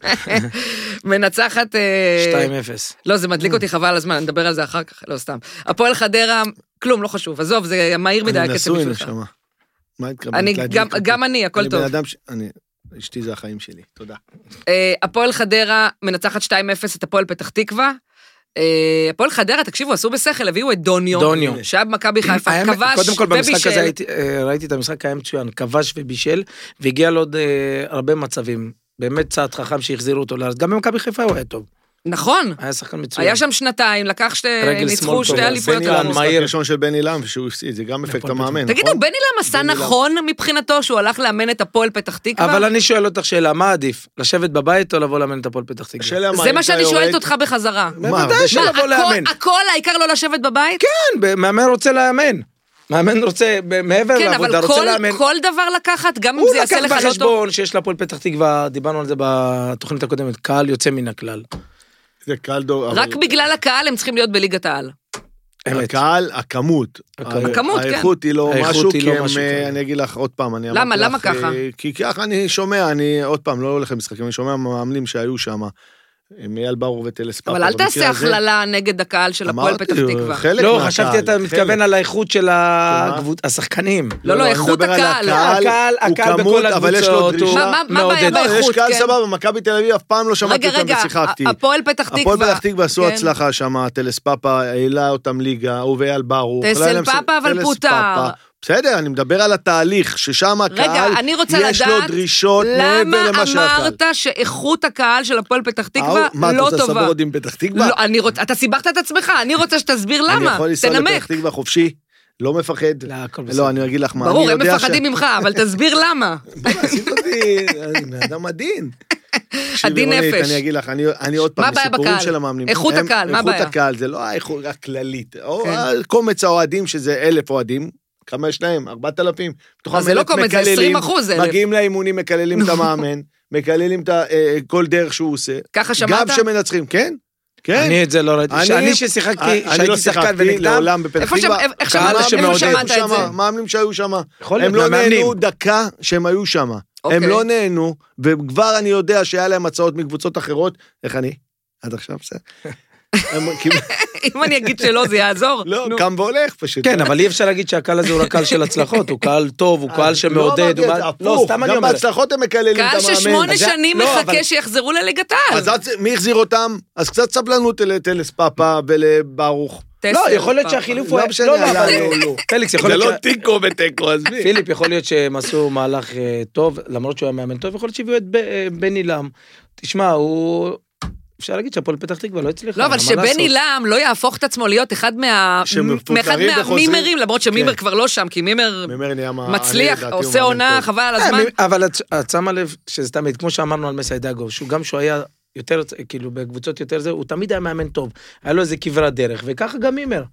Speaker 1: מנצחת... אה,
Speaker 2: 2-0.
Speaker 1: לא, זה מדליק אותי חבל על הזמן, נדבר על זה אחר כך, לא סתם. הפועל חדרה, כלום, לא חשוב, עזוב, זה מהיר מדי
Speaker 3: אני
Speaker 1: הקצב
Speaker 3: נשוי,
Speaker 1: בשבילך.
Speaker 3: נשמה. מה התכוונת?
Speaker 1: אני,
Speaker 3: להדליק
Speaker 1: גם-
Speaker 3: אותי?
Speaker 1: גם אני, הכל
Speaker 3: אני
Speaker 1: טוב.
Speaker 3: בן אדם ש... אני... אשתי זה החיים שלי, תודה.
Speaker 1: אה, הפועל חדרה מנצחת 2-0 את הפועל פתח תקווה. אה, הפועל חדרה, תקשיבו, עשו בשכל, הביאו את דוניו.
Speaker 2: דוניו.
Speaker 1: שהיה במכבי
Speaker 3: אה,
Speaker 1: חיפה,
Speaker 2: האמת, קודם
Speaker 1: כבש
Speaker 2: כל במשחק הזה
Speaker 1: ובישל.
Speaker 2: הייתי, אה, ראיתי את המשחק היה מצוין, כבש ובישל, והגיע לעוד אה, הרבה מצבים. באמת צעד חכם שהחזירו אותו לארץ. גם במכבי חיפה הוא היה טוב.
Speaker 1: נכון.
Speaker 2: היה שחקן מצוין.
Speaker 1: היה שם שנתיים, לקח שתי...
Speaker 2: רגל
Speaker 1: ניצחו
Speaker 2: שמאל
Speaker 1: שתי
Speaker 2: טובה.
Speaker 1: אליפויות.
Speaker 2: בני לם,
Speaker 1: עולם.
Speaker 2: מה- מהיר.
Speaker 3: הראשון של בני לם, שהוא הפסיד, זה גם אפקט
Speaker 2: נכון,
Speaker 3: המאמן,
Speaker 1: תגידו,
Speaker 3: נכון?
Speaker 1: בני לם עשה
Speaker 3: בני לם.
Speaker 1: נכון מבחינתו שהוא הלך לאמן את הפועל פתח תקווה?
Speaker 2: אבל אני שואל אותך שאלה, מה עדיף? לשבת בבית או לבוא לאמן את הפועל פתח תקווה?
Speaker 3: השאלה מה,
Speaker 1: זה
Speaker 3: אם
Speaker 1: מה
Speaker 3: אתה
Speaker 1: שאני
Speaker 3: יורד-
Speaker 1: שואלת אותך בחזרה.
Speaker 3: מה,
Speaker 2: בוודאי
Speaker 1: מה,
Speaker 2: שלבוא
Speaker 1: הכל-
Speaker 2: לאמן.
Speaker 1: הכל העיקר לא לשבת בבית?
Speaker 2: כן, ב- מאמן רוצה לאמן. מאמן רוצה, ב- מעבר
Speaker 1: כן,
Speaker 2: לעבודה,
Speaker 1: אבל
Speaker 2: רוצה
Speaker 1: כל-
Speaker 2: לאמן.
Speaker 1: כל דבר לקחת, גם אם
Speaker 2: הוא
Speaker 1: זה יעשה
Speaker 2: לקח
Speaker 1: לך לא טוב.
Speaker 2: בחשבון שיש להפועל פתח תקווה, דיברנו על זה בתוכנית הקודמת, קהל יוצא מן הכלל.
Speaker 3: זה קהל דור...
Speaker 1: רק
Speaker 3: אבל-
Speaker 1: בגלל הקהל הם צריכים להיות בליגת העל.
Speaker 2: אמת.
Speaker 3: הקהל, הכמות.
Speaker 2: הכמות.
Speaker 1: הכמות, כן.
Speaker 3: האיכות היא לא
Speaker 2: האיכות
Speaker 3: משהו,
Speaker 2: היא
Speaker 3: כי
Speaker 2: לא
Speaker 3: הם,
Speaker 2: משהו,
Speaker 3: אה,
Speaker 2: כן.
Speaker 3: אני אגיד לך עוד פעם, אני
Speaker 1: למה?
Speaker 3: אמרתי
Speaker 1: למה
Speaker 3: לך,
Speaker 1: ככה?
Speaker 3: אה, כי ככה אני שומע, אני עוד פעם לא אולך למשחקים, אני שומע מהמאמנים שהיו שם, הם אייל ברור וטלס פאפה.
Speaker 1: אבל אל
Speaker 3: במקרה
Speaker 1: תעשה
Speaker 3: הזה-
Speaker 1: הכללה נגד הקהל של הפועל
Speaker 3: אמרתי,
Speaker 1: פתח תקווה.
Speaker 3: חלק
Speaker 2: לא,
Speaker 3: מהקהל,
Speaker 2: חשבתי אתה
Speaker 3: חלק.
Speaker 2: מתכוון על האיכות של הקבוצ- השחקנים.
Speaker 1: לא, לא,
Speaker 3: אני
Speaker 1: איכות
Speaker 3: מדבר על
Speaker 1: הקהל.
Speaker 2: הקהל-
Speaker 3: הוא
Speaker 2: הקהל בכל
Speaker 3: כמות, אבל יש לו
Speaker 2: הקבוצות, הוא-
Speaker 3: דרישה.
Speaker 1: מה- מה- מה
Speaker 2: מעודד.
Speaker 1: הבעיה
Speaker 2: לא,
Speaker 3: לא, יש
Speaker 1: באיכות?
Speaker 3: קהל
Speaker 1: כן.
Speaker 3: סבבה, מכבי תל אביב אף פעם לא שמעתי
Speaker 1: רגע,
Speaker 3: אותם
Speaker 1: רגע,
Speaker 3: ושיחקתי.
Speaker 1: ה- הפועל פתח תקווה.
Speaker 3: הפועל פתח תקווה עשו
Speaker 1: כן.
Speaker 3: הצלחה שם, טלס פאפה העלה אותם ליגה, הוא ואייל ברוך.
Speaker 1: טסל
Speaker 3: לא היה להם ס-
Speaker 1: פאפה, אבל
Speaker 3: טלס
Speaker 1: פוטר.
Speaker 3: פאפה. בסדר, אני מדבר על התהליך, ששם הקהל,
Speaker 1: רגע, אני רוצה
Speaker 3: יש לו
Speaker 1: לדעת
Speaker 3: דרישות
Speaker 1: למה
Speaker 3: מעבר למה שהקהל.
Speaker 1: אמרת שאיכות הקהל של הפועל פתח תקווה
Speaker 3: אה, מה, אתה
Speaker 1: לא
Speaker 3: רוצה לסבר
Speaker 1: טובה?
Speaker 3: אותי עם פתח תקווה?
Speaker 1: לא, אני רוצה, אתה סיבכת את עצמך, אני רוצה שתסביר
Speaker 3: אני
Speaker 1: לא, למה,
Speaker 3: יכול לנסוע לפתח
Speaker 1: תנמק.
Speaker 3: תקווה חופשי, לא מפחד.
Speaker 2: לא, הכל בסדר.
Speaker 3: לא, אני אגיד לך מה,
Speaker 1: ברור,
Speaker 3: אני
Speaker 1: הם
Speaker 3: יודע
Speaker 1: מפחדים ממך, אבל תסביר למה.
Speaker 3: מה, עשית אותי, אני בן אדם עדין. תקשיבי,
Speaker 1: עדין
Speaker 3: רונית,
Speaker 1: נפש.
Speaker 3: אני אגיד לך, אני, אני עוד
Speaker 1: מה
Speaker 3: פעם,
Speaker 1: הבעיה
Speaker 3: סיפורים
Speaker 1: בקהל?
Speaker 3: של המאמנים.
Speaker 1: איכות
Speaker 3: הם-
Speaker 1: הקהל, מה הבעיה?
Speaker 3: איכות הקהל, זה לא האיכות הכללית. או
Speaker 1: כן.
Speaker 3: קומץ האוהדים, שזה אלף אוהדים, כמה יש להם? ארבעת אלפים. מתוכם
Speaker 1: זה לא
Speaker 3: אלף
Speaker 1: קומץ, זה
Speaker 3: מקללים,
Speaker 1: 20%, זה אלף.
Speaker 3: מגיעים לאימונים, מקללים את המאמן, מקללים את ה- אה, כל דרך שהוא עושה.
Speaker 1: ככה
Speaker 3: גם
Speaker 1: שמעת?
Speaker 3: שמנצחים, כן? כן.
Speaker 2: אני את זה לא ראיתי. אני ששיחקתי,
Speaker 3: אני לא
Speaker 2: שהייתי שחקן
Speaker 3: שיחקתי
Speaker 2: ונגדם,
Speaker 3: לעולם בפתח
Speaker 1: איפה שם-
Speaker 3: תקווה.
Speaker 1: איפה- איך
Speaker 2: קהל
Speaker 1: שמעת- איפה
Speaker 2: שמעודד.
Speaker 1: שמעת את
Speaker 3: שהיו
Speaker 1: זה?
Speaker 3: שמה, מאמנים שהיו שם,
Speaker 2: יכול
Speaker 3: הם
Speaker 2: להיות,
Speaker 3: לא
Speaker 2: מהמאמנים.
Speaker 3: נהנו דקה שהם היו שם. הם
Speaker 1: אוקיי.
Speaker 3: לא נהנו, וכבר אני יודע שהיה להם הצעות מקבוצות אחרות. איך אני? עד עכשיו בסדר. הם כאילו-
Speaker 1: אם אני אגיד שלא זה יעזור?
Speaker 3: לא,
Speaker 1: נו.
Speaker 3: קם והולך פשוט. אה.
Speaker 2: כן, אבל אי אפשר להגיד שהקהל הזה הוא רק קהל של הצלחות, הוא קהל טוב, הוא קהל
Speaker 3: לא,
Speaker 2: שמעודד.
Speaker 3: אמרתי
Speaker 2: הוא
Speaker 3: את
Speaker 2: קהל-
Speaker 3: זה,
Speaker 2: לא,
Speaker 3: הפוך,
Speaker 2: סתם אני
Speaker 3: גם
Speaker 2: אומר.
Speaker 3: בהצלחות הם מקללים את
Speaker 1: קהל
Speaker 3: המאמן.
Speaker 1: ששמונה
Speaker 2: אז זה-
Speaker 1: שנים
Speaker 2: לא,
Speaker 1: מחכה
Speaker 2: אבל-
Speaker 1: שיחזרו לליגת
Speaker 3: אז
Speaker 1: העל.
Speaker 3: עד- מי החזיר אותם? אז קצת סבלנות לטלס פאפה אה, ולברוך.
Speaker 1: טסל,
Speaker 2: לא, יכול להיות
Speaker 1: פעם.
Speaker 2: שהחילוף
Speaker 3: לא
Speaker 2: הוא היה...
Speaker 3: משנה,
Speaker 2: לא, לא,
Speaker 3: אבל-
Speaker 2: אבל...
Speaker 3: לא.
Speaker 2: פליקס, יכול
Speaker 3: זה
Speaker 2: להיות...
Speaker 3: לא
Speaker 2: שה-
Speaker 3: תיקו ותיקו, עזבי.
Speaker 2: פיליפ, יכול להיות שהם עשו מהלך אה, טוב, למרות שהוא היה מאמן טוב, יכול להיות שהביאו את ב- אה, בני לם. תשמע, הוא... אפשר להגיד שהפועל פתח תקווה לא הצליחה.
Speaker 1: לא, אבל
Speaker 2: מה לעשות?
Speaker 1: שבני לם לא יהפוך את עצמו להיות אחד מה...
Speaker 3: שמפוטרים
Speaker 1: מאחד
Speaker 3: וחוזרים.
Speaker 1: מהמימרים, למרות שמימר כבר לא שם, כי מימר
Speaker 3: ממר נהיה מה-
Speaker 1: מצליח,
Speaker 3: אני לדעתי
Speaker 1: עושה
Speaker 3: הוא מאמן
Speaker 1: עונה,
Speaker 3: טוב.
Speaker 1: חבל על
Speaker 2: אה,
Speaker 1: הזמן.
Speaker 2: מי- אבל את- את שמה לב שזה תמיד, כמו שאמרנו על מסי דגו, שהוא גם שהוא היה יותר, כאילו בקבוצות יותר זה, הוא תמיד היה מאמן טוב. היה לו איזה כברת דרך, וככה גם מימר.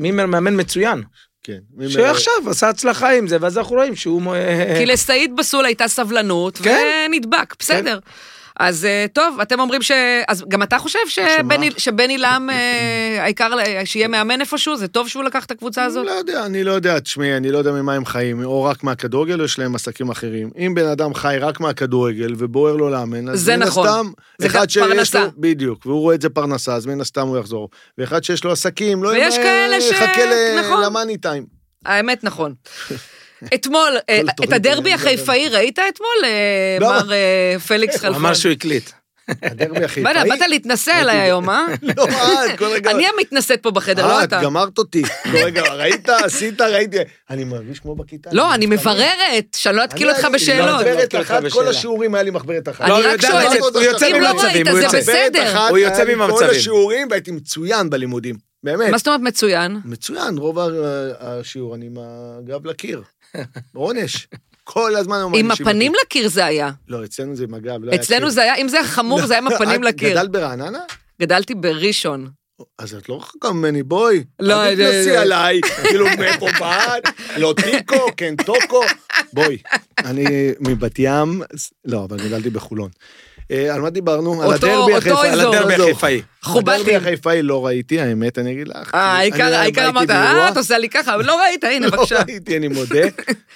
Speaker 2: מימר מאמן מצוין,
Speaker 3: כן. מי מ-
Speaker 2: שעכשיו עשה הצלחה עם זה, ואז אנחנו רואים שהוא... אה,
Speaker 1: כי לסעיד בסול הייתה סבלנות,
Speaker 2: כן.
Speaker 1: ונדבק, בסדר. אז אה, טוב, אתם אומרים ש... אז גם אתה חושב שבני- שבני לם, אה, העיקר ל- שיהיה מאמן איפשהו? זה טוב שהוא לקח את הקבוצה הזאת?
Speaker 3: לא יודע, אני לא יודע, תשמעי, אני לא יודע ממה הם חיים, או רק מהכדורגל, או יש להם עסקים אחרים. אם בן אדם חי רק מהכדורגל ובוער לו לאמן, אז
Speaker 1: זה
Speaker 3: מן
Speaker 1: נכון.
Speaker 3: הסתם,
Speaker 1: זה גם
Speaker 3: אחד שיש
Speaker 1: פרנסה.
Speaker 3: לו, בדיוק, והוא רואה את זה פרנסה, אז מן הסתם הוא יחזור. ואחד שיש לו עסקים, לא
Speaker 1: ויש כאלה ש-
Speaker 3: יחכה
Speaker 1: נכון.
Speaker 3: למאני טיים.
Speaker 1: האמת, נכון. אתמול, אה, את
Speaker 3: תוכנית
Speaker 1: הדרבי
Speaker 3: אני
Speaker 1: החיפאי ראית אתמול, אה,
Speaker 3: לא,
Speaker 1: מר אה, פליקס
Speaker 2: הוא
Speaker 1: חלפון?
Speaker 2: אמר שהוא הקליט.
Speaker 3: הדרבי החיפאי.
Speaker 1: באת באת להתנשא עליי היום, אה?
Speaker 3: לא, את, כל רגע.
Speaker 1: אני המתנשאת פה בחדר,
Speaker 3: אה,
Speaker 1: לא
Speaker 3: את
Speaker 1: אתה.
Speaker 3: גמרת אותי. כל רגע, ראית, עשית, ראיתי. אני מרגיש כמו בכיתה.
Speaker 1: לא, אני מבררת, שאני לא אתקיל אותך
Speaker 3: אני-
Speaker 1: בשאלות.
Speaker 2: לא,
Speaker 3: מחברת אחת, כל
Speaker 2: בשאלה.
Speaker 3: השיעורים היה לי מחברת אחת.
Speaker 1: אני
Speaker 2: לא, הוא
Speaker 1: רק
Speaker 2: יודע, הוא
Speaker 1: שואלת,
Speaker 2: יוצא- הוא יוצא
Speaker 1: אם לא
Speaker 2: ממצבים,
Speaker 1: ראית,
Speaker 2: הוא
Speaker 1: זה
Speaker 2: יוצא.
Speaker 1: בסדר.
Speaker 2: הוא יוצא ממצבים.
Speaker 3: כל השיעורים והייתי מצוין בלימודים, באמת.
Speaker 1: מה זאת אומרת מצוין?
Speaker 3: מצוין, רוב ה- השיעור אני עם הגב לקיר. עונש. כל הזמן הם
Speaker 1: עם
Speaker 3: מענישים
Speaker 1: הפנים
Speaker 3: אותי.
Speaker 1: לקיר זה היה.
Speaker 3: לא, אצלנו זה עם הגב, לא היה
Speaker 1: אצלנו
Speaker 3: קיר.
Speaker 1: זה היה, אם זה היה חמור, זה היה עם הפנים
Speaker 3: את
Speaker 1: לקיר.
Speaker 3: גדלת ברעננה?
Speaker 1: גדלתי בראשון. אה, אז
Speaker 3: אז את לא רחוקה ממני, בואי.
Speaker 1: לא,
Speaker 3: אל
Speaker 1: לא,
Speaker 3: תתנסי
Speaker 1: לא.
Speaker 3: עליי, כאילו, מאיפה באת? לא טיקו, כן טוקו. בואי. אני מבת ים, לא, אבל גדלתי בחולון. אה, על מה דיברנו? על
Speaker 1: אותו-
Speaker 3: הדרבי
Speaker 1: אותו
Speaker 3: החיפאי. על
Speaker 1: אזור.
Speaker 3: הדרבי החיפאי.
Speaker 1: חובטים.
Speaker 3: הדרבי החיפאי לא ראיתי, האמת, אני אגיד לך.
Speaker 1: אה, העיקר
Speaker 3: אני
Speaker 1: העיקר
Speaker 3: הייתי
Speaker 1: אמרת,
Speaker 3: באירוע,
Speaker 1: אה, את עושה לי ככה, אבל לא ראית, הנה,
Speaker 3: לא
Speaker 1: בבקשה.
Speaker 3: ראיתי, אני מודה.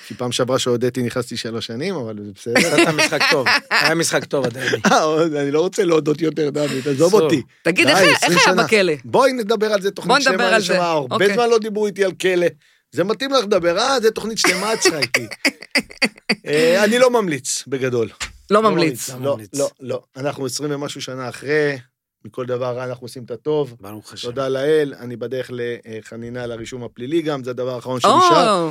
Speaker 3: כי פעם שעברה שהודיתי נכנסתי שלוש שנים, אבל זה בסדר.
Speaker 2: עשית משחק טוב, היה משחק טוב הדרבי.
Speaker 3: אה, עוד, אני לא רוצה להודות יותר, דוד, עזוב
Speaker 2: אסור.
Speaker 3: אותי.
Speaker 1: תגיד,
Speaker 3: די,
Speaker 1: איך היה-
Speaker 3: 20
Speaker 1: איך היה
Speaker 3: שנה.
Speaker 1: בכלא?
Speaker 3: בואי נדבר על זה תוכנית
Speaker 1: נדבר
Speaker 3: שלמה,
Speaker 1: על
Speaker 3: יש שם
Speaker 1: זה. אוקיי.
Speaker 3: הרבה זמן לא דיברו איתי על כלא. זה מתאים לך לדבר, אה, זה תוכנית שלמה אצלך איתי. אה, אני לא ממליץ, בגדול.
Speaker 1: לא ממליץ.
Speaker 2: לא
Speaker 3: לא,
Speaker 2: ממליץ.
Speaker 3: לא, לא. אנחנו 20 ומשהו שנה אחרי, מכל דבר רע אנחנו עושים את הטוב.
Speaker 2: ברוך השם.
Speaker 3: תודה לאל, אני בדרך לחנינה לרישום הפלילי גם, זה הדבר האחרון שנשאר.
Speaker 1: או,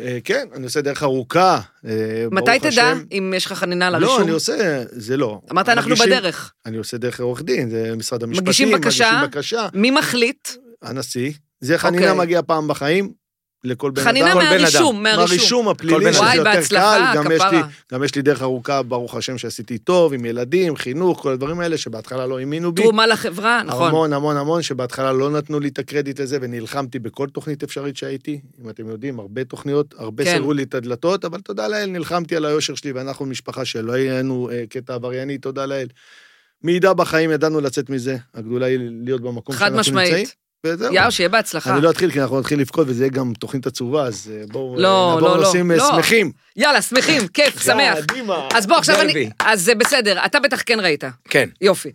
Speaker 3: אה, כן, אני עושה דרך ארוכה, אה,
Speaker 1: מתי
Speaker 3: ברוך
Speaker 1: תדע
Speaker 3: השם.
Speaker 1: אם יש לך חנינה לרישום?
Speaker 3: לא, אני עושה, זה לא.
Speaker 1: אמרת, אנחנו
Speaker 3: מגישים-
Speaker 1: בדרך.
Speaker 3: אני עושה דרך עורך דין, זה משרד המשפטים.
Speaker 1: מגישים בקשה?
Speaker 3: מגישים בקשה,
Speaker 1: מי מחליט?
Speaker 3: הנשיא. זה חנינה
Speaker 1: אוקיי.
Speaker 3: מגיע פעם בחיים, לכל בן אדם.
Speaker 1: חנינה
Speaker 2: כל בן אדם.
Speaker 1: מהרישום, מהרישום.
Speaker 2: כל
Speaker 3: מהרישום
Speaker 2: בן
Speaker 3: הפלילי, שזה
Speaker 1: וואי,
Speaker 3: יותר
Speaker 1: בהצלחה,
Speaker 3: קל, גם יש, לי,
Speaker 1: כפרה.
Speaker 3: גם יש לי דרך ארוכה, ברוך השם, שעשיתי טוב, עם ילדים, חינוך, כל הדברים האלה שבהתחלה לא האמינו בי.
Speaker 1: תרומה לחברה, נכון.
Speaker 3: המון המון המון, שבהתחלה לא נתנו לי את הקרדיט לזה, ונלחמתי בכל תוכנית אפשרית שהייתי. אם אתם יודעים, הרבה תוכניות, הרבה
Speaker 1: כן.
Speaker 3: כן. לי את הדלתות, אבל תודה לאל, נלחמתי על היושר שלי, ואנחנו משפחה שלא היינו אה, קטע עברייני, תודה לאל. מעידה בחיים, ידענו לצאת מזה. הגדולה היא להיות במקום
Speaker 1: חד
Speaker 3: שאנחנו נמצאים.
Speaker 1: משמעית.
Speaker 3: וזהו.
Speaker 1: יאו, שיהיה בהצלחה.
Speaker 3: אני לא אתחיל, כי אנחנו נתחיל לבכות, וזה יהיה גם תוכנית עצובה, אז אה, בואו
Speaker 1: לא,
Speaker 3: אה, נעבור
Speaker 1: לא, לא,
Speaker 3: לנושאים אה,
Speaker 1: לא.
Speaker 3: שמחים.
Speaker 1: יאללה, שמחים, כיף, שמח.
Speaker 3: קדימה.
Speaker 1: אז בוא, עכשיו אני...
Speaker 2: דרבי.
Speaker 1: אז זה בסדר, אתה בטח כן ראית.
Speaker 2: כן.
Speaker 1: יופי.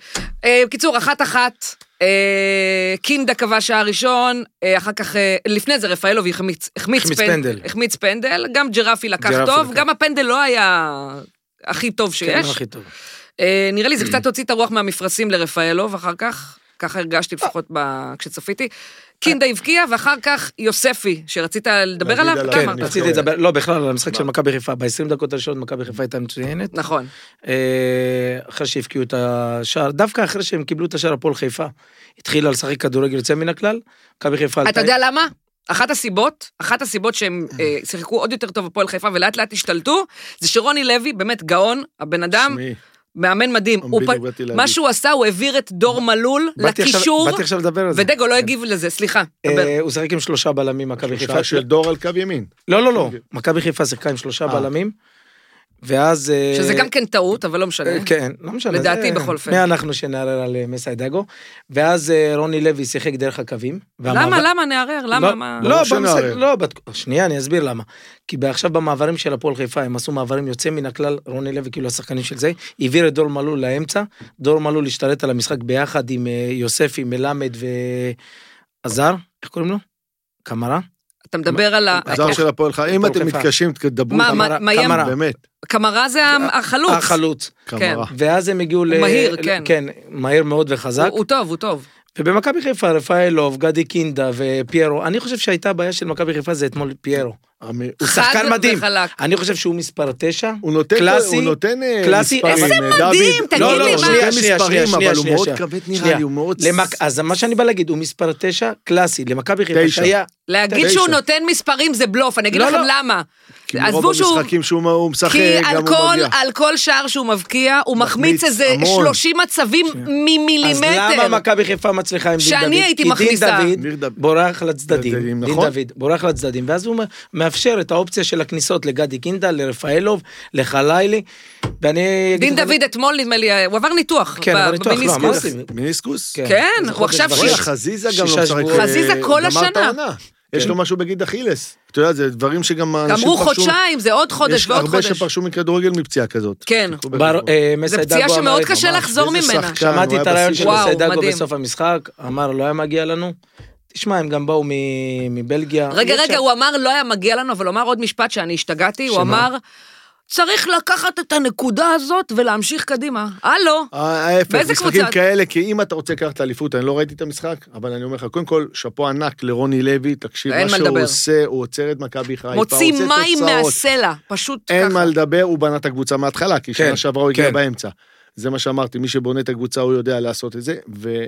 Speaker 1: אה, בקיצור, אחת-אחת, אה, קינדה כבש שער ראשון, אה, אחר כך, אה, לפני זה רפאלוב החמיץ, החמיץ,
Speaker 2: החמיץ פנדל.
Speaker 1: החמיץ פנדל, גם ג'רפי לקח
Speaker 2: ג'רפי
Speaker 1: טוב,
Speaker 2: לקח.
Speaker 1: גם הפנדל לא היה הכי טוב
Speaker 2: כן,
Speaker 1: שיש.
Speaker 2: לא הכי טוב.
Speaker 1: אה, נראה לי זה קצת הוציא את הרוח מהמפרשים לרפאלוב אחר כך, ככה הרגשתי
Speaker 2: אה.
Speaker 1: לפחות ב... כשצפיתי. קינדה הבקיע, ואחר כך יוספי, שרצית לדבר
Speaker 3: נגיד
Speaker 1: עליו,
Speaker 3: עליו,
Speaker 1: אתה
Speaker 3: כן,
Speaker 2: כן,
Speaker 1: אמרת.
Speaker 2: רציתי
Speaker 3: נבחרת.
Speaker 2: לדבר, לא, בכלל, על המשחק של מכבי חיפה. ב-20 דקות הראשונות מכבי חיפה הייתה מצוינת.
Speaker 1: נכון.
Speaker 2: אה, אחרי שהבקיעו את השער, דווקא אחרי שהם קיבלו את השער, הפועל חיפה התחילה לשחק כדורגל יוצא מן הכלל. מכבי חיפה...
Speaker 1: אתה
Speaker 2: עלתה-
Speaker 1: יודע למה? אחת הסיבות, אחת הסיבות שהם אה, שיחקו עוד יותר טוב בפועל חיפה ולאט לאט השתלטו, זה שרוני לוי באמת גאון, הבן אדם,
Speaker 3: שמעי,
Speaker 1: מאמן מדהים. הוא פ-
Speaker 3: בדיוק באתי להגיד.
Speaker 1: מה שהוא עשה, הוא העביר את דור מלול
Speaker 2: באתי עכשיו-
Speaker 1: לקישור,
Speaker 2: באתי עכשיו לדבר על זה.
Speaker 1: ודגו לא הגיב לזה, סליחה. דבר.
Speaker 2: אה, הוא שיחק עם שלושה בלמים, מכבי חיפה.
Speaker 3: שלושה של דור על קו ימין.
Speaker 2: לא, לא, לא. מכבי חיפה שיחקה עם שלושה
Speaker 3: אה.
Speaker 2: בלמים, ואז... אה,
Speaker 1: שזה גם כן טעות, אבל לא משנה.
Speaker 2: אה, כן, לא משנה.
Speaker 1: לדעתי,
Speaker 2: זה-
Speaker 1: בכל אופן.
Speaker 2: מי אנחנו שנערער על אה, מסי דגו? ואז אה, רוני לוי שיחק דרך הקווים.
Speaker 1: למה,
Speaker 2: והמעבר-
Speaker 1: למה נערער? למה,
Speaker 2: לא,
Speaker 1: מה?
Speaker 2: לא,
Speaker 3: ברור
Speaker 2: במשחק,
Speaker 3: שנערער.
Speaker 2: לא, בת... שנייה, אני אסביר למה. כי עכשיו במעברים של הפועל חיפה, הם עשו מעברים יוצא מן הכלל, רוני לוי, כאילו השחקנים של זה, העביר את דור מלול לאמצע, דור מלול השתלט על המשחק ביחד עם אה, יוספי, מלמד ועזר, איך קוראים לו? קמרה?
Speaker 1: אתה מדבר על ה...
Speaker 3: הזר של הפועל חיפה. אם
Speaker 2: הפועל
Speaker 3: אתם
Speaker 2: חיפה.
Speaker 3: מתקשים, תדברו.
Speaker 1: אה, כן. מה,
Speaker 3: איתם.
Speaker 1: מה, מה ים?
Speaker 2: קמרה. אה,
Speaker 3: באמת,
Speaker 1: קמרה זה החלוץ.
Speaker 2: החלוץ.
Speaker 1: כן.
Speaker 3: כמרה.
Speaker 2: ואז הם הגיעו ל...
Speaker 1: מהיר, כן.
Speaker 2: כן, מהיר מאוד וחזק.
Speaker 1: הוא- הוא טוב, הוא טוב.
Speaker 2: ובמכבי חיפה, רפאלוב, גדי קינדה ופיירו, אני חושב שהייתה הבעיה של מכבי חיפה זה אתמול פיירו.
Speaker 3: המ-
Speaker 2: הוא
Speaker 1: חד
Speaker 2: שחקן מדהים.
Speaker 1: וחלק.
Speaker 2: אני חושב שהוא מספר תשע.
Speaker 3: הוא נותן,
Speaker 2: קלאסי,
Speaker 3: הוא נותן אה,
Speaker 2: קלאסי,
Speaker 3: מספרים,
Speaker 2: איזה
Speaker 3: אה, דוד.
Speaker 1: מדהים, תגיד
Speaker 3: לא, לא,
Speaker 1: לי
Speaker 3: הוא
Speaker 1: מה.
Speaker 2: שנייה,
Speaker 3: נותן
Speaker 2: שנייה,
Speaker 3: מספרים,
Speaker 2: שנייה,
Speaker 3: אבל הוא
Speaker 2: שנייה,
Speaker 3: מאוד
Speaker 2: שנייה.
Speaker 3: כבד נראה
Speaker 2: שנייה.
Speaker 3: לי, הוא מאוד...
Speaker 2: למק... אז מה שאני בא להגיד, הוא מספר תשע, קלאסי, למכבי חיפה
Speaker 3: תשע.
Speaker 2: שהיה...
Speaker 1: להגיד
Speaker 3: תשע.
Speaker 1: שהוא נותן מספרים זה בלוף, אני אגיד
Speaker 2: לא,
Speaker 1: לכם
Speaker 2: לא.
Speaker 1: למה.
Speaker 3: כי
Speaker 1: עזבו
Speaker 3: מרוב
Speaker 1: שהוא...
Speaker 3: המשחקים שהוא הוא משחק,
Speaker 1: כי
Speaker 3: אה, גם
Speaker 1: על
Speaker 3: הוא
Speaker 1: כל,
Speaker 3: מגיע.
Speaker 1: על כל שער שהוא מבקיע, הוא מחמיץ
Speaker 3: מחמיץ
Speaker 1: איזה
Speaker 3: המון.
Speaker 1: 30 מצבים
Speaker 2: אז
Speaker 1: ממילימטר.
Speaker 2: למה מכבי חיפה מצליחה עם דין דוד?
Speaker 1: שאני הייתי
Speaker 2: כי
Speaker 1: מכניסה.
Speaker 2: דין
Speaker 3: ניר
Speaker 2: דוד
Speaker 3: דוד.
Speaker 2: בורח לצדדים.
Speaker 3: לצדדים,
Speaker 2: דין
Speaker 3: נכון.
Speaker 2: דוד בורח לצדדים, ואז הוא מאפשר את האופציה של הכניסות לגדי קינדה, לרפאלוב, לחלילי, ואני...
Speaker 1: דין
Speaker 2: אגיד לך-
Speaker 1: דוד אתמול, נדמה לי, אה, הוא עבר ניתוח.
Speaker 2: כן,
Speaker 1: ב-
Speaker 2: עבר ניתוח, לא,
Speaker 1: במיניסקוס.
Speaker 2: אמרתי.
Speaker 3: מיניסקוס?
Speaker 2: כן.
Speaker 1: כן,
Speaker 2: זה
Speaker 1: הוא
Speaker 2: חודש
Speaker 1: עכשיו
Speaker 2: וחצי.
Speaker 1: שש...
Speaker 3: וואלה, חזיזה גם
Speaker 2: שישה
Speaker 3: לא משחק.
Speaker 2: שבועות.
Speaker 3: אה,
Speaker 1: חזיזה כל
Speaker 3: גמר את
Speaker 1: השנה.
Speaker 3: העונה. יש
Speaker 2: כן.
Speaker 3: לו משהו בגיד אכילס. אתה יודע, זה דברים שגם אנשים
Speaker 1: גמרו
Speaker 3: פרשו-
Speaker 1: חודשיים, זה עוד חודש
Speaker 3: יש
Speaker 1: ועוד
Speaker 3: הרבה
Speaker 1: חודש.
Speaker 3: שפרשו מכדרגל מפציעה כזאת.
Speaker 1: כן.
Speaker 3: קחו
Speaker 2: בר-
Speaker 3: בחשבון.
Speaker 2: אה, מסי
Speaker 1: זה
Speaker 2: דגו
Speaker 1: פציעה
Speaker 2: אמר
Speaker 1: שמאוד
Speaker 2: את זה,
Speaker 1: קשה
Speaker 2: אמר,
Speaker 1: לחזור
Speaker 3: איזה
Speaker 1: ממנה.
Speaker 3: שחקן. הוא
Speaker 2: שמעתי
Speaker 3: היה
Speaker 2: את הרעיון
Speaker 3: בשיא
Speaker 2: של
Speaker 1: שלו. וואו,
Speaker 2: מסי דגו
Speaker 1: מדהים.
Speaker 2: בסוף המשחק, אמר לא היה מגיע לנו. תשמע, הם גם באו מ- מבלגיה.
Speaker 1: רגע,
Speaker 2: אי
Speaker 1: רגע,
Speaker 2: אפשר.
Speaker 1: הוא אמר, לא היה מגיע לנו, אבל הוא אמר עוד משפט שאני השתגעתי, הוא
Speaker 2: שמה?
Speaker 1: אמר, צריך לקחת את הנקודה הזאת ולהמשיך קדימה.
Speaker 3: אה,
Speaker 1: הלו.
Speaker 3: ההפך,
Speaker 1: באיזה
Speaker 3: משחקים
Speaker 1: קבוצה?
Speaker 3: כאלה, כי אם אתה רוצה לקחת את האליפות, אני לא ראיתי את המשחק, אבל אני אומר לך, קודם כל, שאפו ענק לרוני לוי, תקשיב,
Speaker 1: אין
Speaker 3: מה
Speaker 1: מה
Speaker 3: שהוא
Speaker 1: לדבר.
Speaker 3: עושה, הוא עוצר את מכבי חיפה,
Speaker 1: מוציא
Speaker 3: הוא עושה
Speaker 1: מים
Speaker 3: תוצאות.
Speaker 1: מהסלע, פשוט
Speaker 3: אין
Speaker 1: ככה.
Speaker 3: מה לדבר, הוא בנה את הקבוצה מההתחלה, כי
Speaker 2: כן,
Speaker 3: שנה שעברה הוא הגיע
Speaker 2: כן.
Speaker 3: באמצע. זה מה שאמרתי, מי שבונה את הקבוצה הוא יודע לעשות את זה,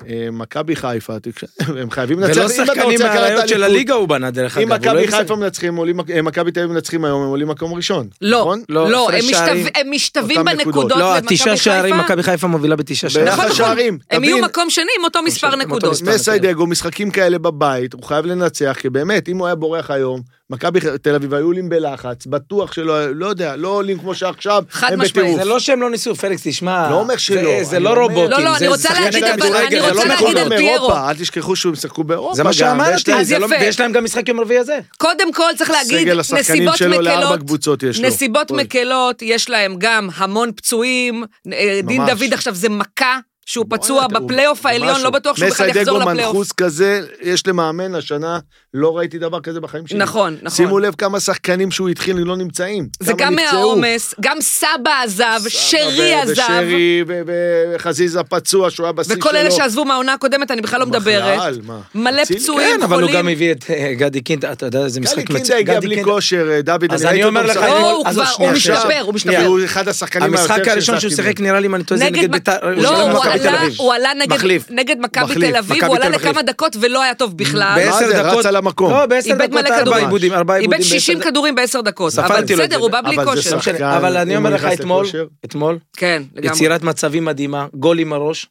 Speaker 3: ומכבי חיפה, תקש- הם חייבים לנצח,
Speaker 2: ולא
Speaker 3: אם אתה
Speaker 2: שחקנים
Speaker 3: רוצה לקחת את
Speaker 2: מהראיות של
Speaker 3: האליפות,
Speaker 2: הליגה הוא בנה, דרך אגב.
Speaker 3: אם
Speaker 2: הוא לא
Speaker 3: מכבי
Speaker 2: הפסיק.
Speaker 3: חיפה מנצחים, עולים- אה, מכבי תל אביב מנצחים היום, הם עולים מקום ראשון.
Speaker 1: לא,
Speaker 3: נכון?
Speaker 2: לא,
Speaker 1: לא,
Speaker 2: הפרש
Speaker 1: הם
Speaker 2: שערים.
Speaker 1: משתו- הם משתווים
Speaker 3: אותם
Speaker 1: בנקודות
Speaker 3: נקודות.
Speaker 2: לא,
Speaker 1: למכבי
Speaker 2: התשעה שערים,
Speaker 1: חיפה.
Speaker 2: מכבי חיפה מובילה בתשעה שערים.
Speaker 3: ביחס
Speaker 1: נכון, נכון.
Speaker 3: שערים,
Speaker 1: הם יהיו
Speaker 3: תבין.
Speaker 1: מקום שני עם אותו מספר
Speaker 2: עם אותו
Speaker 1: נקודות.
Speaker 2: מספר.
Speaker 3: מסיידגו, משחקים כאלה בבית, הוא חייב לנצח, כי באמת, אם הוא היה בורח היום, מכבי ח- תל אביב היו עולים בלחץ, בטוח שלא, לא יודע, לא עולים כמו שעכשיו,
Speaker 1: חד
Speaker 3: הם
Speaker 1: משמעית.
Speaker 3: בטירוף.
Speaker 2: זה לא שהם לא ניסו, פליקס, תשמע.
Speaker 3: לא אומר
Speaker 2: זה-
Speaker 3: שלא,
Speaker 2: זה
Speaker 3: אני
Speaker 2: לא
Speaker 3: אומר-
Speaker 2: רובוטים.
Speaker 1: לא, לא,
Speaker 2: זה-
Speaker 1: אני רוצה
Speaker 2: זה שחקני
Speaker 1: להגיד, אבל-
Speaker 2: כדורגל,
Speaker 1: אני
Speaker 2: זה לא
Speaker 1: רוצה
Speaker 2: מכונה.
Speaker 1: להגיד על
Speaker 3: באירופה,
Speaker 1: פיירו.
Speaker 3: אל תשכחו שהם שיחקו באירופה.
Speaker 2: זה מה
Speaker 3: גם, ויש
Speaker 2: שאמרתי,
Speaker 3: להם-
Speaker 1: אז
Speaker 2: זה לא-
Speaker 1: יפה.
Speaker 2: ויש להם גם משחק יום רביעי הזה.
Speaker 1: קודם כל צריך להגיד,
Speaker 3: סגל השחקנים
Speaker 1: נסיבות
Speaker 3: שלו לארבע
Speaker 1: מקלות,
Speaker 3: קבוצות יש לו.
Speaker 1: נסיבות
Speaker 3: אוי.
Speaker 1: מקלות, יש להם גם המון פצועים, אה, דין
Speaker 3: ממש.
Speaker 1: דוד עכשיו זה מכה. שהוא פצוע
Speaker 3: בואנה,
Speaker 1: בפלייאוף
Speaker 3: הוא-
Speaker 1: העליון,
Speaker 3: משהו.
Speaker 1: לא בטוח שהוא בכלל יחזור
Speaker 3: מסיידגו
Speaker 1: לפלייאוף.
Speaker 3: מנחוס כזה, יש למאמן השנה, לא ראיתי דבר כזה בחיים שלי.
Speaker 1: נכון, נכון.
Speaker 3: שימו לב כמה שחקנים שהוא התחיל לא נמצאים.
Speaker 1: זה
Speaker 3: כמה
Speaker 1: גם
Speaker 3: נפצעו.
Speaker 1: מהעומס, גם סבא עזב,
Speaker 3: סבא
Speaker 1: שרי
Speaker 3: ו-
Speaker 1: עזב,
Speaker 3: ושרי ו- ו- וחזיזה פצוע, שהוא היה בשיא שלו.
Speaker 1: וכל אלה שעזבו מהעונה הקודמת, אני בכלל לא מדברת.
Speaker 3: בכלל, מה?
Speaker 1: מלא
Speaker 3: אצילי-
Speaker 1: פצועים,
Speaker 2: כן, אבל הוא גם
Speaker 1: חולים.
Speaker 2: הביא את אה, גדי קינדה, אתה יודע, זה משחק
Speaker 3: גדי
Speaker 2: מצ-
Speaker 3: קינדה הגיע
Speaker 2: גדי
Speaker 3: בלי
Speaker 2: קינדה-
Speaker 3: כושר, אה, דוד,
Speaker 2: אז
Speaker 3: ראיתי
Speaker 2: אני
Speaker 3: אותו
Speaker 2: אומר לך,
Speaker 3: משחק.
Speaker 1: לא,
Speaker 2: אתמול-
Speaker 1: הוא
Speaker 2: אז
Speaker 1: כבר-
Speaker 2: שנייה,
Speaker 1: הוא
Speaker 2: שנייה,
Speaker 1: משתפר,
Speaker 2: שנייה.
Speaker 1: הוא משתפר.
Speaker 2: שנייה.
Speaker 3: הוא אחד השחקנים
Speaker 2: המשחק
Speaker 3: היותר
Speaker 2: הראשון שהוא
Speaker 3: שהשחקתי
Speaker 2: שיחק
Speaker 3: בו.
Speaker 2: נראה לי, אם אני טועה, זה נגד
Speaker 1: מק-
Speaker 2: בית"ר, הוא שיחק
Speaker 1: לא,
Speaker 2: נגד
Speaker 1: הוא
Speaker 2: מכבי תל
Speaker 1: עלה,
Speaker 2: אביב.
Speaker 1: הוא עלה נגד-
Speaker 2: מחליף.
Speaker 1: נגד מכבי
Speaker 3: מחליף,
Speaker 1: תל אביב,
Speaker 2: מכבי
Speaker 1: הוא עלה
Speaker 2: תל אביב.
Speaker 1: לכמה דקות ולא היה טוב
Speaker 2: אה,
Speaker 1: בכלל.
Speaker 3: מה זה,
Speaker 2: בעשר
Speaker 3: רץ
Speaker 2: דקות...
Speaker 3: על המקום.
Speaker 2: לא, בעשר
Speaker 1: איבד
Speaker 2: דקות
Speaker 1: מלא
Speaker 2: ארבע
Speaker 1: כדורים.
Speaker 2: עיבודים, ארבע עיבודים.
Speaker 1: איבד
Speaker 2: בעשר
Speaker 1: 60
Speaker 2: דקות.
Speaker 1: כדורים בעשר דקות.
Speaker 2: ספרתי
Speaker 1: אבל
Speaker 2: לו את זה.
Speaker 1: בסדר, הוא בא בלי
Speaker 3: אבל זה
Speaker 1: כושר.
Speaker 3: שחקן,
Speaker 2: אבל אני
Speaker 3: אם
Speaker 2: אומר
Speaker 3: הוא
Speaker 2: לך,
Speaker 3: נכנס
Speaker 2: אתמול,
Speaker 3: לכושר-
Speaker 2: אתמול,
Speaker 1: כן, לגמרי.
Speaker 2: יצירת מצבים מדהימה, גול עם הראש,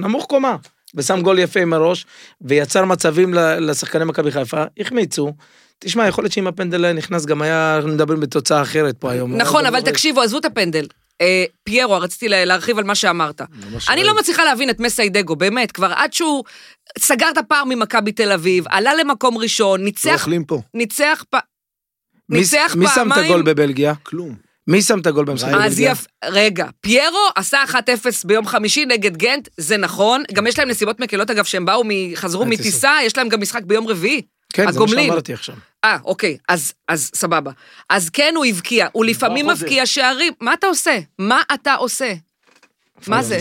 Speaker 2: נמוך קומה, ושם גול יפה עם הראש, ויצר מצבים ל- לשחקני מכבי חיפה, החמיצו. תשמע, יכול להיות שאם הפנדל היה נכנס, גם היה, אנחנו מדברים בתוצאה אחרת פה היום.
Speaker 1: נכון, אבל תקשיבו, עזבו את הפנדל. אה, פיירו, רציתי לה- להרחיב על מה שאמרת. אני לא מצליחה להבין את מסיידגו, באמת, כבר עד שהוא סגר את הפער ממכבי תל אביב, עלה למקום ראשון,
Speaker 3: לא
Speaker 1: ניצח,
Speaker 3: אוכלים פה,
Speaker 1: ניצח פ...
Speaker 2: מי-
Speaker 1: ניצח
Speaker 2: מי שם את
Speaker 1: פעמיים-
Speaker 2: הגול בבלגיה?
Speaker 3: כלום.
Speaker 2: מי שם את הגול במשחק בבלגיה?
Speaker 1: אז יפ... רגע, פיירו עשה 1-0 ביום חמישי נגד גנט, זה נכון. גם יש להם נסיבות מקלות, אגב, שהם באו, מ... חזרו
Speaker 2: אל תיסע.
Speaker 1: מטיסה, יש להם גם משחק ביום רביעי.
Speaker 2: כן, זה מה
Speaker 1: הגומלין.
Speaker 2: שאמרתי עכשיו.
Speaker 1: אה, אוקיי, אז, אז סבבה. אז כן, הוא הבקיע, הוא לפעמים
Speaker 3: מה זה?
Speaker 1: מבקיע שערים. מה אתה עושה? מה אתה עושה? מה זה?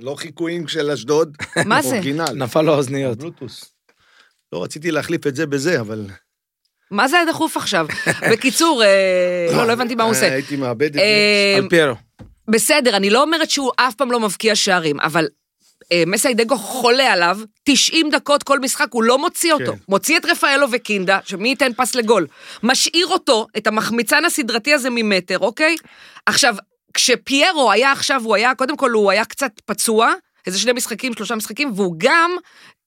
Speaker 3: לא חיקויים של אשדוד.
Speaker 1: מה זה?
Speaker 3: אורגינל.
Speaker 2: נפל לו האוזניות.
Speaker 1: אמ,
Speaker 3: בלוטוס. לא רציתי להחליף את זה בזה, אבל...
Speaker 1: מה זה הדחוף עכשיו? בקיצור, אה, לא, לא הבנתי מה הוא עושה.
Speaker 3: הייתי מאבד את זה.
Speaker 1: אה,
Speaker 2: על פיירו.
Speaker 1: בסדר, אני לא אומרת שהוא אף פעם לא מבקיע שערים, אבל אה, מסיידגו חולה עליו, 90 דקות כל משחק, הוא לא מוציא אותו.
Speaker 3: כן.
Speaker 1: מוציא את רפאלו וקינדה, שמי ייתן פס לגול. משאיר אותו, את המחמיצן הסדרתי הזה ממטר, אוקיי? עכשיו, כשפיירו היה עכשיו, הוא היה, קודם כל הוא היה קצת פצוע, איזה שני משחקים, שלושה משחקים, והוא גם...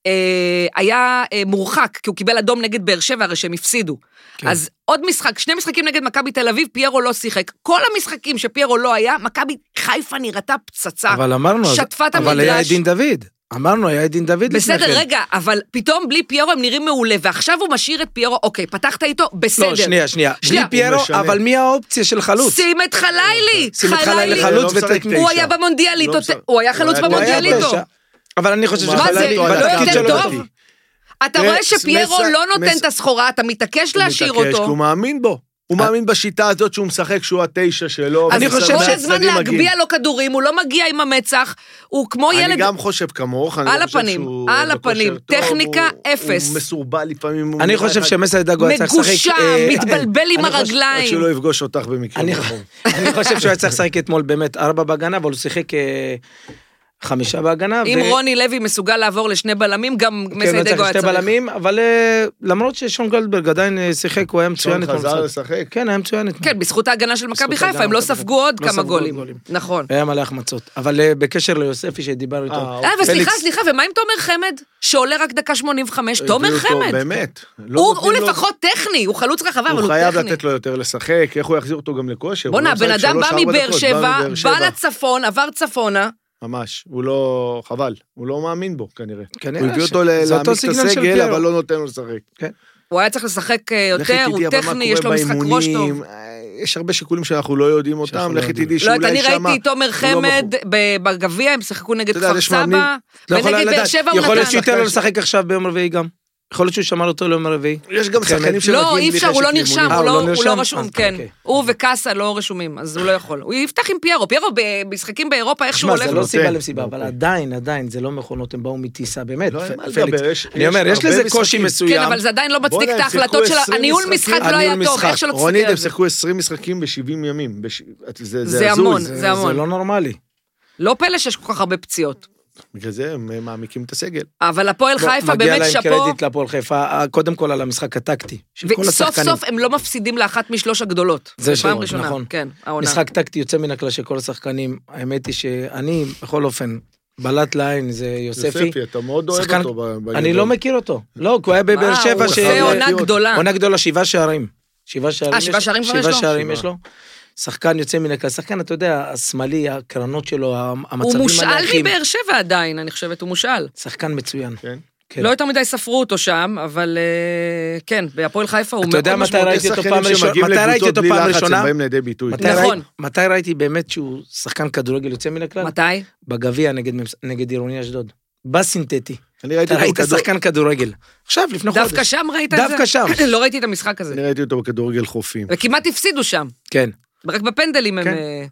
Speaker 1: אה, היה אה, מורחק, כי הוא קיבל אדום נגד באר שבע, הרי שהם הפסידו. כן. אז עוד משחק, שני משחקים נגד מכבי תל אביב, פיירו לא שיחק. כל המשחקים שפיירו לא היה, מכבי חיפה נראתה פצצה.
Speaker 2: אבל אמרנו, אז-
Speaker 1: שטפה את
Speaker 2: אבל היה את
Speaker 1: המגרש.
Speaker 2: דין דוד. אמרנו, היה את דין דוד לפני כן.
Speaker 1: בסדר, רגע, אבל פתאום בלי פיירו הם נראים מעולה, ועכשיו הוא משאיר את פיירו, אוקיי, פתחת איתו, בסדר.
Speaker 2: לא, שנייה, שנייה. בלי
Speaker 1: שנייה.
Speaker 2: פיירו,
Speaker 3: הוא משנה.
Speaker 2: אבל מי האופציה של חלוץ?
Speaker 1: שים את חלילי!
Speaker 2: שים את חלילי
Speaker 3: חלילי
Speaker 2: חלוץ
Speaker 3: לא משחק
Speaker 2: וטקני.
Speaker 3: תשע.
Speaker 1: הוא היה במונדיאלית,
Speaker 3: לא
Speaker 1: אותו-
Speaker 3: משחק.
Speaker 1: הוא היה חלוץ
Speaker 3: הוא היה
Speaker 1: במונדיאליטו.
Speaker 2: תשע. אבל אני חושב
Speaker 1: מה זה,
Speaker 2: שחלילי,
Speaker 1: לא
Speaker 2: בתפקיד
Speaker 1: יותר
Speaker 2: שלו
Speaker 1: טוב?
Speaker 2: לא טוב.
Speaker 1: אתה
Speaker 3: אה,
Speaker 1: רואה שפיירו
Speaker 3: מס-
Speaker 1: לא נותן
Speaker 3: מס-
Speaker 1: את הסחורה, אתה מתעקש להשאיר
Speaker 3: הוא מתעקש, כי
Speaker 1: אותו.
Speaker 3: הוא מאמין בו.
Speaker 2: אה.
Speaker 3: הוא מאמין בשיטה הזאת שהוא משחק, שהוא התשע שלו.
Speaker 1: אז
Speaker 2: אני
Speaker 3: וזה
Speaker 2: חושב
Speaker 1: כל
Speaker 3: שמח,
Speaker 1: הזמן
Speaker 3: הצדדים מגיעים.
Speaker 1: להגביה לו כדורים, הוא לא מגיע עם המצח, הוא כמו
Speaker 3: אני
Speaker 1: ילד...
Speaker 3: גם חושב כמוך, אני
Speaker 1: על
Speaker 3: לא חושב
Speaker 1: הפנים,
Speaker 3: שהוא
Speaker 1: על
Speaker 3: בכושר
Speaker 1: הפנים.
Speaker 3: טוב,
Speaker 1: טכניקה,
Speaker 3: הוא-
Speaker 1: אפס.
Speaker 3: הוא מסורבל לפעמים. הוא
Speaker 2: אני
Speaker 3: נראה
Speaker 2: חושב
Speaker 3: אחד-
Speaker 2: שמסי דגו היה צריך לשחק...
Speaker 1: מגושם,
Speaker 2: אה,
Speaker 1: מתבלבל עם
Speaker 2: אני חושב-
Speaker 1: הרגליים.
Speaker 3: עד שהוא לא יפגוש אותך במקרה.
Speaker 2: אני-
Speaker 3: נכון.
Speaker 2: אני חושב שהוא היה צריך לשחק אתמול באמת ארבע בהגנה, אבל הוא שיחק אה, חמישה בהגנה.
Speaker 1: אם
Speaker 2: ו-
Speaker 1: רוני לוי מסוגל לעבור לשני בלמים, גם
Speaker 2: כן, הוא היה
Speaker 1: מסיידגו
Speaker 2: צריך
Speaker 1: היה
Speaker 2: שתי
Speaker 1: צריך.
Speaker 2: בלמים, אבל אה, למרות ששון גולדברג עדיין אה, שיחק, הוא היה מצוין
Speaker 3: שון
Speaker 2: אתמול.
Speaker 3: חזר
Speaker 2: במשחק.
Speaker 3: לשחק.
Speaker 2: כן, היה מצוין אתמול.
Speaker 1: כן, בזכות ההגנה של מכבי
Speaker 2: ההגנה
Speaker 1: חיפה, הם לא
Speaker 2: מכבי
Speaker 1: ספגו עוד
Speaker 2: לא
Speaker 1: כמה
Speaker 2: ספגו עוד
Speaker 1: גולים.
Speaker 2: גולים. אה,
Speaker 1: נכון.
Speaker 2: היה מלא החמצות. אבל אה, בקשר ליוספי שדיבר
Speaker 3: אה,
Speaker 2: איתו.
Speaker 1: אה, וסליחה,
Speaker 2: פליקס.
Speaker 1: סליחה, ומה עם תומר חמד? שעולה רק דקה 85? תומר
Speaker 3: הביאו אה, אותו,
Speaker 1: חמד.
Speaker 3: באמת. לא
Speaker 1: הוא
Speaker 3: נותנים
Speaker 1: הוא
Speaker 3: לו-
Speaker 1: לפחות טכני, הוא חלוץ רחבה, אבל
Speaker 3: הוא
Speaker 1: הוא
Speaker 3: חייב
Speaker 1: טכני.
Speaker 3: לתת לו יותר לשחק, איך הוא יחזיר אותו גם לכושר?
Speaker 1: בואנה,
Speaker 3: הוא לא
Speaker 1: הבן
Speaker 3: משחק
Speaker 1: אדם בא
Speaker 3: שלוש, ארבע
Speaker 1: מבאר
Speaker 3: דקות,
Speaker 1: שבע,
Speaker 3: מבאר
Speaker 1: בא לצפון, עבר צפונה.
Speaker 3: ממש, הוא לא... חבל, הוא לא מאמין בו כנראה.
Speaker 2: כנראה
Speaker 3: הוא הביא
Speaker 2: ש-
Speaker 3: אותו ל-
Speaker 2: זה אותו
Speaker 3: להעמיק את
Speaker 2: סגנון של
Speaker 3: הסגל,
Speaker 2: פיירו.
Speaker 3: אבל לא נותן לו לשחק.
Speaker 1: הוא היה צריך לשחק אה,
Speaker 3: לכי
Speaker 1: יותר, הוא
Speaker 3: תדעי, אבל מה
Speaker 1: טכני,
Speaker 3: קורה
Speaker 1: יש לו משחק ראש טוב.
Speaker 3: באימונים? אה, יש הרבה שיקולים שאנחנו לא יודעים
Speaker 2: שאנחנו
Speaker 3: אותם,
Speaker 2: לא
Speaker 3: לכי
Speaker 2: יודעים.
Speaker 3: תדעי
Speaker 1: לא, יודעת,
Speaker 3: שאולי
Speaker 1: אני
Speaker 3: שמה... לא
Speaker 1: ראיתי את תומר חמד ב- בגביע, הם שיחקו נגד
Speaker 3: אתה יודע,
Speaker 1: כפר
Speaker 3: יש מאמנים-
Speaker 1: סבא,
Speaker 2: לא יכולה
Speaker 1: ונגד באר
Speaker 2: לדעת.
Speaker 1: שבע הוא
Speaker 2: יכול להיות
Speaker 1: נתן.
Speaker 2: שהוא ייתן לו לשחק עכשיו ביום רביעי גם. יכול להיות שהוא שמר אותו ליום רביעי.
Speaker 3: יש גם שחקנים שמגיעים
Speaker 1: לא, אי
Speaker 3: בלי
Speaker 1: אפשר, הוא
Speaker 3: חשק
Speaker 1: לא נרשם,
Speaker 3: לאימונים.
Speaker 2: אה,
Speaker 1: הוא
Speaker 2: הוא
Speaker 1: לא-
Speaker 2: לא
Speaker 1: הוא לא
Speaker 2: נרשם?
Speaker 1: רשום,
Speaker 2: אה,
Speaker 1: כן.
Speaker 2: אוקיי.
Speaker 1: הוא וקאסה לא רשומים, אז הוא לא יכול. הוא יפתח עם פיירו, פיירו במשחקים באירופה, איך שהוא
Speaker 2: תשמע, זה
Speaker 1: הולך.
Speaker 2: לא
Speaker 3: נותן.
Speaker 2: סיבה למסיבה, אבל
Speaker 3: אוקיי.
Speaker 2: עדיין, עדיין, זה לא מכונות, הם באו מטיסה, באמת.
Speaker 3: לא, אין
Speaker 2: פ-
Speaker 3: מה לדבר,
Speaker 2: פליקס.
Speaker 3: יש-
Speaker 2: אני אומר,
Speaker 3: יש
Speaker 2: יש לזה
Speaker 3: הרבה
Speaker 2: קושי
Speaker 3: משחקים.
Speaker 1: כן,
Speaker 2: מסוים.
Speaker 1: אבל זה עדיין לא מצדיק
Speaker 3: בואנה,
Speaker 1: את
Speaker 3: הם שיחקו
Speaker 1: ההחלטות של...
Speaker 3: 20
Speaker 1: הניהול
Speaker 3: משחקים.
Speaker 1: משחק לא היה
Speaker 2: הניהול
Speaker 1: טוב,
Speaker 2: משחק.
Speaker 1: איך שלא
Speaker 3: רונית,
Speaker 1: תסתכל על
Speaker 3: הם
Speaker 1: זה.
Speaker 3: שיחקו 20 משחקים ב-70 ימים. בש- זה-
Speaker 1: זה
Speaker 3: זה
Speaker 1: המון.
Speaker 3: הזוי.
Speaker 1: זה
Speaker 2: זה
Speaker 1: המון.
Speaker 2: לא נורמלי.
Speaker 1: לא פלא שיש כל כך הרבה פציעות.
Speaker 3: בגלל זה הם אה, מעמיקים את הסגל.
Speaker 1: אבל הפועל
Speaker 2: לא,
Speaker 1: חיפה באמת
Speaker 2: מגיע להם
Speaker 1: שאפו,
Speaker 2: קרדיט להפועל חיפה, אה, קודם כל על המשחק הטקטי. של כל
Speaker 1: וסוף
Speaker 2: השחקנים.
Speaker 1: סוף הם לא מפסידים לאחת משלוש הגדולות.
Speaker 2: זה
Speaker 1: פעם
Speaker 2: שלו,
Speaker 1: ראשונה,
Speaker 2: נכון.
Speaker 1: כן, העונה.
Speaker 2: משחק טקטי יוצא מן הכלל של כל השחקנים. האמת היא שאני, בכל אופן, בלט לעין זה יוספי.
Speaker 3: יוספי, אתה מאוד אוהב
Speaker 2: שחקן-
Speaker 3: אותו. ב-
Speaker 2: אני
Speaker 3: בגדול.
Speaker 2: לא מכיר אותו. לא, כי הוא היה בבאר
Speaker 1: וואו,
Speaker 2: שבע.
Speaker 1: אה, הוא
Speaker 2: ש-
Speaker 1: עושה עונה
Speaker 3: ראיתי אותו.
Speaker 1: גדולה.
Speaker 2: עונה גדולה, שבעה שערים. שבעה שערים.
Speaker 1: אה,
Speaker 2: יש
Speaker 1: שבעה
Speaker 2: לו-
Speaker 1: שערים כבר יש לו?
Speaker 2: שבעה שערים
Speaker 3: שבעה.
Speaker 2: יש לו. שחקן יוצא מן הכלל. שחקן, אתה יודע, השמאלי, הקרנות שלו, המ-
Speaker 1: הוא
Speaker 2: המצבים
Speaker 1: מושאל
Speaker 2: הנייחים.
Speaker 1: מבאר שבע עדיין, אני חושבת, הוא מושאל.
Speaker 2: שחקן מצוין.
Speaker 3: כן.
Speaker 2: כן.
Speaker 1: לא יותר מדי ספרו אותו שם, אבל אה, כן, בהפועל חיפה הוא מאוד
Speaker 2: יודע מתי
Speaker 1: משמעותי.
Speaker 2: ראיתי אותו
Speaker 3: שחקנים
Speaker 2: פעם ראשונה-
Speaker 3: שמגיעים
Speaker 2: מתי ראיתי
Speaker 3: לקבוצות
Speaker 2: אותו
Speaker 3: בלי
Speaker 2: פעם
Speaker 3: לחץ,
Speaker 2: ראשונה?
Speaker 3: הם באים לידי ביטוי.
Speaker 2: מתי ראי-
Speaker 1: נכון.
Speaker 2: מתי ראיתי באמת שהוא שחקן כדורגל יוצא מן הכלל?
Speaker 1: מתי?
Speaker 2: בגביע נגד ממס- נגד עירוני אשדוד. בסינתטי.
Speaker 3: אני ראיתי
Speaker 2: אתה
Speaker 3: אותו
Speaker 2: ראית
Speaker 3: בכדור-
Speaker 2: שחקן כדורגל. עכשיו, לפני חודש.
Speaker 1: דווקא שם ראית את זה?
Speaker 2: דווקא שם.
Speaker 1: לא ראיתי את המשחק הזה.
Speaker 3: אני ראיתי אותו בכדורגל חופים.
Speaker 1: וכמעט הפסידו שם.
Speaker 2: כן.
Speaker 1: רק בפנדלים הם...
Speaker 2: כן.
Speaker 1: אה,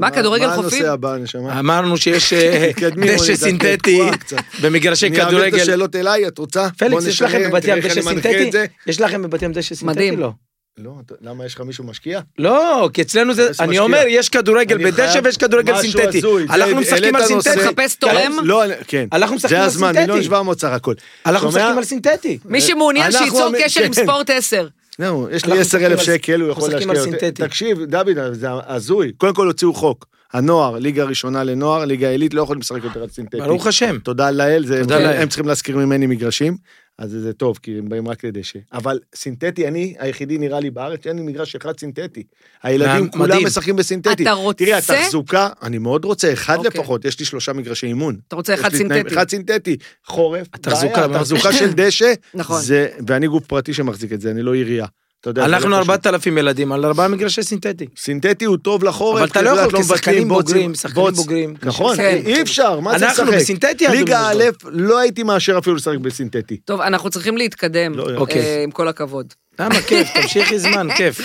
Speaker 1: מה, כדורגל
Speaker 3: מה
Speaker 1: חופים?
Speaker 3: הנושא הבא, נשמה?
Speaker 2: אמרנו שיש אה,
Speaker 3: תתקדמי,
Speaker 2: דשא
Speaker 3: אורית, את
Speaker 2: סינתטי
Speaker 3: תקועה קצת.
Speaker 2: במגרשי
Speaker 3: אני אעביר את
Speaker 2: כדורגל.
Speaker 3: השאלות אליי, את רוצה?
Speaker 2: פליקס,
Speaker 3: בוא
Speaker 2: יש
Speaker 3: נשנה,
Speaker 2: לכם בבת ים
Speaker 3: תראי איך
Speaker 2: דשא
Speaker 3: אני מנחה
Speaker 2: סינתטי?
Speaker 3: את זה.
Speaker 2: יש לכם בבת ים דשא סינתטי?
Speaker 1: מדהים.
Speaker 2: לא.
Speaker 3: לא, אתה- למה, יש לך מישהו משקיע?
Speaker 2: לא, כי אצלנו זה,
Speaker 3: זה
Speaker 2: אני
Speaker 3: משקיע.
Speaker 2: אומר, יש כדורגל
Speaker 3: אני
Speaker 2: בדשא
Speaker 3: חייב-
Speaker 2: ויש כדורגל
Speaker 3: משהו
Speaker 2: סינתטי.
Speaker 3: הזוי, זה-
Speaker 2: אנחנו משחקים
Speaker 3: העלית
Speaker 2: על
Speaker 3: נושא-
Speaker 2: סינתטי.
Speaker 1: מחפש תורם?
Speaker 3: לא, כן.
Speaker 2: אנחנו משחקים
Speaker 3: זה
Speaker 2: על
Speaker 3: הזמן,
Speaker 2: סינתטי.
Speaker 3: מיליון שבע מאות סך הכל.
Speaker 2: אנחנו
Speaker 3: שומע?
Speaker 2: משחקים על סינתטי.
Speaker 1: מי שמעוניין
Speaker 3: אנחנו
Speaker 1: שיצור
Speaker 3: המ-
Speaker 1: קשר עם
Speaker 3: כן.
Speaker 1: ספורט 10.
Speaker 3: זהו, יש לי
Speaker 2: אנחנו
Speaker 3: עשר אלף
Speaker 2: משחקים על-
Speaker 3: שקל, הוא יכול
Speaker 2: משחקים
Speaker 3: להשקיע
Speaker 2: על
Speaker 3: יותר.
Speaker 2: סינתטי.
Speaker 3: תקשיב, דוד, זה הזוי. קודם כל הוציאו חוק. הנוער, ליגה ראשונה לנוער, ליגה עילית, לא יכולים לשחק יותר על סינתטי.
Speaker 2: ברוך השם.
Speaker 3: תודה לאל, זה,
Speaker 2: תודה
Speaker 3: הם,
Speaker 2: לאל.
Speaker 3: הם צריכים להשכיר ממני מגרשים, אז זה טוב, כי הם באים רק לדשא. אבל סינתטי, אני היחידי נראה לי בארץ, אין לי מגרש אחד סינתטי. הילדים
Speaker 2: מדהים.
Speaker 3: כולם משחקים בסינתטי.
Speaker 1: אתה רוצה-
Speaker 3: תראי, התחזוקה, אני מאוד רוצה, אחד
Speaker 1: אוקיי.
Speaker 3: לפחות, יש לי שלושה מגרשי אימון.
Speaker 1: אתה רוצה
Speaker 3: יש
Speaker 1: אחד
Speaker 3: לי תנאים-
Speaker 1: סינתטי.
Speaker 3: אחד סינתטי, חורף,
Speaker 2: התחזוקה,
Speaker 3: בעיה,
Speaker 2: מאוד
Speaker 3: התחזוקה
Speaker 2: קשה.
Speaker 3: של דשא,
Speaker 1: נכון.
Speaker 3: זה, ואני גוף פרטי שמחזיק את זה, אני לא עירייה. אתה יודע, זה לא
Speaker 2: אנחנו
Speaker 3: פשוט.
Speaker 2: 4,000 ילדים על ארבעה מגרשי סינתטי.
Speaker 3: סינתטי הוא טוב לחורף,
Speaker 2: אבל אתה
Speaker 3: כי
Speaker 2: לא
Speaker 3: את יודעת,
Speaker 2: יכול, כי
Speaker 3: מבטלים,
Speaker 2: שחקנים
Speaker 3: בוץ,
Speaker 2: בוגרים,
Speaker 3: בוץ.
Speaker 2: שחקנים בוגרים.
Speaker 3: נכון,
Speaker 1: כן.
Speaker 3: אי אפשר, מה זה לשחק?
Speaker 2: אנחנו בסינתטי האדום
Speaker 3: ליגה א',
Speaker 2: אשדוד.
Speaker 3: לא הייתי מאשר אפילו לשחק בסינתטי.
Speaker 1: טוב, אנחנו צריכים להתקדם,
Speaker 3: לא,
Speaker 1: אה,
Speaker 2: אוקיי.
Speaker 1: עם כל הכבוד.
Speaker 2: למה, כיף, תמשיכי זמן, כיף.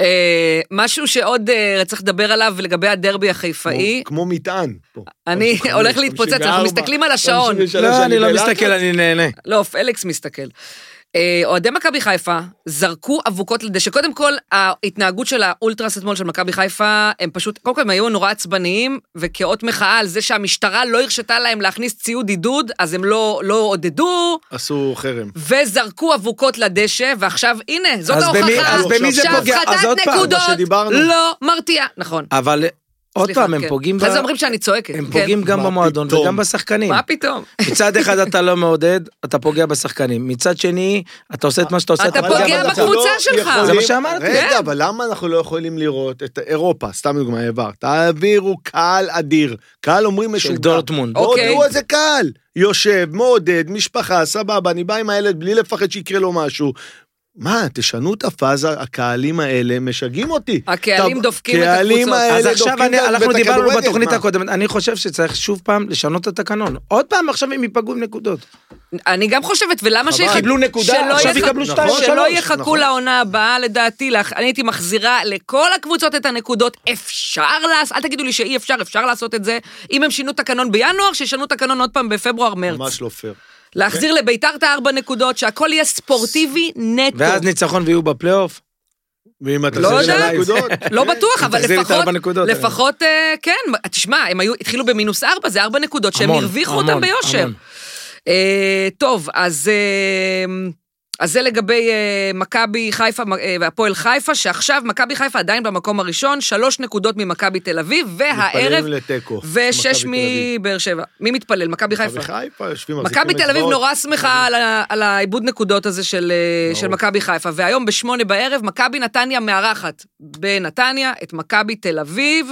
Speaker 1: אה, משהו שעוד אה, צריך לדבר עליו לגבי הדרבי החיפאי,
Speaker 3: כמו- כמו מטען. פה.
Speaker 1: אני
Speaker 3: חמש,
Speaker 1: הולך להתפוצץ, אנחנו
Speaker 3: 54,
Speaker 1: מסתכלים על השעון.
Speaker 3: 53,
Speaker 2: לא, אני לא
Speaker 3: בלחץ.
Speaker 2: מסתכל, אני נהנה.
Speaker 1: לא, פליקס מסתכל. אה, אוהדי מכבי חיפה זרקו אבוקות לדשא. קודם כל, ההתנהגות של האולטרס אתמול של מכבי חיפה, הם פשוט, קודם כל הם היו נורא עצבניים, וכאות מחאה על זה שהמשטרה לא הרשתה להם להכניס ציוד עידוד, אז הם לא, לא עודדו,
Speaker 3: עשו חרם.
Speaker 1: וזרקו אבוקות לדשא, ועכשיו הנה, זאת
Speaker 2: אז במי-
Speaker 1: ההוכחה
Speaker 2: אז במי זה פוגע? אז
Speaker 1: שהפחתת
Speaker 2: עוד פעם,
Speaker 1: נקודות
Speaker 3: מה שדיברנו.
Speaker 1: לא מרתיעה. נכון.
Speaker 2: אבל עוד
Speaker 1: סליחה,
Speaker 2: פעם, הם
Speaker 1: כן.
Speaker 2: פוגעים ב-
Speaker 1: אחרי זה אומרים שאני צועקת.
Speaker 2: הם
Speaker 1: כן.
Speaker 2: פוגעים גם
Speaker 3: מה
Speaker 2: במועדון
Speaker 3: פתאום?
Speaker 2: וגם בשחקנים.
Speaker 1: מה פתאום?
Speaker 2: מצד אחד אתה לא מעודד, אתה פוגע בשחקנים. מצד שני, אתה עושה את מה שאתה עושה,
Speaker 1: אתה
Speaker 3: אבל
Speaker 1: פוגע
Speaker 3: למה
Speaker 2: בצד.
Speaker 3: אנחנו
Speaker 1: בקבוצה
Speaker 3: לא
Speaker 1: שלך.
Speaker 3: יכולים-
Speaker 2: זה מה שאמרתי.
Speaker 1: כן.
Speaker 3: רגע, אבל למה אנחנו לא יכולים לראות את אירופה? סתם דוגמא, העברת. האוויר הוא קהל אדיר. קהל אומרים
Speaker 2: של
Speaker 3: משוגע.
Speaker 2: דורטמונד.
Speaker 3: לא,
Speaker 1: אוקיי.
Speaker 3: תראו איזה קהל. יושב, מעודד, משפחה, סבבה, אני בא עם הילד בלי לפחד שיקרה לו משהו. מה, תשנו את הפאזה, הקהלים האלה משגעים אותי.
Speaker 1: הקהלים
Speaker 3: טוב,
Speaker 1: דופקים את
Speaker 3: הקהלים
Speaker 1: הקבוצות.
Speaker 3: האלה
Speaker 2: אז
Speaker 3: דופקים
Speaker 2: עכשיו אני-
Speaker 3: את
Speaker 2: אנחנו
Speaker 3: הכדורגל,
Speaker 2: דיברנו
Speaker 3: מה?
Speaker 2: בתוכנית הקודמת, אני חושב שצריך שוב פעם לשנות את התקנון. עוד פעם עכשיו הם ייפגעו עם נקודות.
Speaker 1: אני גם חושבת, ולמה
Speaker 3: חבל.
Speaker 1: שיח-
Speaker 3: קיבלו
Speaker 2: נקודה,
Speaker 1: שלא
Speaker 2: עכשיו
Speaker 1: יח-
Speaker 2: יקבלו
Speaker 3: שתיים,
Speaker 1: שלא
Speaker 3: שלוש,
Speaker 1: יחכו
Speaker 3: נכון.
Speaker 1: לעונה הבאה, לדעתי, לך- אני הייתי מחזירה לכל הקבוצות את הנקודות. אפשר לעשות, אל תגידו לי שאי אפשר, אפשר לעשות את זה. אם הם שינו תקנון בינואר, שישנו תקנון עוד פעם בפברואר-מרץ.
Speaker 3: ממש לא פייר.
Speaker 1: להחזיר
Speaker 2: כן.
Speaker 1: לביתר את הארבע נקודות, שהכל יהיה ספורטיבי
Speaker 2: ואז
Speaker 1: נטו.
Speaker 2: ניצחון ויהיו בפלייאוף.
Speaker 3: ואם אתה
Speaker 1: לא
Speaker 3: עושה
Speaker 1: יודעת.
Speaker 3: שתי נקודות,
Speaker 1: לא בטוח, אבל
Speaker 2: תחזיר לי את
Speaker 1: לפחות,
Speaker 2: הארבע נקודות האלה.
Speaker 1: לפחות, אה, כן, תשמע, הם היו, התחילו במינוס ארבע, זה ארבע נקודות שהם
Speaker 2: המון,
Speaker 1: הרוויחו אותם
Speaker 2: המון,
Speaker 1: ביושר.
Speaker 2: המון.
Speaker 1: אה, טוב, אז... אה, אז זה לגבי אה, מכבי חיפה מ- אה, והפועל חיפה, שעכשיו מכבי חיפה עדיין במקום הראשון, שלוש נקודות ממכבי תל אביב, והערב,
Speaker 3: מתפללים לתיקו.
Speaker 1: ושש
Speaker 3: מכבי תל אביב.
Speaker 1: מבאר שבע. מי מתפלל? מכבי חיפה.
Speaker 3: מכבי חיפה יושבים, מחזיקים
Speaker 1: מכבי תל אביב
Speaker 3: אצבעות.
Speaker 1: נורא שמחה על ה- על העיבוד נקודות הזה של, אה,
Speaker 3: ברור.
Speaker 1: של מכבי חיפה, והיום בשמונה בערב מכבי נתניה מארחת בנתניה את מכבי תל אביב.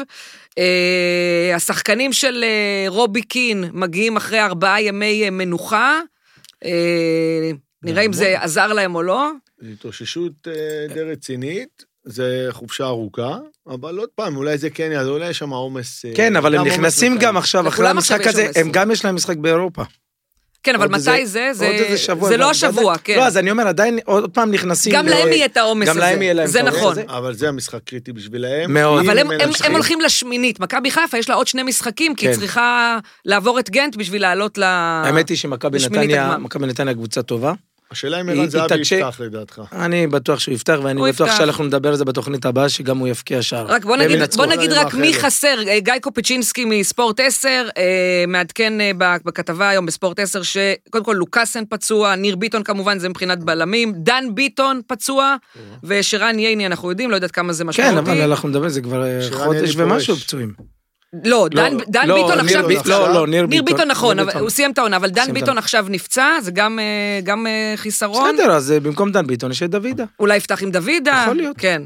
Speaker 1: אה, השחקנים של אה, רובי קין מגיעים אחרי ארבעה ימי אה, מנוחה. אה, נראה אם זה עזר להם או לא.
Speaker 3: זו התאוששות אה, די רצינית, זה חופשה ארוכה, אבל עוד פעם, אולי זה כן יעזור, אולי יש שם עומס... אה,
Speaker 2: כן, אבל הם
Speaker 3: עומס
Speaker 2: נכנסים
Speaker 3: מסוים.
Speaker 2: גם עכשיו, אחרי
Speaker 1: לכולם עכשיו
Speaker 2: המשחק
Speaker 1: יש
Speaker 2: הזה,
Speaker 1: עומס.
Speaker 2: הם גם יש להם משחק באירופה.
Speaker 1: כן, אבל
Speaker 2: עוד
Speaker 1: מתי
Speaker 2: איזה-
Speaker 1: זה? זה,
Speaker 2: עוד איזה שבוע.
Speaker 1: זה
Speaker 2: הם
Speaker 1: לא
Speaker 2: גם-
Speaker 1: השבוע, כן.
Speaker 2: לא, אז אני אומר, עדיין עוד פעם נכנסים.
Speaker 1: גם
Speaker 2: ל-
Speaker 1: להם יהיה את העומס
Speaker 2: גם
Speaker 1: הזה.
Speaker 2: להם יהיה להם
Speaker 1: זה
Speaker 2: את העומס
Speaker 1: נכון.
Speaker 2: הזה.
Speaker 3: אבל זה המשחק קריטי בשבילהם.
Speaker 2: מאוד.
Speaker 3: אם
Speaker 1: אבל הם, הם,
Speaker 3: מנצחים-
Speaker 1: הם הולכים לשמינית. מכבי חיפה יש לה עוד שני משחקים, כי היא
Speaker 2: כן.
Speaker 1: צריכה לעבור את גנט בשביל לעלות ל...
Speaker 2: האמת היא שמכבי
Speaker 1: בשמינית
Speaker 2: נתניה,
Speaker 1: הגמר.
Speaker 2: מכבי נתניה קבוצה טובה.
Speaker 3: השאלה אם
Speaker 2: היא-
Speaker 3: ערן
Speaker 2: היא
Speaker 3: זהבי
Speaker 2: תקשה-
Speaker 3: יפתח לדעתך.
Speaker 2: אני בטוח שהוא יפתח,
Speaker 1: הוא
Speaker 2: ואני בטוח
Speaker 1: יפתח.
Speaker 2: שאנחנו נדבר על זה בתוכנית הבאה, שגם הוא יבקיע שער.
Speaker 1: רק בוא
Speaker 2: והם
Speaker 1: נגיד,
Speaker 2: ינצחו.
Speaker 1: בוא נגיד
Speaker 3: אני
Speaker 1: רק
Speaker 3: מאחל
Speaker 1: מי
Speaker 3: לו.
Speaker 1: חסר, אה, גיא קופיצ'ינסקי מספורט 10, אה, מעדכן אה, ב- בכתבה היום בספורט 10, שקודם כל לוקאסן פצוע, ניר ביטון כמובן, זה מבחינת בלמים, דן ביטון פצוע, ושרן ייני אנחנו יודעים, לא יודעת כמה זה
Speaker 2: אוקיי. כן,
Speaker 1: משמעותי.
Speaker 2: אבל אנחנו נדבר, זה כבר אה,
Speaker 3: שרן
Speaker 2: חודש
Speaker 3: אלי
Speaker 2: ומשהו
Speaker 3: פורש.
Speaker 2: פצועים.
Speaker 1: לא, דן, דן
Speaker 2: לא,
Speaker 1: ביטון
Speaker 2: ניר
Speaker 1: עכשיו
Speaker 2: ביט-
Speaker 1: נפצע.
Speaker 2: לא, לא, ניר ביטון.
Speaker 1: נכון,
Speaker 2: ניר
Speaker 1: אבל
Speaker 2: ביטון.
Speaker 1: הוא סיים את העונה, אבל דן
Speaker 2: סיים את
Speaker 1: ביטון
Speaker 2: העונה.
Speaker 1: עכשיו נפצע, זה גם, אה, גם אה, חיסרון.
Speaker 2: בסדר, אז אה, במקום דן ביטון יש את דוידה.
Speaker 1: אולי יפתח עם דוידה.
Speaker 2: יכול להיות.
Speaker 1: כן.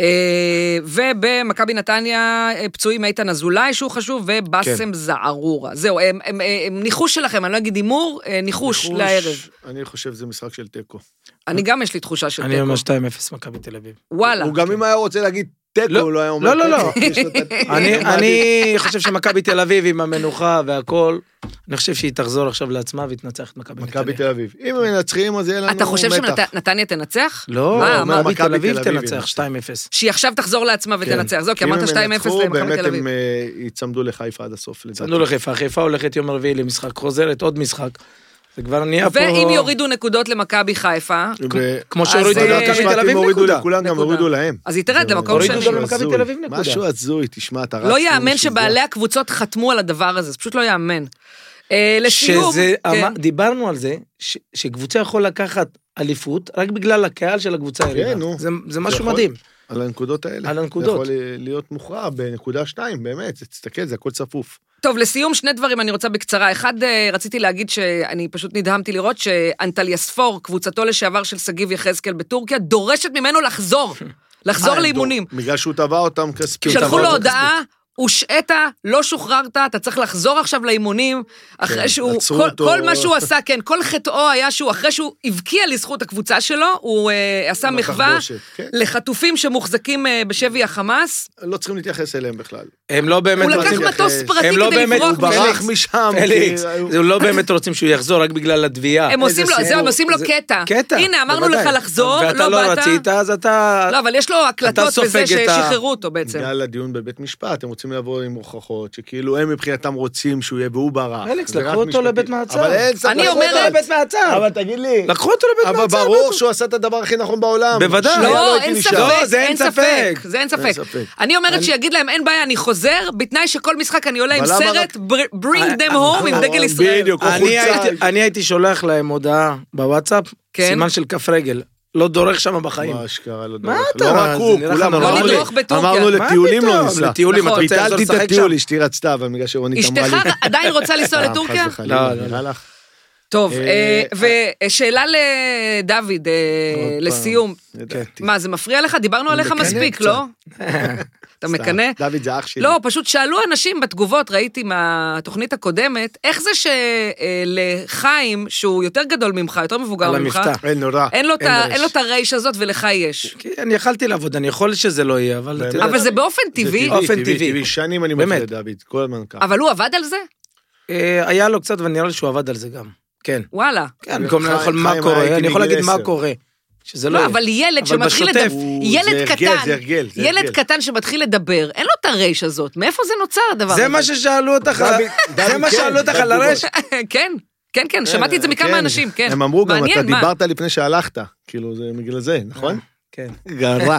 Speaker 1: אה, ובמכבי נתניה אה, פצועים איתן אזולאי, שהוא חשוב, ובאסם זערורה. זהו, הם, הם, הם, הם ניחוש שלכם, אני לא אגיד הימור, אה, ניחוש,
Speaker 3: ניחוש,
Speaker 1: לערב.
Speaker 3: אני חושב שזה משחק של תיקו.
Speaker 1: אני גם יש לי תחושה של
Speaker 2: אני
Speaker 1: תיקו.
Speaker 2: אומר 2-0 מכבי תל אביב.
Speaker 1: וואלה.
Speaker 3: הוא גם אם היה רוצה להגיד תיקו,
Speaker 2: לא,
Speaker 3: הוא לא היה אומר
Speaker 2: לא, לא, לא.
Speaker 3: תיקו. יש לו את ה-
Speaker 2: אני-
Speaker 3: הוא מעדיף-
Speaker 2: אני חושב שמכבי תל אביב עם המנוחה והכל, אני חושב שהיא תחזור עכשיו לעצמה ותנצח את מכבי תל
Speaker 3: מכבי
Speaker 2: אביב.
Speaker 3: תל אביב. אם הם מנצחים, אז יהיה לנו מתח.
Speaker 1: אתה חושב שנתניה תנצח?
Speaker 2: לא,
Speaker 1: מה,
Speaker 3: אומר,
Speaker 2: מכבי תל
Speaker 3: מכבי
Speaker 2: אביב
Speaker 3: תל אביב
Speaker 2: תנצח 2-0.
Speaker 1: שהיא עכשיו תחזור לעצמה ותנצח. זהו, כי אמרת 2-0 למכבי תל
Speaker 3: באמת
Speaker 1: אביב.
Speaker 3: הם אה, ייצמדו לחיפה עד הסוף, לדעתי.
Speaker 2: צמדו לחיפה, חיפה הולכת יום רביעי למשחק, חוזרת עוד משחק. זה כבר נהיה פה...
Speaker 1: ואם יורידו נקודות למכבי חיפה,
Speaker 3: ו-
Speaker 2: כמו
Speaker 1: אז,
Speaker 2: שהורידו
Speaker 1: אה,
Speaker 2: למכבי
Speaker 1: שמעתי,
Speaker 2: תל
Speaker 3: אם
Speaker 2: אביב
Speaker 3: הורידו
Speaker 2: נקודה.
Speaker 3: לכולם, גם
Speaker 1: נקודה.
Speaker 3: הורידו להם.
Speaker 1: אז היא תרד למקום
Speaker 2: הורידו
Speaker 1: שני.
Speaker 2: גם למכבי
Speaker 3: הזוי.
Speaker 2: תל אביב נקודה.
Speaker 3: משהו הזוי, תשמע, אתה רץ.
Speaker 1: לא
Speaker 3: כאילו
Speaker 1: יאמן
Speaker 3: שזה-
Speaker 1: שבעלי הקבוצות חתמו על הדבר הזה, זה פשוט לא יאמן. אה, לסיום,
Speaker 2: שזה, אמר-
Speaker 1: כן.
Speaker 2: דיברנו על זה, ש- שקבוצה יכול לקחת אליפות רק בגלל הקהל של הקבוצה היריבה.
Speaker 3: כן, נו.
Speaker 2: זה- זה משהו
Speaker 3: יכול.
Speaker 2: מדהים.
Speaker 3: על הנקודות האלה.
Speaker 2: על הנקודות.
Speaker 3: זה יכול אה, להיות מוכרע בנקודה שתיים, באמת, תסתכל, זה הכל צפוף.
Speaker 1: טוב, לסיום שני דברים אני רוצה בקצרה. אחד, אה, רציתי להגיד שאני פשוט נדהמתי לראות שאנטליה ספור, קבוצתו לשעבר של שגיב יחזקאל בטורקיה, דורשת ממנו לחזור, לחזור
Speaker 2: אה,
Speaker 1: לאימונים.
Speaker 3: בגלל שהוא תבע אותם כספית.
Speaker 1: שלחו
Speaker 2: תבוא
Speaker 1: לו
Speaker 2: אותו
Speaker 1: הודעה, הושעת, לא שוחררת, אתה צריך לחזור עכשיו לאימונים, אחרי
Speaker 3: כן,
Speaker 1: שהוא,
Speaker 3: עצרו
Speaker 1: כל-
Speaker 3: אותו.
Speaker 1: כל מה שהוא עשה, כן, כל חטאו היה שהוא, אחרי שהוא הבקיע לזכות הקבוצה שלו, הוא אה, עשה
Speaker 3: עם
Speaker 1: מחווה
Speaker 3: התחבושת, כן.
Speaker 1: לחטופים שמוחזקים אה, בשבי החמאס.
Speaker 3: לא צריכים להתייחס אליהם בכלל.
Speaker 2: הם לא באמת
Speaker 1: הוא לקח
Speaker 2: רוצים...
Speaker 3: מתייחס.
Speaker 1: מטוס פרטי
Speaker 2: הם לא
Speaker 1: כדי
Speaker 2: באמת-
Speaker 1: לברוח
Speaker 2: הוא ברח
Speaker 1: מזה.
Speaker 3: ברח משם.
Speaker 2: אליקס,
Speaker 3: כי היו-
Speaker 2: הם לא באמת רוצים שהוא יחזור רק בגלל התביעה.
Speaker 1: הם עושים
Speaker 2: איזה
Speaker 1: לו, זהו,
Speaker 2: סיפור.
Speaker 1: הם עושים לו
Speaker 2: זה-
Speaker 1: קטע.
Speaker 2: קטע.
Speaker 1: הנה, אמרנו
Speaker 2: בוודאי.
Speaker 1: לך לחזור, לא
Speaker 2: ואתה לא
Speaker 1: באת.
Speaker 2: רצית, אז אתה...
Speaker 1: לא, אבל יש לו
Speaker 2: אתה
Speaker 1: הקלטות
Speaker 2: סופג
Speaker 1: וזה
Speaker 2: את ה-
Speaker 1: ששחררו אותו בעצם.
Speaker 3: בגלל הדיון בבית משפט, הם רוצים לבוא עם הוכחות, שכאילו הם מבחינתם רוצים שהוא יהיה והוא ברח.
Speaker 2: אלכס,
Speaker 3: זה
Speaker 2: לקחו
Speaker 3: רק
Speaker 2: אותו
Speaker 3: משפטי.
Speaker 2: לבית מעצר.
Speaker 3: אבל אין ספק,
Speaker 1: אני
Speaker 3: לקחו
Speaker 1: אומרת-
Speaker 3: אותו לבית-
Speaker 2: לבית מעצר.
Speaker 3: אבל תגיד לי,
Speaker 2: לקחו אותו לבית מעצר.
Speaker 3: אבל ברור שהוא עשה את הדבר הכי נכון בעולם.
Speaker 2: בוודאי.
Speaker 3: שהיה לו
Speaker 1: לא,
Speaker 3: את
Speaker 1: אין
Speaker 3: אלישע.
Speaker 1: ספק,
Speaker 2: לא, זה אין
Speaker 1: אין
Speaker 2: ספק.
Speaker 1: ספק, זה אין ספק.
Speaker 3: אין ספק.
Speaker 1: אני אומרת שיגיד להם, אין בעיה, אני חוזר, בתנאי שכל משחק אני עולה עם
Speaker 3: אבל למה
Speaker 1: סרט,
Speaker 3: רק-
Speaker 1: "Br- bring them
Speaker 2: אה,
Speaker 1: home עם
Speaker 3: אה,
Speaker 1: דגל
Speaker 3: אה,
Speaker 1: ישראל.
Speaker 3: בדיוק. או
Speaker 2: אני
Speaker 3: חולצה.
Speaker 2: הייתי- אני הייתי שולח להם הודעה בוואטסאפ,
Speaker 1: כן.
Speaker 2: סימן של כף רגל. לא דורך שם בחיים.
Speaker 3: מה אשכרה לא
Speaker 2: מה
Speaker 3: דרך.
Speaker 2: אתה-
Speaker 3: לא
Speaker 2: זה
Speaker 3: רק הוא,
Speaker 2: נראה לך
Speaker 3: כולם
Speaker 2: נורא.
Speaker 3: אמרנו
Speaker 1: לא
Speaker 3: לי-
Speaker 1: לדרוך בטורקיה.
Speaker 3: אמרנו
Speaker 2: מה
Speaker 3: לטיולים לא
Speaker 2: פתאום?
Speaker 3: נסע.
Speaker 2: לטיולים, אתה
Speaker 1: נכון.
Speaker 2: רוצה לחזור
Speaker 3: ביטלתי את
Speaker 2: לשחק שם?
Speaker 3: הטיול, אשתי רצתה, אבל בגלל שרונית אמרה לי... אה,
Speaker 1: אשתך עדיין רוצה לנסוע לטורקיה?
Speaker 3: חס וחלילה,
Speaker 2: לא, לא,
Speaker 3: נראה לך?
Speaker 1: טוב,
Speaker 3: אה,
Speaker 1: ושאלה לדוד, אה,
Speaker 3: עוד פעם.
Speaker 1: לסיום.
Speaker 3: לדעתי.
Speaker 2: כן.
Speaker 1: מה, זה מפריע לך? דיברנו עליך
Speaker 3: מקנא
Speaker 1: מספיק,
Speaker 3: קצת.
Speaker 1: לא? אתה מקנא?
Speaker 3: סתם, דוד זה אח שלי.
Speaker 1: לא, פשוט שאלו אנשים בתגובות, ראיתי מהתוכנית הקודמת, איך זה שלחיים, שהוא יותר גדול ממך, יותר מבוגר
Speaker 2: על
Speaker 1: ממך,
Speaker 2: המבטא.
Speaker 3: אין נורא.
Speaker 1: אין לו את ה-
Speaker 3: ריש.
Speaker 1: אין לו את הרייש הזאת ולך יש.
Speaker 2: כי אני יכלתי לעבוד, אני יכול שזה לא יהיה, אבל...
Speaker 3: באמת?
Speaker 2: אתה יודע,
Speaker 1: אבל זה באופן טבעי,
Speaker 2: אופן טבעי.
Speaker 3: טבעי. שנים אני
Speaker 2: באמת.
Speaker 3: מפריע לדוד, כל הזמן ככה.
Speaker 1: אבל הוא עבד על זה?
Speaker 2: אה, היה לו קצת, ונראה לי שהוא עבד על זה גם. כן.
Speaker 1: וואלה.
Speaker 2: כן, במקום
Speaker 3: חיים-
Speaker 2: לאכול מה
Speaker 3: חיים
Speaker 2: קורה,
Speaker 3: הייתי
Speaker 2: אני יכול
Speaker 3: בגיל
Speaker 2: להגיד מה
Speaker 3: עשר.
Speaker 2: קורה. שזה לא
Speaker 1: לא,
Speaker 2: יהיה.
Speaker 1: אבל ילד
Speaker 2: אבל
Speaker 1: שמתחיל
Speaker 2: בשוטף
Speaker 1: לדבר,
Speaker 3: כן. הוא- זה
Speaker 1: ילד
Speaker 3: הרגל,
Speaker 1: קטן,
Speaker 3: זה הרגל, זה
Speaker 1: ילד
Speaker 3: הרגל.
Speaker 1: קטן שמתחיל לדבר, אין לו את הרייש הזאת, מאיפה זה נוצר הדבר הזה?
Speaker 2: זה מה ששאלו אותך, על-
Speaker 3: דוד,
Speaker 2: זה מה
Speaker 3: כן,
Speaker 2: שאלו אותך על
Speaker 3: בתגובות.
Speaker 2: הרש.
Speaker 1: כן, כן, כן, שמעתי את זה מכמה
Speaker 3: כן.
Speaker 1: אנשים, כן.
Speaker 3: הם אמרו גם, אתה
Speaker 1: מעניין, מה? אה.
Speaker 3: דיברת לפני שהלכת. כאילו, זה בגלל זה, נכון?
Speaker 2: כן.
Speaker 3: גרע.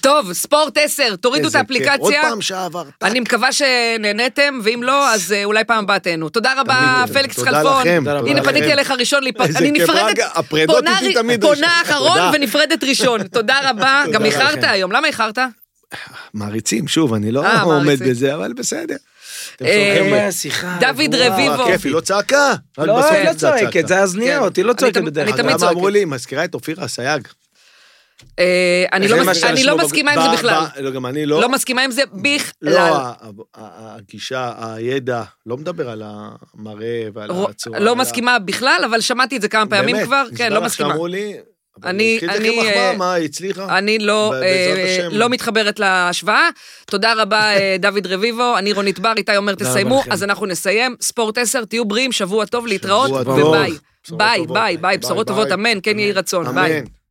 Speaker 1: טוב, ספורט 10, תורידו את
Speaker 3: איזה כיף. עוד
Speaker 1: האפליקציה.
Speaker 3: פעם שעבר.
Speaker 1: אני מקווה שנהניתם, ואם לא, אז אה, אולי פעם הבאה תהנו. תודה רבה,
Speaker 3: תמיד.
Speaker 1: פליקס
Speaker 3: תודה
Speaker 1: חלפון.
Speaker 3: לכם,
Speaker 2: תודה
Speaker 1: הנה,
Speaker 2: לכם.
Speaker 1: פניתי אליך ראשון להיפרד.
Speaker 3: איזה
Speaker 1: אני
Speaker 3: כיף,
Speaker 1: נפרדת,
Speaker 3: רגע, הפרדות
Speaker 1: פונה
Speaker 3: איתי תמיד
Speaker 1: פונה
Speaker 3: ראשון.
Speaker 1: אחרון
Speaker 3: תודה.
Speaker 1: ונפרדת ראשון. תודה רבה.
Speaker 3: תודה
Speaker 1: גם איחרת
Speaker 3: לכם.
Speaker 1: היום, למה איחרת?
Speaker 3: מעריצים, שוב, אני לא
Speaker 1: אה,
Speaker 3: עומד
Speaker 1: מעריצים.
Speaker 3: בזה, אבל בסדר. אתם
Speaker 1: אה,
Speaker 3: צוחקים.
Speaker 2: חבר'ה, שיחה
Speaker 1: דוד
Speaker 2: רגועה.
Speaker 1: רביבו.
Speaker 3: אה, כיף, היא לא צעקה. רק
Speaker 2: לא,
Speaker 3: בסוף
Speaker 2: היא לא
Speaker 3: קצת צעקה.
Speaker 2: צועקת, זה
Speaker 1: כן.
Speaker 2: הזנייה אותי, לא
Speaker 1: אני
Speaker 2: צועקת
Speaker 1: תמיד-
Speaker 2: בדרך
Speaker 1: אני
Speaker 2: כלל.
Speaker 1: תמיד
Speaker 3: אתה יודע
Speaker 1: צועקת.
Speaker 3: מה אמרו לי? היא מזכירה את אופירה אסייג.
Speaker 1: אה, אני לא
Speaker 3: זה
Speaker 1: מס-
Speaker 3: מה
Speaker 1: אני
Speaker 3: שיש
Speaker 1: לא
Speaker 3: לו בג-
Speaker 1: מסכימה עם
Speaker 3: ב-
Speaker 1: זה בכלל.
Speaker 3: ב- לא, גם אני לא.
Speaker 1: לא מסכימה עם זה
Speaker 3: לא,
Speaker 1: בכלל.
Speaker 3: ה- ה- ה- הגישה, הידע, לא מדבר על המראה ועל
Speaker 1: רו-
Speaker 3: הצורה.
Speaker 1: לא
Speaker 3: על ה-
Speaker 1: מסכימה בכלל, אבל שמעתי את זה כמה פעמים
Speaker 3: באמת,
Speaker 1: כבר. כן,
Speaker 3: נשבע
Speaker 1: לא
Speaker 3: לך
Speaker 1: מסכימה.
Speaker 3: שאמרו לי, אבל
Speaker 1: אני-
Speaker 3: התחיל
Speaker 1: אני,
Speaker 3: לכם
Speaker 1: אה,
Speaker 3: מחמאה, מה, היא הצליחה?
Speaker 1: אני לא,
Speaker 3: ב-
Speaker 1: אה,
Speaker 3: בעזרת השם.
Speaker 1: לא מתחברת להשוואה. תודה רבה, אה, דוד רביבו. אני רונית בר, איתי אומר
Speaker 2: תודה רבה
Speaker 1: תסיימו,
Speaker 2: לכם.
Speaker 1: אז אנחנו נסיים. ספורט 10, תהיו בריאים, שבוע טוב, להתראות,
Speaker 3: שבוע
Speaker 2: טוב.
Speaker 1: וביי.
Speaker 3: בשורות
Speaker 1: ביי,
Speaker 3: טובות.
Speaker 1: ביי, ביי,
Speaker 3: ביי,
Speaker 1: בשורות
Speaker 3: ביי.
Speaker 1: טובות, אמן, כן יהי רצון, ביי.
Speaker 3: אמן.